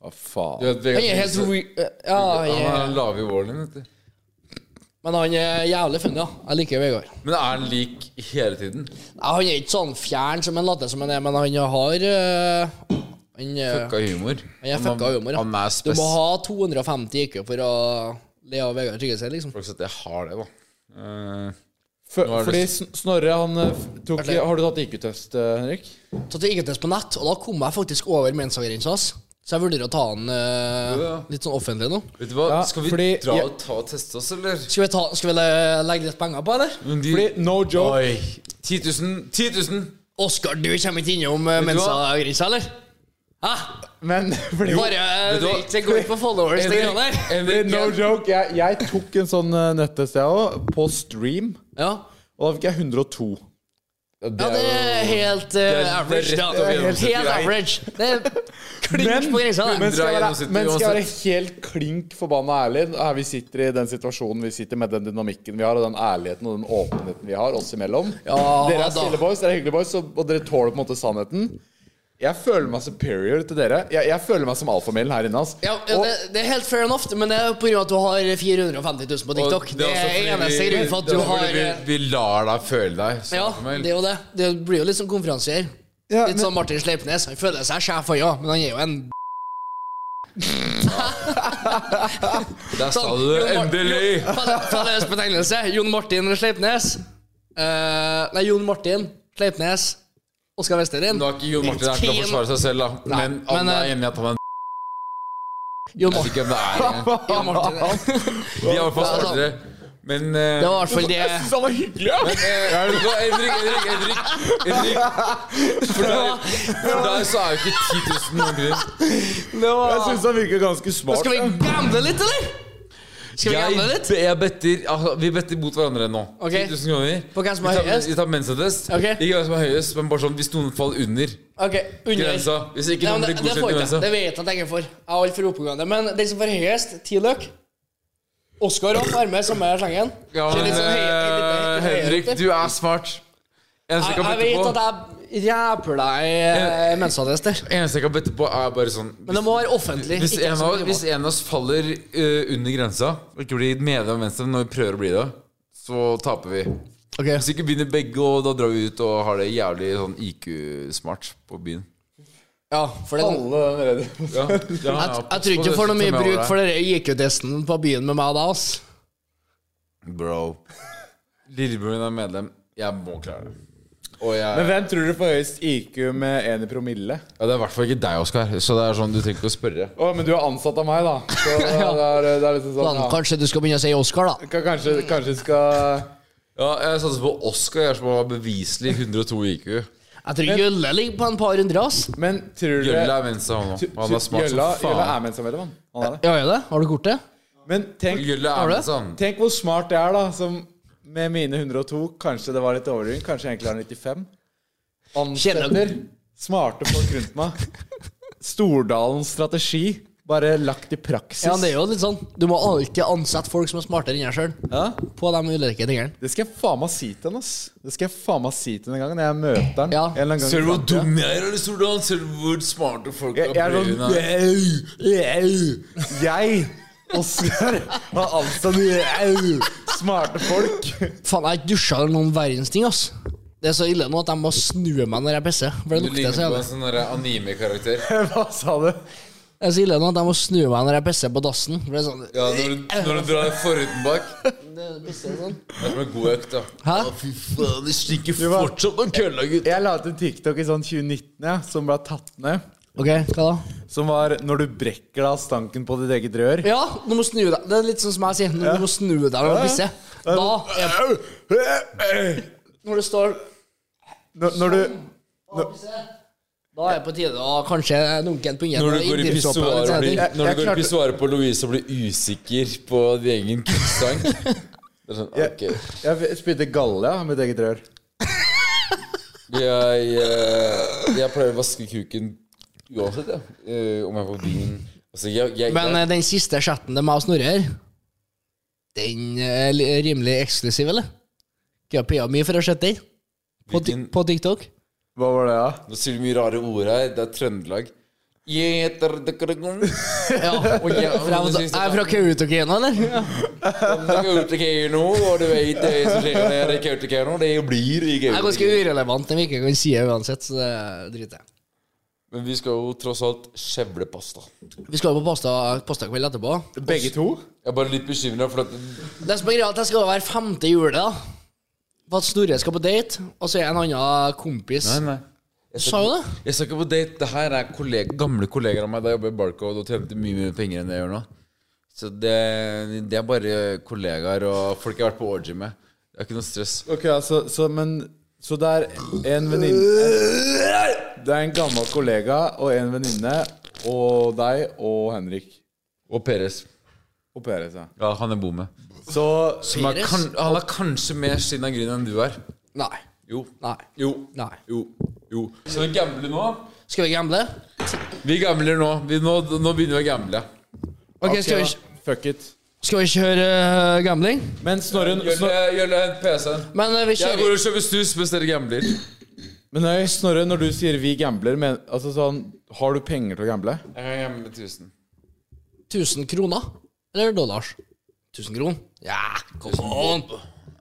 [SPEAKER 3] hva faen.
[SPEAKER 4] Du vet, Vegard
[SPEAKER 5] Han er helt
[SPEAKER 4] Tryggeseid-
[SPEAKER 5] re... eh, Ja,
[SPEAKER 4] Han
[SPEAKER 5] han
[SPEAKER 4] er
[SPEAKER 5] er...
[SPEAKER 4] lav i våren, vet du.
[SPEAKER 5] Men han er jævlig funny, da. Jeg liker Vegard.
[SPEAKER 4] Men er han lik hele tiden?
[SPEAKER 5] Nei, Han er ikke sånn fjern som han later som han er, men han har eh, Han, eh,
[SPEAKER 4] Fucka humor.
[SPEAKER 5] han er fucka humor. ja.
[SPEAKER 4] Han er
[SPEAKER 5] Du
[SPEAKER 4] spes.
[SPEAKER 5] må ha 250 IQ for å le av Vegard Tryggeseid, liksom.
[SPEAKER 4] Folk sier at jeg har det, da. Eh,
[SPEAKER 3] For,
[SPEAKER 4] Nå er det-
[SPEAKER 3] fordi Sn- Snorre, han eh, f- tok
[SPEAKER 5] Vent litt.
[SPEAKER 3] Har du tatt IQ-test, eh, Henrik?
[SPEAKER 5] Tatt IQ-test på nett, og da kom jeg faktisk over mensagrensa hans. Så jeg vurderer å ta han eh,
[SPEAKER 4] Ja, ja.
[SPEAKER 5] litt sånn offentlig nå.
[SPEAKER 4] vet du hva,
[SPEAKER 3] Ja,
[SPEAKER 4] skal vi
[SPEAKER 3] fordi-
[SPEAKER 4] dra
[SPEAKER 3] jeg-
[SPEAKER 4] og ta og teste oss, eller?
[SPEAKER 5] Skal vi, ta, skal vi le- legge litt penger på, eller?
[SPEAKER 4] Men de-
[SPEAKER 3] Fordi, no joke.
[SPEAKER 4] Oi. 10 000! 10 000!
[SPEAKER 5] Oskar, du kommer ikke innom eh,
[SPEAKER 4] Vet du hva?
[SPEAKER 5] mensagrensa, eller? Hæ?
[SPEAKER 3] Men fordi
[SPEAKER 5] Bare
[SPEAKER 4] vet du hva?
[SPEAKER 5] det går ikke på followers, det greia der.
[SPEAKER 4] Henrik,
[SPEAKER 3] No
[SPEAKER 4] jeg-
[SPEAKER 3] joke. Jeg, jeg tok en sånn eh, nettest, jeg òg, på stream.
[SPEAKER 5] Ja.
[SPEAKER 3] Og da fikk jeg 102.
[SPEAKER 5] ja, det er helt eh,
[SPEAKER 4] det er
[SPEAKER 5] average,
[SPEAKER 4] rett
[SPEAKER 5] da.
[SPEAKER 4] over
[SPEAKER 5] Helt,
[SPEAKER 4] gjennomsnittet, greit.
[SPEAKER 5] average. Det er
[SPEAKER 3] Men-
[SPEAKER 5] klink på grensa.
[SPEAKER 3] Men skal, jeg
[SPEAKER 4] Dra
[SPEAKER 5] der.
[SPEAKER 3] være,
[SPEAKER 4] gjennomsnittet
[SPEAKER 3] men skal jeg være
[SPEAKER 4] uansett.
[SPEAKER 3] helt klink forbanna ærlig her Vi sitter i den situasjonen vi sitter med den dynamikken vi har, og den ærligheten og den åpenheten vi har oss imellom.
[SPEAKER 5] Ja,
[SPEAKER 3] dere er
[SPEAKER 5] da.
[SPEAKER 3] stille boys, dere er hyggelige boys, og, og dere tåler på en måte sannheten. Jeg føler meg superior til dere. Jeg, jeg føler meg som alfamillen her inne. ass.
[SPEAKER 5] Ja, ja,
[SPEAKER 3] Og-
[SPEAKER 5] det, det er helt fair enough, men det er på grunn av at du har 450 000 på
[SPEAKER 4] Og
[SPEAKER 5] TikTok. Det
[SPEAKER 4] også
[SPEAKER 5] er
[SPEAKER 4] fordi
[SPEAKER 5] eneste
[SPEAKER 4] vi-
[SPEAKER 5] grunn for at
[SPEAKER 4] det er altså
[SPEAKER 5] du
[SPEAKER 4] fordi
[SPEAKER 5] har eh,
[SPEAKER 4] vi, vi lar deg føle deg. så
[SPEAKER 5] Ja,
[SPEAKER 4] Samuel.
[SPEAKER 5] det er jo det. Det blir jo litt som konferansier.
[SPEAKER 3] Ja,
[SPEAKER 5] Litt sånn-
[SPEAKER 3] men-
[SPEAKER 5] som Martin Sleipnes. Han føler seg sjef, han ja, men han er jo en
[SPEAKER 4] Der sa
[SPEAKER 5] Sånn,
[SPEAKER 4] du det!
[SPEAKER 5] Jon Mar-
[SPEAKER 4] Endelig!
[SPEAKER 5] Jon- Falle- Felles betegnelse. Jon Martin Sleipnes. Eh, nei, Jon Martin Sleipnes. Oskar Westerlin.
[SPEAKER 4] Nå er ikke Jon Martin her til å
[SPEAKER 5] Keen.
[SPEAKER 4] forsvare seg selv, da.
[SPEAKER 5] Nei,
[SPEAKER 4] Men han
[SPEAKER 5] men,
[SPEAKER 4] er
[SPEAKER 5] eh,
[SPEAKER 4] enig i at han er en Jeg
[SPEAKER 5] Jon
[SPEAKER 4] vet
[SPEAKER 5] Martin.
[SPEAKER 4] ikke hvem det er. engang. De er i hvert fall
[SPEAKER 5] Jon Martin. Det er
[SPEAKER 4] smartere. Men eh,
[SPEAKER 5] Det var i hvert fall det.
[SPEAKER 3] Det var hyggelig, ja!
[SPEAKER 4] men, eh, vet du hva, Henrik, Henrik, Henrik, Henrik. For deg, for deg så er jo ikke 10 000 noen grunn.
[SPEAKER 3] Jeg syns han virker ganske smart.
[SPEAKER 5] Skal vi gamble litt, eller? Skal vi gamble
[SPEAKER 4] Jeg,
[SPEAKER 5] litt?
[SPEAKER 4] be- jeg better, altså, vi better mot hverandre nå.
[SPEAKER 5] Ok.
[SPEAKER 4] 10 000 kroner.
[SPEAKER 5] På hvem som
[SPEAKER 4] Vi
[SPEAKER 5] er
[SPEAKER 4] tar-
[SPEAKER 5] høyest?
[SPEAKER 4] Vi tar mensattest.
[SPEAKER 5] Ok.
[SPEAKER 4] Ikke hvem som er høyest, men bare sånn hvis noen faller under
[SPEAKER 5] Ok, under.
[SPEAKER 4] grensa. Hvis ikke
[SPEAKER 5] Nei,
[SPEAKER 4] noen
[SPEAKER 5] men det,
[SPEAKER 4] blir
[SPEAKER 5] det får
[SPEAKER 4] godkjent i
[SPEAKER 5] jeg ikke.
[SPEAKER 4] grensa.
[SPEAKER 5] Det vet jeg at jeg ikke får. Jeg er altfor oppegående. Men den som får høyest, ti løk Oskar òg er med i samme slengen.
[SPEAKER 4] Ja,
[SPEAKER 5] Ser
[SPEAKER 4] men
[SPEAKER 5] litt sånn høy- litt- litt- litt-
[SPEAKER 4] eh,
[SPEAKER 5] litt-
[SPEAKER 4] Henrik, du er smart. Eneste jeg
[SPEAKER 5] Jeg,
[SPEAKER 4] kan
[SPEAKER 5] jeg
[SPEAKER 4] bytte
[SPEAKER 5] vet
[SPEAKER 4] på,
[SPEAKER 5] at jeg ræper deg eh, mensattester.
[SPEAKER 4] eneste jeg kan bytte på er bare sånn
[SPEAKER 5] Men det må være offentlig.
[SPEAKER 4] Hvis
[SPEAKER 5] ikke
[SPEAKER 4] en,
[SPEAKER 5] så
[SPEAKER 4] av,
[SPEAKER 5] privat.
[SPEAKER 4] hvis en av oss faller eh, under grensa og ikke blir medlem av Venstre når vi prøver å bli det, så taper vi.
[SPEAKER 5] Ok.
[SPEAKER 4] Hvis ikke begynner begge, og da drar vi ut og har det jævlig sånn IQ-smart på byen.
[SPEAKER 5] Ja, for det,
[SPEAKER 3] Alle den redde.
[SPEAKER 4] Ja, ja, ja, pass
[SPEAKER 5] jeg, jeg tror
[SPEAKER 4] på
[SPEAKER 5] ikke
[SPEAKER 4] det,
[SPEAKER 5] du får
[SPEAKER 4] sånn
[SPEAKER 5] noe mye
[SPEAKER 4] som jeg
[SPEAKER 5] bruk
[SPEAKER 4] var
[SPEAKER 5] for den IQ-testen på byen med meg da, ass.
[SPEAKER 4] der. Bro. Lillebroren min er medlem. Jeg må klare det. Og jeg,
[SPEAKER 3] Men hvem tror du får høyest IQ med én i promille?
[SPEAKER 4] ja, det er i hvert fall ikke deg, Oskar. Så det er sånn du trenger ikke å spørre.
[SPEAKER 3] Å, men du er ansatt av meg, da. Så det er, det er liksom sånn
[SPEAKER 5] Sånn,
[SPEAKER 3] ja.
[SPEAKER 5] kanskje du skal begynne å si Oscar, da.
[SPEAKER 3] Kan- Kanskje, kanskje skal
[SPEAKER 4] Ja, Jeg satser på Oskar, jeg som har beviselig 102 IQ.
[SPEAKER 5] Jeg tror Jølle ligger på en par hundre, ass.
[SPEAKER 3] Men tror du
[SPEAKER 4] Gjølle er venstre, han òg. Han er smart
[SPEAKER 3] Gjølla,
[SPEAKER 4] som
[SPEAKER 3] Gjølla
[SPEAKER 4] faen.
[SPEAKER 3] er sånn, medlemsmedlem, han. han. er det.
[SPEAKER 5] Ja, er det? Har du kortet?
[SPEAKER 3] Men tenk,
[SPEAKER 4] Gjølle
[SPEAKER 5] Har
[SPEAKER 4] er
[SPEAKER 5] du?
[SPEAKER 4] sånn.
[SPEAKER 3] tenk hvor smart det er, da. Som med mine 102 Kanskje det var litt overdriving. Kanskje jeg egentlig har 95. Ansetter smarte folk rundt meg. Stordalens strategi bare lagt i praksis.
[SPEAKER 5] Ja, det er jo litt sånn. Du må alltid ansette folk som er smartere enn deg sjøl,
[SPEAKER 3] Ja,
[SPEAKER 5] på de ulike tingene.
[SPEAKER 3] det skal jeg faen meg si til han, ass. Det skal jeg faen meg si til han en gang når jeg møter han.
[SPEAKER 5] Ja.
[SPEAKER 3] En eller annen gang i
[SPEAKER 4] Ser du hvor
[SPEAKER 3] fremtiden.
[SPEAKER 4] dum jeg er, eller Stordalen? Ser du hvor smarte folk
[SPEAKER 3] Jeg, jeg er sånn
[SPEAKER 4] Brøyene.
[SPEAKER 3] Au, au. Jeg, Oskar, har ansatt au, smarte folk.
[SPEAKER 5] Faen, jeg har ikke dusja eller noen verdens ting, ass. Det er så ille nå at jeg må snu meg når jeg pisser. For det
[SPEAKER 4] Du
[SPEAKER 5] lukter
[SPEAKER 4] ligner
[SPEAKER 5] så
[SPEAKER 4] på
[SPEAKER 5] jævlig.
[SPEAKER 4] en sånn derre anime-karakter.
[SPEAKER 3] Hva sa du?
[SPEAKER 5] Det er så ille nå at jeg må snu meg når jeg pisser på dassen. For det er sånn,
[SPEAKER 4] Ja, når, du- når du drar forhuden bak.
[SPEAKER 5] det er pisser sånn.
[SPEAKER 4] Det er som en god økt, da.
[SPEAKER 5] Hæ?
[SPEAKER 4] Å, fy faen, det stinker
[SPEAKER 3] var-
[SPEAKER 4] fortsatt noen kølla, gutt.
[SPEAKER 3] Jeg la ut en TikTok i sånn 2019 ja, som ble tatt ned.
[SPEAKER 5] Ok, hva da?
[SPEAKER 3] Som var 'Når du brekker deg av stanken på ditt eget rør'.
[SPEAKER 5] Ja, du må snu deg. Det er litt sånn som jeg sier. Du må snu deg når du pisser. Da er Når det står
[SPEAKER 3] Når, når
[SPEAKER 5] Sånn.
[SPEAKER 3] du
[SPEAKER 5] Da er det på tide å kanskje dunke en på
[SPEAKER 6] Når du går i
[SPEAKER 5] inngjerdsåpe eller
[SPEAKER 6] pissoaret
[SPEAKER 5] sånne ting.
[SPEAKER 3] Jeg-
[SPEAKER 6] blir- når
[SPEAKER 3] jeg
[SPEAKER 6] du går i
[SPEAKER 3] klarte-
[SPEAKER 6] pissoaret på Louise og blir usikker på din egen kunstsang Det er sånn, ok
[SPEAKER 3] Jeg, jeg spydde galle av mitt eget rør.
[SPEAKER 6] jeg, eh, jeg pleier å vaske kuken uansett, ja. Eh, om jeg er på byen. Altså, jeg, jeg,
[SPEAKER 5] Men
[SPEAKER 6] jeg,
[SPEAKER 5] eh, den siste chatten til meg og Snorre her, den er li- rimelig eksklusiv, eller? Ikke pia mi for å sette den på, ti-
[SPEAKER 6] Hvilken-
[SPEAKER 5] på TikTok.
[SPEAKER 3] Hva var det, da?
[SPEAKER 6] Nå sier du mye rare ord her. Det er Trøndelag. Jeg heter Dekaragon.
[SPEAKER 5] Ja.
[SPEAKER 6] Og jeg
[SPEAKER 5] For jeg, var- jeg er fra Kautokeino, eller? Ja.
[SPEAKER 6] Kautokeino, og du vet det som skjer når jeg er i Kautokeino. Det blir i
[SPEAKER 5] Jeg er ganske
[SPEAKER 6] Kautokeino.
[SPEAKER 5] urelevant, men vi ikke kan si det uansett, så det driter jeg
[SPEAKER 6] Men vi skal jo tross alt skjevle pasta.
[SPEAKER 5] Vi skal jo på pasta- pastakveld etterpå.
[SPEAKER 3] Begge to?
[SPEAKER 6] Jeg er bare litt bekymra, for at
[SPEAKER 5] Det som er greia, er at jeg skal være femte jule, da. For at Snorre skal på date, og så er jeg en annen kompis.
[SPEAKER 4] Nei, nei.
[SPEAKER 5] Du sa jo det.
[SPEAKER 4] Jeg skal ikke på date. Det her er kollega, gamle kollegaer av meg da jeg jobba i Barcode og tjente mye mer penger enn det jeg gjør nå. Så det, det er bare kollegaer og folk jeg har vært på orgy med. Det er ikke noe stress.
[SPEAKER 3] Ok, ja, så, så, men, så det er en venninne Det er en gammel kollega og en venninne og deg og Henrik.
[SPEAKER 4] Og Peres.
[SPEAKER 3] Og Peres, ja.
[SPEAKER 4] Ja, han jeg bor med.
[SPEAKER 3] Så
[SPEAKER 4] Som er
[SPEAKER 5] Peres?
[SPEAKER 4] kan, han har kanskje mer skinn av gryn enn du er.
[SPEAKER 5] Nei.
[SPEAKER 4] Jo.
[SPEAKER 5] Nei.
[SPEAKER 4] Jo.
[SPEAKER 5] Nei.
[SPEAKER 4] Jo. Jo. Så vi gambler nå?
[SPEAKER 5] Skal vi gamble?
[SPEAKER 4] Vi gambler nå. Vi, nå, nå begynner vi å gamble.
[SPEAKER 5] Ok,
[SPEAKER 3] ok,
[SPEAKER 5] skal vi,
[SPEAKER 3] da. Fuck it.
[SPEAKER 5] skal vi kjøre eh, gambling?
[SPEAKER 3] Men Snorre Snor-
[SPEAKER 4] Gjølle, Gjølle, hent PC-en.
[SPEAKER 5] Men eh, vi
[SPEAKER 4] Jeg
[SPEAKER 5] kjører
[SPEAKER 4] går og kjøper snus mens dere gambler. Jeg
[SPEAKER 3] Men nei, Snorre, når du sier 'vi gambler', men, altså sånn, har du penger til å gamble?
[SPEAKER 4] kan gamble 1000.
[SPEAKER 5] 1000 kroner. Eller dollars. 1000 kroner. Ja, come on!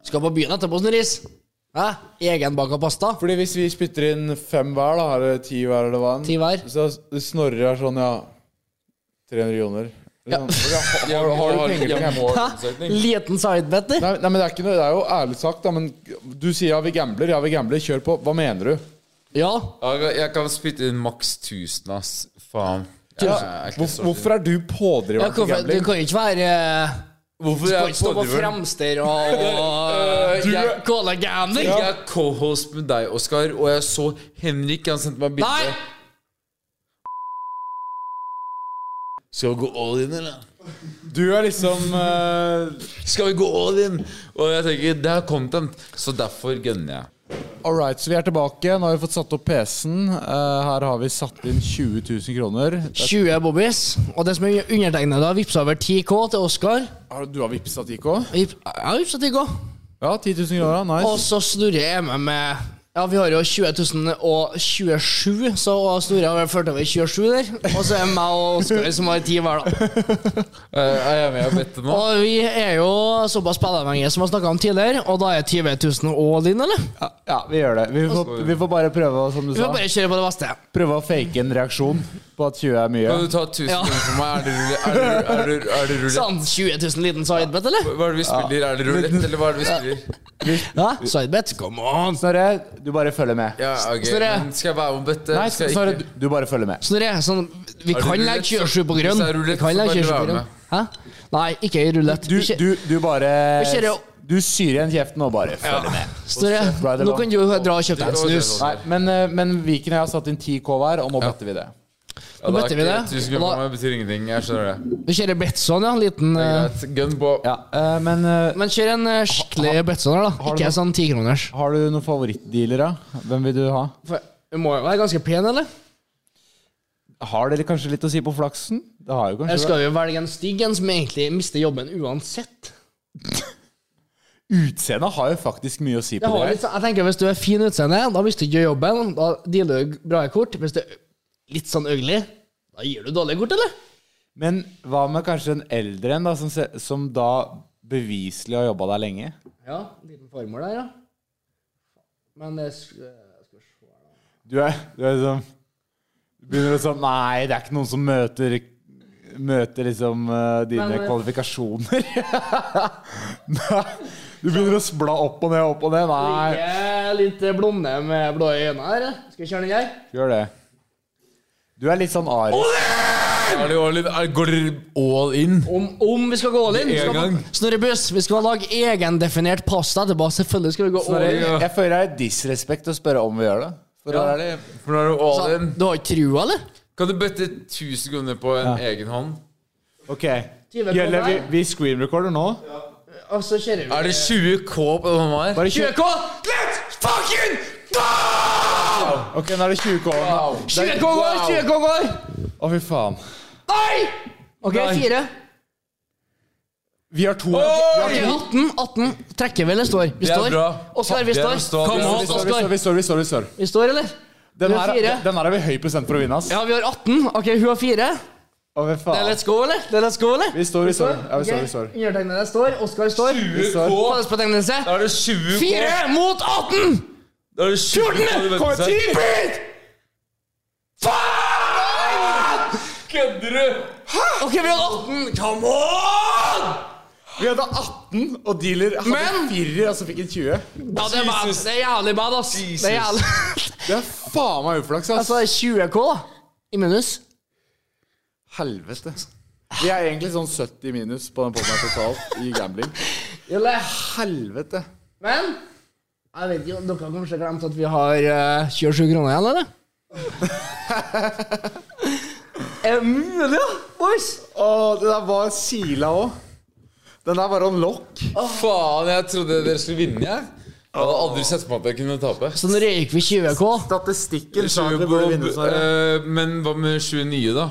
[SPEAKER 5] Skal på byen etterpå, Snorris. Hæ? Egenbaka pasta.
[SPEAKER 3] Fordi hvis vi spytter inn fem hver, da, eller ti hver, eller hva enn,
[SPEAKER 5] Ti hver.
[SPEAKER 3] Så Snorre er sånn, ja 300 joner.
[SPEAKER 5] Ja.
[SPEAKER 3] Sånn, ok, Har, har, har du penger til å gamble?
[SPEAKER 5] Hæ?
[SPEAKER 6] Omsetning.
[SPEAKER 5] Liten sidebet der.
[SPEAKER 3] Nei, nei, men det er, ikke noe, det er jo ærlig sagt, da, men du sier ja, vi gambler, ja, vi gambler, kjør på. Hva mener du?
[SPEAKER 5] Ja.
[SPEAKER 4] Jeg kan- Jeg kan spytte inn maks 1000, ass. Faen. Jeg,
[SPEAKER 3] Ja,
[SPEAKER 4] er ikke
[SPEAKER 3] hvor,
[SPEAKER 4] så-
[SPEAKER 3] hvorfor er du
[SPEAKER 5] ja
[SPEAKER 3] pådriveren til
[SPEAKER 5] hvorfor, du
[SPEAKER 3] gambling?
[SPEAKER 5] kan jo ikke være eh,
[SPEAKER 4] Hvorfor er
[SPEAKER 5] Du kan
[SPEAKER 4] jeg
[SPEAKER 5] ikke stå på
[SPEAKER 4] pådriveren?
[SPEAKER 5] fremster og, og eh,
[SPEAKER 4] jeg,
[SPEAKER 5] Kalle gambling.
[SPEAKER 4] jeg er co-host med deg, Oskar, og jeg så Henrik. Han sendte meg bilde.
[SPEAKER 5] Nei!
[SPEAKER 4] Skal vi gå all in, eller?
[SPEAKER 3] Du er liksom eh,
[SPEAKER 4] Skal vi gå all in? Og jeg tenker, det er content, så derfor gønner jeg.
[SPEAKER 3] All right, så vi er tilbake. Nå har vi fått satt opp PC-en. Eh, her har vi satt inn 20 000 kroner.
[SPEAKER 5] 20 bobbies. Og det som er undertegnet, da, vippsa over 10K til Oskar.
[SPEAKER 3] Har- Du har vippsa 10K?
[SPEAKER 5] Jeg har vippsa 10K.
[SPEAKER 3] Ja, 10 000 kroner.
[SPEAKER 5] Og
[SPEAKER 3] Nice.
[SPEAKER 5] så snurrer jeg med med Ja, vi har jo 20.027, så og Snorre har vel ført over 27 der. Og så er det meg og Oskar som har 10 hver, da.
[SPEAKER 4] Eh, Er jeg med og bedt nå?
[SPEAKER 5] Og vi er jo såpass spilleavhengige som vi har snakka om tidligere, og da er 20.000 all in, eller?
[SPEAKER 3] Ja, ja, vi gjør det. Vi får, vi får bare prøve å- som du
[SPEAKER 5] Vi
[SPEAKER 3] sa,
[SPEAKER 5] får bare kjøre på det beste.
[SPEAKER 3] prøve å fake en reaksjon på at 20 er mye.
[SPEAKER 4] Kan du ta 1000
[SPEAKER 5] Ja.
[SPEAKER 4] kroner for meg? Er det rulle- er det rulle- er det- er det rulle?
[SPEAKER 5] Sånn 20.000 liten sidebet, eller?
[SPEAKER 4] Hva er det vi spiller? Er det rulett, eller hva er det vi spiller?
[SPEAKER 5] Ja, sidebet. Come on.
[SPEAKER 3] Snorre, du bare følger med.
[SPEAKER 4] Ja, ok,
[SPEAKER 5] Snorre.
[SPEAKER 4] men Skal jeg være med og bette?
[SPEAKER 3] Nei,
[SPEAKER 4] Skal jeg
[SPEAKER 3] Snorre,
[SPEAKER 4] ikke?
[SPEAKER 3] du- du bare følger med.
[SPEAKER 5] Snorre, sånn, vi
[SPEAKER 4] det
[SPEAKER 5] kan
[SPEAKER 4] rulett,
[SPEAKER 5] legge 27 på
[SPEAKER 4] så-
[SPEAKER 5] grønn.
[SPEAKER 4] hvis det er
[SPEAKER 5] Vi
[SPEAKER 4] rulett,
[SPEAKER 5] kan
[SPEAKER 4] så
[SPEAKER 5] legge
[SPEAKER 4] kan du
[SPEAKER 5] 27 på
[SPEAKER 4] være
[SPEAKER 5] grønn.
[SPEAKER 4] med.
[SPEAKER 5] Hæ? Nei, ikke i rulett.
[SPEAKER 3] Du,
[SPEAKER 5] Ikke-
[SPEAKER 3] du, du bare
[SPEAKER 5] Jeg ser jo-
[SPEAKER 3] Du syr igjen kjeften og bare følger med.
[SPEAKER 5] Snorre, nå kan du dra og kjøpe deg en snus.
[SPEAKER 4] sånn.
[SPEAKER 3] Nei, men, eh, men Viken og jeg har satt inn 10K hver, og nå better vi det.
[SPEAKER 4] Ja, da er
[SPEAKER 5] bøtter vi
[SPEAKER 4] ikke
[SPEAKER 5] det.
[SPEAKER 4] 1000 kroner for meg betyr ingenting. Jeg skjønner det.
[SPEAKER 5] Vi kjører Betson, ja. en Liten,
[SPEAKER 4] det er
[SPEAKER 5] eh,
[SPEAKER 4] greit. Gun på.
[SPEAKER 3] Ja, eh, Men eh,
[SPEAKER 5] men kjør en eh, skikkelig Betson her, da.
[SPEAKER 3] har du
[SPEAKER 5] Ikke en sånn tikroners.
[SPEAKER 3] har du noen favorittdealer, da? Hvem vil du ha?
[SPEAKER 5] Du må jo være ganske pen, eller?
[SPEAKER 3] Har dere kanskje litt å si på flaksen? Det har jo
[SPEAKER 5] Jeg
[SPEAKER 3] kanskje
[SPEAKER 5] skal jo velge en stygg en som egentlig mister jobben uansett.
[SPEAKER 3] Utseendet har jo faktisk mye å si
[SPEAKER 5] Jeg,
[SPEAKER 3] på
[SPEAKER 5] har
[SPEAKER 3] det.
[SPEAKER 5] litt, sånn- jeg tenker Hvis du er fin utseende, da mister du ikke jobben. Da dealer du bra i kort. Hvis du er litt sånn ugly, da gir du dårlige kort, eller?
[SPEAKER 3] Men hva med kanskje en eldre en, da, som, se, som da beviselig har jobba der lenge?
[SPEAKER 5] Ja, liten formål der, ja. Men det sk- eh, skal vi se.
[SPEAKER 3] Du er, du er liksom du Begynner å sånn Nei, det er ikke noen som møter Møter liksom eh, dine
[SPEAKER 5] Men, eh,
[SPEAKER 3] kvalifikasjoner. nei, du begynner å spla opp og ned, opp og ned. Nei,
[SPEAKER 5] Ikke litt eh, blonde med blå øyne her. eh. Skal vi kjøre den her?
[SPEAKER 3] gjør det. Du er litt sånn Ari.
[SPEAKER 4] Er det all in? Er- Går dere all in?
[SPEAKER 5] Om, om vi skal gå all in? Vi
[SPEAKER 4] En
[SPEAKER 5] skal ha-
[SPEAKER 4] gang.
[SPEAKER 5] Snorre Buss, vi skal lage egendefinert pasta etterpå. Selvfølgelig skal vi gå all in.
[SPEAKER 3] Jeg føler det er disrespekt å spørre om vi gjør det. For da er det
[SPEAKER 4] For nå er det all in.
[SPEAKER 5] Du har ikke trua, eller?
[SPEAKER 4] Kan du bøtte 1000 kroner på en egen hånd?
[SPEAKER 3] Ok.
[SPEAKER 5] Tyve
[SPEAKER 3] Gjelder vi,
[SPEAKER 5] kroner.
[SPEAKER 3] vi screen recorder nå?
[SPEAKER 5] Og så kjører vi.
[SPEAKER 4] Er det 20K på den hånda her?
[SPEAKER 3] Bare 20,
[SPEAKER 5] 20K! Let's fucking go!
[SPEAKER 3] ok, nå er det 20 K.
[SPEAKER 5] 20K går! 20K går!
[SPEAKER 3] Å, fy faen.
[SPEAKER 5] Nei! OK, fire.
[SPEAKER 3] Vi har to. Vi har
[SPEAKER 5] Ok,
[SPEAKER 3] to.
[SPEAKER 5] 18. 18. Trekker vi, eller står? Vi
[SPEAKER 4] Det er
[SPEAKER 5] står.
[SPEAKER 4] bra.
[SPEAKER 5] Oskar, vi
[SPEAKER 4] Det er
[SPEAKER 5] står.
[SPEAKER 4] å stå.
[SPEAKER 5] Kom
[SPEAKER 4] Vi
[SPEAKER 3] Vi
[SPEAKER 4] står,
[SPEAKER 5] on,
[SPEAKER 3] står, vi står,
[SPEAKER 5] Oskar.
[SPEAKER 3] vi står, vi står, vi står.
[SPEAKER 5] Vi står, eller?
[SPEAKER 3] Den
[SPEAKER 5] Du har
[SPEAKER 3] her,
[SPEAKER 5] fire.
[SPEAKER 3] den her har vi høy prosent for å vinne, ass.
[SPEAKER 5] Ja, vi har 18. OK, hun har fire.
[SPEAKER 3] Å, fy
[SPEAKER 5] Det er
[SPEAKER 3] faen.
[SPEAKER 5] let's go, eller? Det er let's go, eller?
[SPEAKER 3] Vi står, vi står. Ja, vi står, vi står.
[SPEAKER 5] Ok, Undertegnede står. Oskar står.
[SPEAKER 3] Vi står.
[SPEAKER 5] Fellesbetegnelse.
[SPEAKER 4] Da er det 20K.
[SPEAKER 5] Fire mot 18!
[SPEAKER 4] Da er det 20K du bøtter seg. Kødder du?
[SPEAKER 5] OK, vi har 18. Come on!
[SPEAKER 3] Vi hadde 18, og dealer hadde
[SPEAKER 5] Men-
[SPEAKER 3] firer, og så fikk en 20.
[SPEAKER 5] Ja, det er, bad. det er jævlig bad, ass. Det er jævlig.
[SPEAKER 3] Det er faen meg uflaks, ass.
[SPEAKER 5] Altså, det er 20K da, i minus.
[SPEAKER 3] Helvete. Vi er egentlig sånn 70 minus på den podden her totalt i gambling. Helvete.
[SPEAKER 5] Men jeg vet ikke, dere har kanskje glemt at vi har eh, 27 kroner igjen, eller? er det mulig, da, boys?
[SPEAKER 3] Å, det der var sila òg. Den der var on lock.
[SPEAKER 4] Faen, jeg trodde dere skulle vinne, jeg. Jeg hadde aldri sett på meg at jeg kunne tape.
[SPEAKER 5] Så Altså, nå røyk vi 20K.
[SPEAKER 3] Statistikken sa at vi burde vinne,
[SPEAKER 4] Tjugo,
[SPEAKER 3] Snorre.
[SPEAKER 4] eh, Men hva med 29, da?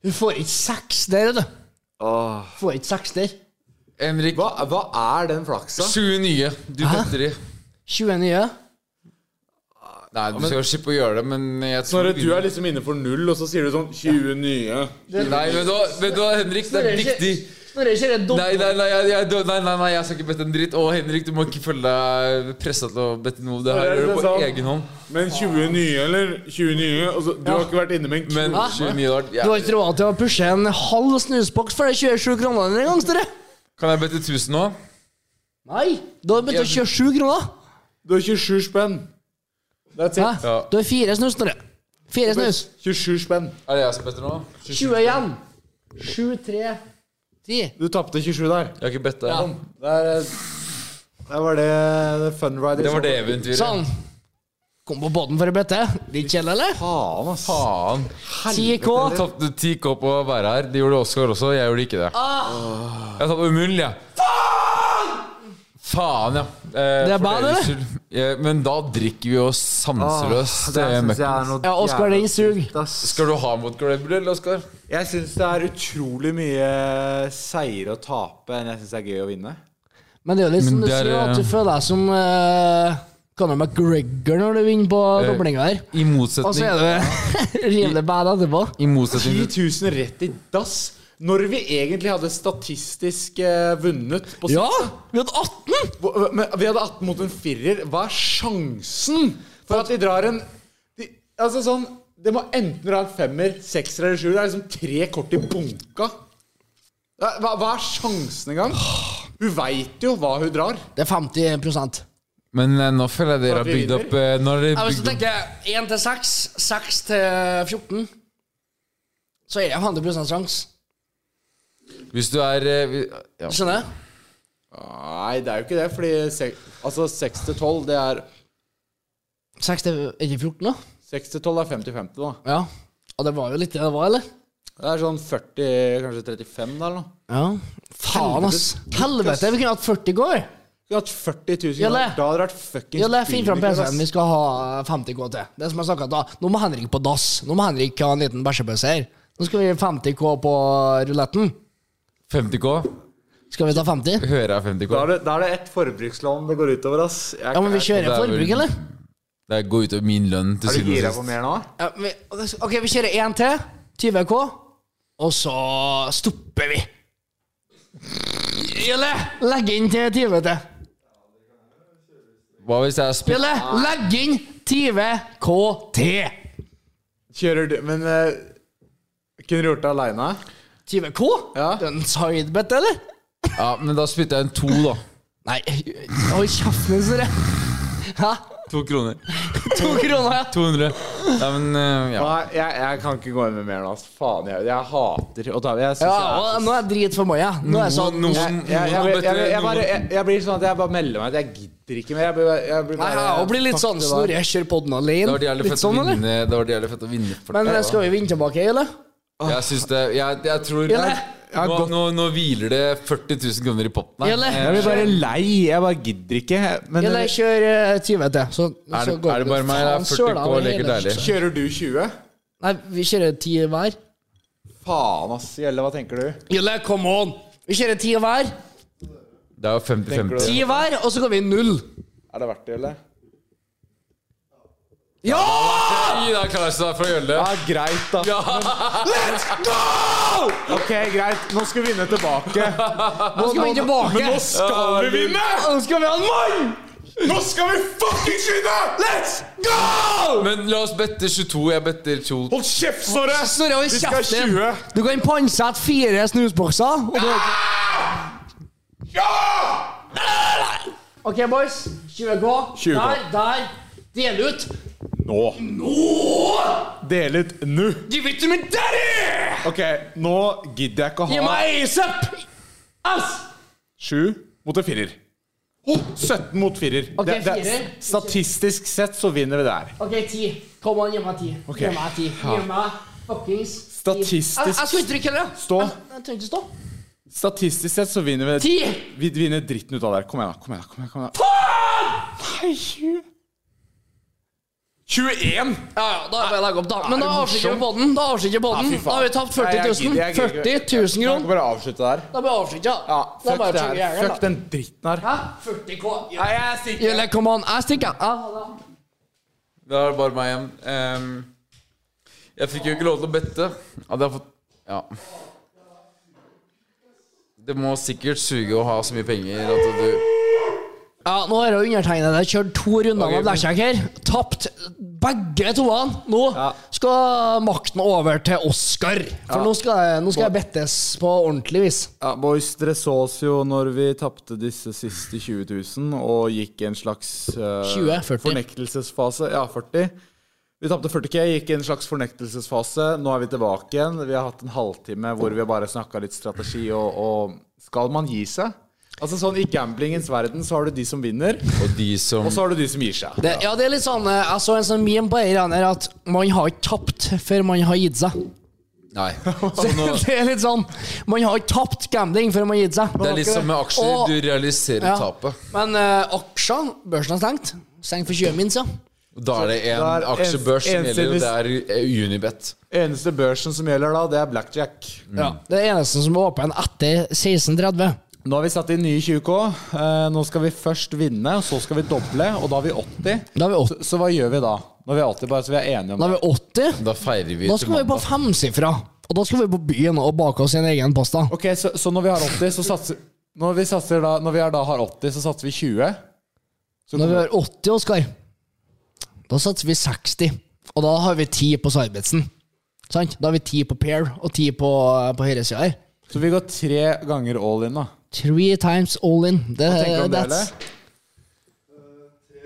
[SPEAKER 5] Du får ikke seks der, vet du.
[SPEAKER 3] Åh.
[SPEAKER 5] Får ikke seks der.
[SPEAKER 4] Henrik,
[SPEAKER 3] Hva, hva er den flaksa?
[SPEAKER 4] 29. Du bøtter i.
[SPEAKER 5] 20 nye.
[SPEAKER 4] Nei, du skal jo slippe å gjøre det, men jeg tror
[SPEAKER 3] Snorre, du er liksom inne for null, og så sier du sånn 20 nye.
[SPEAKER 4] Nei, vet du, hva- vet du hva, Henrik? Det er viktig.
[SPEAKER 5] Snorre kjører
[SPEAKER 4] Nei,
[SPEAKER 5] dobbelt.
[SPEAKER 4] nei, nei, jeg, jeg, nei, nei, nei, jeg skal ikke bette en dritt. Å, Henrik, du må ikke føle deg pressa til å bette noe. Det her
[SPEAKER 3] Det er
[SPEAKER 4] gjør du på
[SPEAKER 3] sant.
[SPEAKER 4] egen hånd.
[SPEAKER 3] Men 20 nye, eller? 20 nye? Altså, du har ikke vært inne med en
[SPEAKER 4] Men
[SPEAKER 5] Hæ?
[SPEAKER 4] 29 år
[SPEAKER 5] Du
[SPEAKER 4] ja.
[SPEAKER 5] har ikke råd til å pushe en halv snusboks for de 27 kronene dine engang, Snorre.
[SPEAKER 4] Kan jeg bette 1000 nå?
[SPEAKER 5] Nei, du har begynt å kjøre 7 kroner.
[SPEAKER 3] Du har 27 spenn. That's
[SPEAKER 5] Hæ?
[SPEAKER 3] it.
[SPEAKER 4] Ja.
[SPEAKER 5] Du har fire snus, Snorre. Fire snus.
[SPEAKER 3] 27 spenn.
[SPEAKER 4] Er det jeg som better nå?
[SPEAKER 5] 20 igjen. 7, 3, 10.
[SPEAKER 3] Du tapte 27 der.
[SPEAKER 4] Jeg har ikke bedt deg.
[SPEAKER 3] Der, eh, der var det eh, det fun liksom. rider.
[SPEAKER 4] Det var det eventyret.
[SPEAKER 5] Sånn. Kom på båten for å bøtte. Litt kjedelig, eller?
[SPEAKER 3] Faen, ass.
[SPEAKER 4] Faen.
[SPEAKER 5] 10K.
[SPEAKER 4] Tapte 10K på å være her.
[SPEAKER 3] Ah.
[SPEAKER 4] Det gjorde Oskar også. Jeg gjorde ikke det. Jeg tapte med munnen, jeg. Faen, ja. Eh,
[SPEAKER 5] Det er
[SPEAKER 4] for
[SPEAKER 5] bad,
[SPEAKER 4] deres
[SPEAKER 5] eller?
[SPEAKER 4] skyld. Eh, men da drikker vi jo sanseløst.
[SPEAKER 3] Det
[SPEAKER 4] eh,
[SPEAKER 3] synes
[SPEAKER 4] møkk.
[SPEAKER 3] jeg er noe
[SPEAKER 5] Ja, Oscar,
[SPEAKER 3] jævla
[SPEAKER 5] den sug.
[SPEAKER 3] sykt, ass.
[SPEAKER 4] Skal du ha mot Grable, eller, Oskar?
[SPEAKER 3] Jeg syns det er utrolig mye seier å tape enn jeg syns det er gøy å vinne.
[SPEAKER 5] Men det er jo litt som
[SPEAKER 4] Men
[SPEAKER 5] du
[SPEAKER 4] det er,
[SPEAKER 5] sier,
[SPEAKER 4] eh,
[SPEAKER 5] at du føler deg som uh, Conor McGregor når du vinner på
[SPEAKER 4] Eh,
[SPEAKER 5] doblinga her.
[SPEAKER 4] I
[SPEAKER 5] Og så
[SPEAKER 4] motsetning,
[SPEAKER 5] er du rimelig bad etterpå.
[SPEAKER 4] i motsetning
[SPEAKER 3] 10
[SPEAKER 4] til
[SPEAKER 3] 000 rett i dass! Når vi egentlig hadde statistisk eh, vunnet på
[SPEAKER 5] Ja!
[SPEAKER 3] siste.
[SPEAKER 5] Vi hadde 18!
[SPEAKER 3] Hvor- Men vi hadde 18 mot en firer. Hva er sjansen for at de drar en de, Altså sånn Det må enten dra en femmer, sekser eller sjuer. Det er liksom tre kort i bunka. Hva, hva- hva er sjansen engang? Hun veit jo hva hun drar.
[SPEAKER 5] Det er 50
[SPEAKER 4] Men eh, nå føler jeg dere har
[SPEAKER 3] At vi
[SPEAKER 4] bygd opp eh, Nå har
[SPEAKER 5] Ja,
[SPEAKER 4] dere
[SPEAKER 5] Hvis du
[SPEAKER 4] bygd opp
[SPEAKER 5] tenker 1 til 6, 6 til 14, så er det 100 sjanse.
[SPEAKER 4] Hvis du er eh, vi- ja.
[SPEAKER 5] Skjønner jeg?
[SPEAKER 3] Nei, det er jo ikke det, fordi sek, altså 6 til 12, det er
[SPEAKER 5] 6 til er det 14, da?
[SPEAKER 3] 6 til 12 er 50-50, da.
[SPEAKER 5] Ja. Og det var jo litt det det var, eller?
[SPEAKER 3] Det er sånn 40, kanskje 35 da, eller noe.
[SPEAKER 5] Ja. Faen, ass. Helvete, vi kunne hatt 40 i går.
[SPEAKER 3] Vi har hatt 40 000
[SPEAKER 5] Jalle.
[SPEAKER 3] kroner. Da hadde det vært fuckings
[SPEAKER 5] Ja, det er fint fram
[SPEAKER 3] billig, ass.
[SPEAKER 5] PC-en. Vi skal ha 50 K til. Det er som jeg snakket da. Nå må Henrik på dass. Nå må Henrik ha en liten bæsjepause her. Nå skal vi gi 50 K på ruletten.
[SPEAKER 4] 50K?
[SPEAKER 5] Skal vi ta 50?
[SPEAKER 4] Hører jeg 50K?
[SPEAKER 3] Da er det, da er det ett forbrukslån det går utover, ass. Jeg,
[SPEAKER 5] Ja, men vi
[SPEAKER 4] Det
[SPEAKER 5] kjører
[SPEAKER 4] er vel-
[SPEAKER 5] forbruk, eller?
[SPEAKER 4] Det går ut over min lønn til
[SPEAKER 3] er du
[SPEAKER 4] syvende
[SPEAKER 3] gira
[SPEAKER 4] og
[SPEAKER 3] på
[SPEAKER 4] sist.
[SPEAKER 3] mer nå?
[SPEAKER 5] Ja, vi, ok, vi kjører én til. 20 K. Og så stopper vi. Jelle, legg inn til 20 til.
[SPEAKER 4] Hva hvis jeg er spilt?
[SPEAKER 5] Jelle, legg inn 20 K til.
[SPEAKER 3] Kjører du Men eh, kunne du gjort det aleine?
[SPEAKER 5] 20 K?
[SPEAKER 3] Ja.
[SPEAKER 5] Det er en sidebet, eller?
[SPEAKER 4] Ja, men da spytter jeg en to, da.
[SPEAKER 5] Nei, hold kjeften din, Snorre. Hæ?
[SPEAKER 4] To kroner.
[SPEAKER 5] To kroner, ja.
[SPEAKER 4] 200. Nei, men eh, ja.
[SPEAKER 3] Nei, jeg, jeg kan ikke gå inn med mer nå. ass. Faen, jeg, jeg hater å ta Jeg synes
[SPEAKER 5] Ja,
[SPEAKER 3] jeg er-
[SPEAKER 5] og nå er jeg drit for meg, ja. Nå er jeg sånn
[SPEAKER 4] Noen-
[SPEAKER 3] jeg,
[SPEAKER 4] noen-
[SPEAKER 3] jeg, jeg,
[SPEAKER 4] noen
[SPEAKER 3] jeg,
[SPEAKER 4] har
[SPEAKER 3] jeg,
[SPEAKER 4] bedt-
[SPEAKER 3] jeg, bare- jeg, jeg blir sånn at jeg bare melder meg ut. Jeg gidder ikke mer. Jeg blir, jeg blir
[SPEAKER 5] Nei,
[SPEAKER 3] bare
[SPEAKER 5] ja, og blir litt sånn Snorre, jeg kjører podden
[SPEAKER 4] Det var
[SPEAKER 5] alene.
[SPEAKER 4] jævlig
[SPEAKER 5] Litt
[SPEAKER 4] fett å
[SPEAKER 5] sånn, eller?
[SPEAKER 4] vinne. Det var jævlig fett å vinne for
[SPEAKER 5] Men
[SPEAKER 4] deg,
[SPEAKER 5] eh,
[SPEAKER 4] da.
[SPEAKER 5] skal vi vinne tilbake, eller?
[SPEAKER 4] Jeg syns det Jeg, jeg tror
[SPEAKER 5] Jelle!
[SPEAKER 4] nå, nå, nå hviler det 40 000 kroner i potten her.
[SPEAKER 5] Jelle!
[SPEAKER 3] Jeg blir bare lei. Jeg bare gidder ikke. Men eh,
[SPEAKER 5] Eller jeg kjører 20 til. Så,
[SPEAKER 4] Er
[SPEAKER 5] så
[SPEAKER 4] det-
[SPEAKER 5] går
[SPEAKER 4] er det bare meg, eller er
[SPEAKER 5] Faen,
[SPEAKER 4] 40
[SPEAKER 5] søla,
[SPEAKER 4] K
[SPEAKER 5] men
[SPEAKER 4] leker
[SPEAKER 5] hele-
[SPEAKER 4] deilig?
[SPEAKER 3] kjører du 20?
[SPEAKER 5] Nei, vi kjører 10 hver.
[SPEAKER 3] Faen, ass. Gjelle, hva tenker du?
[SPEAKER 5] Jelle, come on! Vi kjører 10 hver.
[SPEAKER 4] Det er jo 50-50.
[SPEAKER 5] 10 hver, og så går vi i null.
[SPEAKER 3] Er det verdt det, eller?
[SPEAKER 5] Ja!
[SPEAKER 4] Gi deg Klaus da, for å gjøre det.
[SPEAKER 3] Ja, greit, da. Let's go! Ok, greit. Nå skal vi vinne tilbake.
[SPEAKER 5] Nå skal vi tilbake. Men nå
[SPEAKER 3] Skal vi vinne?
[SPEAKER 5] Nå skal vi ha en mann!
[SPEAKER 3] Nå skal vi fuckings vinne! Let's go!
[SPEAKER 4] Men la oss bette 22. Jeg better 2.
[SPEAKER 3] Hold kjeft, Snorre!
[SPEAKER 5] Snorre, hold
[SPEAKER 3] Vi skal
[SPEAKER 5] kjeften.
[SPEAKER 3] 20.
[SPEAKER 5] Du kan pantsette fire snusbokser. Og du... OK, boys. 20 K.
[SPEAKER 3] 20 K.
[SPEAKER 5] Der, der. Del ut.
[SPEAKER 3] Nå. Nå! Del ut nå.
[SPEAKER 5] Give it to me, daddy!
[SPEAKER 3] Ok, nå gidder jeg ikke
[SPEAKER 5] Gi
[SPEAKER 3] å ha
[SPEAKER 5] meg ASAP! Ass!
[SPEAKER 3] sju mot en firer. Oh, 17 mot firer.
[SPEAKER 5] Ok,
[SPEAKER 3] Det- det-
[SPEAKER 5] firer.
[SPEAKER 3] Statistisk sett så vinner vi der.
[SPEAKER 5] OK, ti. Kom an, gi meg ti.
[SPEAKER 3] Ok.
[SPEAKER 5] Gi meg ti. Gi meg fuckings ti.
[SPEAKER 3] Statistisk-
[SPEAKER 5] Jeg, jeg skal ikke trykke heller.
[SPEAKER 3] Stå.
[SPEAKER 5] Jeg, jeg trenger ikke stå.
[SPEAKER 3] Statistisk sett så vinner vi
[SPEAKER 5] Ti!
[SPEAKER 3] Vi vinner dritten ut av det her. Kom igjen, da. Kom igjen, da, kom igjen, kom igjen. Faen! Nei, 21!
[SPEAKER 5] Ja, ja, da må jeg legge opp, da. Men da avslutter vi podden. Da avslutter vi podden.
[SPEAKER 3] Ja, fy faen.
[SPEAKER 5] Da Mm. har vi tapt
[SPEAKER 3] Nei,
[SPEAKER 5] 40 000.
[SPEAKER 3] jeg gidder- jeg gidder
[SPEAKER 5] 40
[SPEAKER 3] ikke.
[SPEAKER 5] 000
[SPEAKER 3] Kan
[SPEAKER 5] kroner.
[SPEAKER 3] vi bare avslutte der?
[SPEAKER 5] Da blir jeg avsluttet.
[SPEAKER 3] Ja,
[SPEAKER 5] da
[SPEAKER 3] fuck,
[SPEAKER 5] bare
[SPEAKER 3] det her.
[SPEAKER 5] trykker jeg her,
[SPEAKER 3] fuck
[SPEAKER 5] da.
[SPEAKER 3] den dritten her.
[SPEAKER 5] Hæ? 40 K.
[SPEAKER 3] Nei, jeg stikker.
[SPEAKER 5] Jelle, come on. Jeg stikker. Ja, ha det.
[SPEAKER 4] Da er det bare meg igjen. Ehm, jeg fikk jo ikke lov til å bette. Hadde jeg fått Ja. Det må sikkert suge å ha så mye penger at du
[SPEAKER 5] Ja, nå har jo undertegnede kjørt to runder
[SPEAKER 4] Ok,
[SPEAKER 5] med blackjack her. Tapt begge toene. Nå skal makten over til Oscar. For nå skal, jeg- nå skal jeg bettes på ordentlig vis.
[SPEAKER 3] Ja, boys, dere så oss jo når vi tapte disse siste 20 000 og gikk i en slags eh,
[SPEAKER 5] 20, 40.
[SPEAKER 3] fornektelsesfase. Ja, 40. Vi tapte 40K, gikk i en slags fornektelsesfase. Nå er vi tilbake igjen. Vi har hatt en halvtime hvor vi bare snakka litt strategi og, og Skal man gi seg? Altså sånn I gamblingens verden så har du de som vinner,
[SPEAKER 4] Og de som
[SPEAKER 3] og så har du de som gir seg.
[SPEAKER 5] Det, ja, det er litt sånn eh, Jeg så en sånn meme på Eiran her at man har ikke tapt før man har gitt seg.
[SPEAKER 4] Nei.
[SPEAKER 5] Så det er litt sånn Man har ikke tapt gambling før man har gitt seg.
[SPEAKER 4] Det er litt som med aksjer.
[SPEAKER 5] Og-
[SPEAKER 4] Du realiserer
[SPEAKER 5] Ja.
[SPEAKER 4] tapet.
[SPEAKER 5] Men eh, aksjene Børsen er stengt. Stengt for 20 min, så.
[SPEAKER 4] Da er det en
[SPEAKER 3] Da er en-
[SPEAKER 4] aksjebørs som
[SPEAKER 3] en
[SPEAKER 4] gjelder, og det
[SPEAKER 3] service-
[SPEAKER 4] er eh, Unibet.
[SPEAKER 3] Eneste børsen som gjelder da, det er blackjack.
[SPEAKER 5] Ja. Det er det eneste som er åpen etter 16.30.
[SPEAKER 3] Nå har vi satt inn nye 20K. Eh, Nå skal vi først vinne, og så skal vi doble, og da har vi 80.
[SPEAKER 5] Da er vi
[SPEAKER 3] Så,
[SPEAKER 5] 80.
[SPEAKER 3] så hva gjør vi da? Når vi er 80, bare så vi er enige om det.
[SPEAKER 5] Da, er vi 80.
[SPEAKER 4] Da feirer vi
[SPEAKER 5] da
[SPEAKER 4] til
[SPEAKER 5] skal vi på
[SPEAKER 4] mandag.
[SPEAKER 5] femsifra. Og da skal vi på byen og bake oss en egen pasta.
[SPEAKER 3] Ok, så, så når vi har 80, så satser Når vi, satser da, når vi er da har 80, så satser vi 20. Så
[SPEAKER 5] Når vi
[SPEAKER 3] kommer-
[SPEAKER 5] har 80, Oskar, da satser vi 60. Og da har vi 10 på Sarbetzen. Sant? Da har vi 10 på Pair og 10 på, eh, på høyresida her.
[SPEAKER 3] så vi går tre ganger all in, da.
[SPEAKER 5] Three times all in. Det,
[SPEAKER 3] Hva tenker du om det,
[SPEAKER 5] that's-
[SPEAKER 3] eller?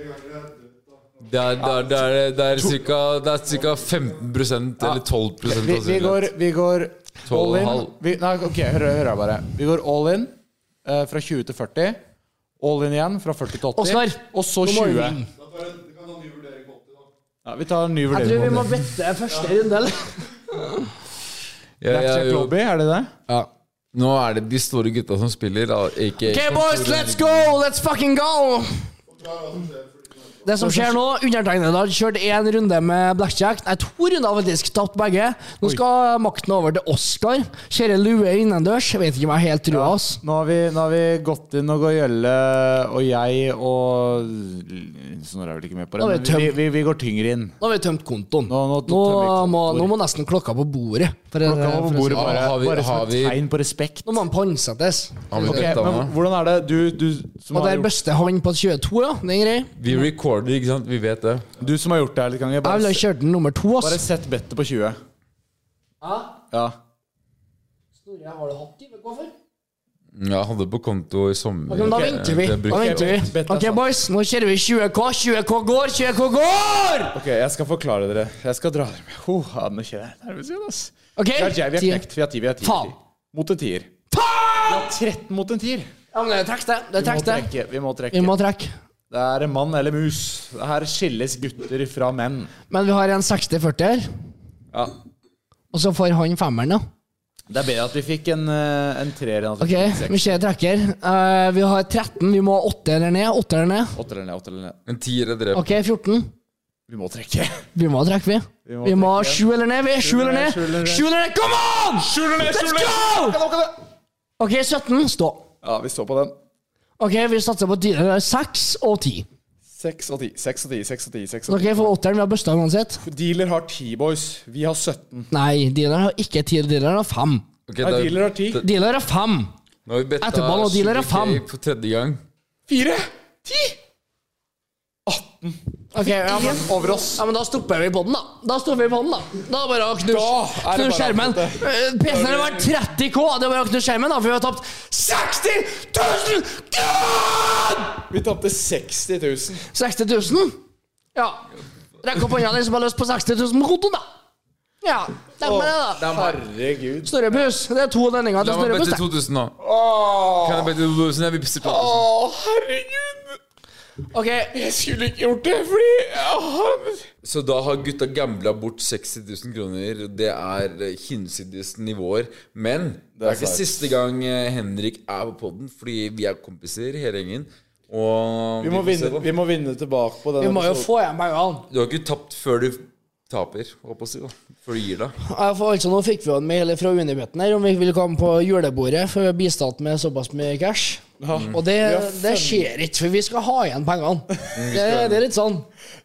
[SPEAKER 4] Det er, det er, det er, det er, cirka, det er cirka 15 eller 12
[SPEAKER 3] Vi, vi går, vi går
[SPEAKER 4] og
[SPEAKER 3] all in.
[SPEAKER 4] halv.
[SPEAKER 3] Vi, nei, ok, hør, hør her bare. Vi går all in eh, fra 20 til 40. All in igjen fra 40 til 80.
[SPEAKER 5] Oskar,
[SPEAKER 3] og så
[SPEAKER 5] nå må vi
[SPEAKER 3] 20.
[SPEAKER 5] vinne.
[SPEAKER 3] Ja, vi tar en ny
[SPEAKER 5] Jeg tror vi
[SPEAKER 3] vurdering.
[SPEAKER 5] må vette første runde, eller?
[SPEAKER 4] Ja, ja,
[SPEAKER 3] Blackjack
[SPEAKER 4] jo.
[SPEAKER 3] lobby, er det det?
[SPEAKER 4] Nå er det de store gutta som spiller. Da. Ikke,
[SPEAKER 5] Okay, boys, let's go! Let's fucking go! Det som skjer nå, undertegnede har kjørt én runde med blackjack. Nei, to runder faktisk. Tapt begge. Nå skal makten over til Oscar. Kjører lue innendørs. Jeg vet ikke om jeg helt trua oss.
[SPEAKER 3] Nå har vi, nå har vi gått inn og går gjølle, og jeg og Sånn er jeg vel ikke med på det.
[SPEAKER 5] Nå er
[SPEAKER 3] Men
[SPEAKER 5] det
[SPEAKER 3] vi,
[SPEAKER 5] tømt.
[SPEAKER 3] vi, vi går tyngre inn.
[SPEAKER 5] Nå har vi tømt kontoen. Nå,
[SPEAKER 3] Nå- nå tømmer vi kontoen.
[SPEAKER 5] må, nå må nesten klokka på bordet. For,
[SPEAKER 3] Klokka var på
[SPEAKER 5] for,
[SPEAKER 3] bordet
[SPEAKER 4] Ja,
[SPEAKER 3] bare,
[SPEAKER 4] har vi-
[SPEAKER 3] bare som
[SPEAKER 4] har
[SPEAKER 3] et
[SPEAKER 4] vi-
[SPEAKER 3] tegn på respekt.
[SPEAKER 5] nå må han pantsettes.
[SPEAKER 4] Har vi
[SPEAKER 3] Ok,
[SPEAKER 4] bøtta
[SPEAKER 3] men
[SPEAKER 4] nå?
[SPEAKER 3] hvordan er det du, du, som
[SPEAKER 5] Og
[SPEAKER 3] har
[SPEAKER 5] der
[SPEAKER 3] gjort,
[SPEAKER 5] bøster han på 22, ja. Det er grei.
[SPEAKER 4] Vi recorder, ikke sant? Vi vet det.
[SPEAKER 3] du som har gjort det her litt ganger,
[SPEAKER 5] Jeg ville
[SPEAKER 3] bare,
[SPEAKER 5] ha kjørt den nummer to,
[SPEAKER 3] bare
[SPEAKER 5] ass.
[SPEAKER 3] sett bettet på 20. Ja.
[SPEAKER 5] Snorre, har du hatt i? Hvorfor?
[SPEAKER 4] Ja, Mm, jeg hadde det på konto i sommer.
[SPEAKER 5] Ok, men da venter vi.
[SPEAKER 4] Det brukte
[SPEAKER 5] Da
[SPEAKER 4] jeg
[SPEAKER 5] venter vi.
[SPEAKER 3] Bett er
[SPEAKER 5] Ok,
[SPEAKER 3] sant.
[SPEAKER 5] boys, nå kjører vi 20K. 20K går, 20K går!
[SPEAKER 3] Ok, jeg skal forklare dere. Jeg skal dra dere med. Oh, ja, nå kjenner jeg nervøs igjen, ass.
[SPEAKER 5] Ok?
[SPEAKER 3] Vi har vi har
[SPEAKER 5] Ti-
[SPEAKER 3] knekt. Vi har ti, vi har ti.
[SPEAKER 5] Faen.
[SPEAKER 3] Mot en tier.
[SPEAKER 5] Faen!
[SPEAKER 3] 13 mot en tier.
[SPEAKER 5] Ja, men det er trekk, det. Det er
[SPEAKER 3] Vi må
[SPEAKER 5] trekk, det.
[SPEAKER 3] trekke. Vi må trekke.
[SPEAKER 5] Vi må trekke.
[SPEAKER 3] Det er mann eller mus. Her skilles gutter fra menn.
[SPEAKER 5] Men vi har en 60-40 her.
[SPEAKER 3] Ja.
[SPEAKER 5] Og så får han femmeren, da.
[SPEAKER 3] Det er bedre at vi fikk en, eh, en treer enn at
[SPEAKER 5] Ok,
[SPEAKER 3] vi fikk en
[SPEAKER 5] vi
[SPEAKER 3] seks.
[SPEAKER 5] ser trekker. Eh, vi har 13. Vi må ha 8 eller ned. 8 eller ned.
[SPEAKER 3] Åtter eller ned, åtter eller ned.
[SPEAKER 4] En tier er drept.
[SPEAKER 5] Ok, 14.
[SPEAKER 3] Vi må trekke.
[SPEAKER 5] Vi må trekke, vi.
[SPEAKER 3] må
[SPEAKER 5] Vi må ha
[SPEAKER 3] trekke.
[SPEAKER 5] 7 eller ned. Vi er 7 eller ned.
[SPEAKER 3] sju eller ned.
[SPEAKER 5] 7 eller ned. Come on! Let's go! Ok, 17. Stå.
[SPEAKER 3] Ja, vi står på den.
[SPEAKER 5] Ok, vi satser på 6 og 10.
[SPEAKER 3] Seks og ti, seks og ti, seks og ti. seks og
[SPEAKER 5] Ok, for åtteren, vi har busta uansett.
[SPEAKER 3] ti. Dealer har ti, boys. Vi har 17.
[SPEAKER 5] Nei, dealer har ikke ti, dealer har fem.
[SPEAKER 4] Ok,
[SPEAKER 3] Nei,
[SPEAKER 4] da-
[SPEAKER 3] dealer har ti.
[SPEAKER 5] Dealer har fem.
[SPEAKER 4] Nå har vi betta
[SPEAKER 5] Etterpå, nå dealer er
[SPEAKER 4] 20K
[SPEAKER 5] fem.
[SPEAKER 4] for tredje gang.
[SPEAKER 3] Fire!
[SPEAKER 5] Ok, ja, men,
[SPEAKER 3] Over oss.
[SPEAKER 5] ja, men da stopper vi på den, da. Da stopper vi på den, da. Da er det bare å knuse
[SPEAKER 3] Da er det
[SPEAKER 5] knus
[SPEAKER 3] bare
[SPEAKER 5] skjermen.
[SPEAKER 3] akkurat
[SPEAKER 5] Eh, PC-en har vært 30 K, det er bare å knuse skjermen, da, for vi har tapt 60 000 kroner!
[SPEAKER 3] Vi tapte 60 000.
[SPEAKER 5] 60 000? Ja. Rekk opp hånda de som har lyst på 60 000 på kontoen, da. Ja, stemmer det, da.
[SPEAKER 3] Herregud.
[SPEAKER 5] Snorre Buss. Det er to lønninger
[SPEAKER 4] La
[SPEAKER 5] til
[SPEAKER 4] meg
[SPEAKER 5] Snorre
[SPEAKER 4] bette
[SPEAKER 5] Buss. det.
[SPEAKER 4] 2000 nå. Kan jeg bette 2000? Jeg vippser 2000.
[SPEAKER 3] Å, herregud!
[SPEAKER 5] Ok,
[SPEAKER 3] Jeg skulle ikke gjort det, fordi Åh.
[SPEAKER 4] Så da har gutta gambla bort 60 000 kroner. Det er eh, hinsides nivåer. Men det er ikke siste gang eh, Henrik er på poden, fordi vi er kompiser, hele gjengen. Og
[SPEAKER 3] Vi må,
[SPEAKER 4] se
[SPEAKER 3] vinne,
[SPEAKER 4] hva-
[SPEAKER 3] vi må vinne tilbake på
[SPEAKER 5] vi
[SPEAKER 3] den
[SPEAKER 5] må jo
[SPEAKER 3] episoden.
[SPEAKER 5] få igjen pengene.
[SPEAKER 4] Du har ikke tapt før du taper, håper jeg å si. da Før du gir deg.
[SPEAKER 5] Ja, for altså, nå fikk vi jo en mail fra Unibeten her om vi ville komme på julebordet, for vi har bistatt med såpass mye cash. Og det, det skjer ikke, for vi skal ha igjen
[SPEAKER 3] Mm,
[SPEAKER 5] pengene. Det, det er litt sånn.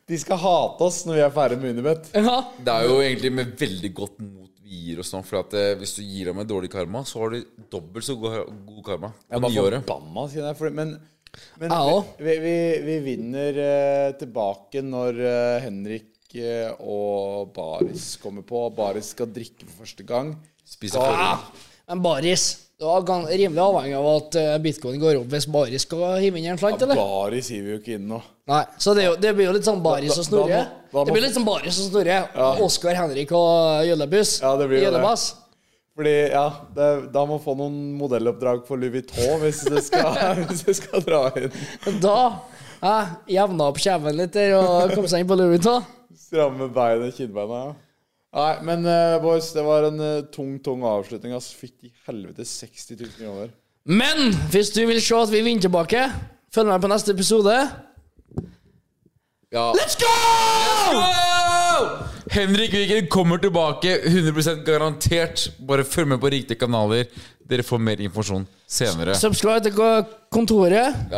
[SPEAKER 3] De skal hate oss når vi er ferdig med Unibet.
[SPEAKER 5] Ja.
[SPEAKER 4] Det er jo egentlig med veldig godt mot vi gir oss nå. For at eh, hvis du gir deg med dårlig karma, så har du dobbelt så god, god karma. På nyåret.
[SPEAKER 3] forbanna, kjenner jeg. For, men men
[SPEAKER 5] Jeg òg.
[SPEAKER 3] vi, vi, vi vinner eh, tilbake når eh, Henrik eh, og Baris kommer på. Baris skal drikke for første gang.
[SPEAKER 4] Spiser forhud.
[SPEAKER 5] Men Baris, du er gan- rimelig avhengig av at eh, bitcoin går opp hvis Baris skal hive inn en slant, eller?
[SPEAKER 3] Baris hiver jo ikke inn nå.
[SPEAKER 5] Nei, så det, er jo, det blir jo litt sånn Baris
[SPEAKER 3] Da- da-
[SPEAKER 5] og
[SPEAKER 3] da
[SPEAKER 5] Snorre.
[SPEAKER 3] må- da må-
[SPEAKER 5] Det blir litt sånn Baris og Snorre. Oskar, Henrik og Gjøllebuss.
[SPEAKER 3] Ja, det blir jo det.
[SPEAKER 5] Gjøllebass.
[SPEAKER 3] Fordi, ja, det, Da må få noen modelloppdrag for Louis Vuitton hvis du skal, hvis du skal dra inn.
[SPEAKER 5] Da eh, jevna opp kjeven litt der og kom seg inn på Louis Vuitton.
[SPEAKER 3] Stramme beina, kinnbeina. ja. Nei, men eh, boys, det var en eh, tung, tung avslutning. ass. Fytti helvete, 60 000 kroner.
[SPEAKER 5] Men hvis du vil se at vi vinner tilbake, følg med på neste episode. Let's go!
[SPEAKER 4] Henrik Viken kommer tilbake 100 garantert. Bare følg med på riktige kanaler. Dere får mer informasjon senere.
[SPEAKER 5] Subscribe til ko- kontoret.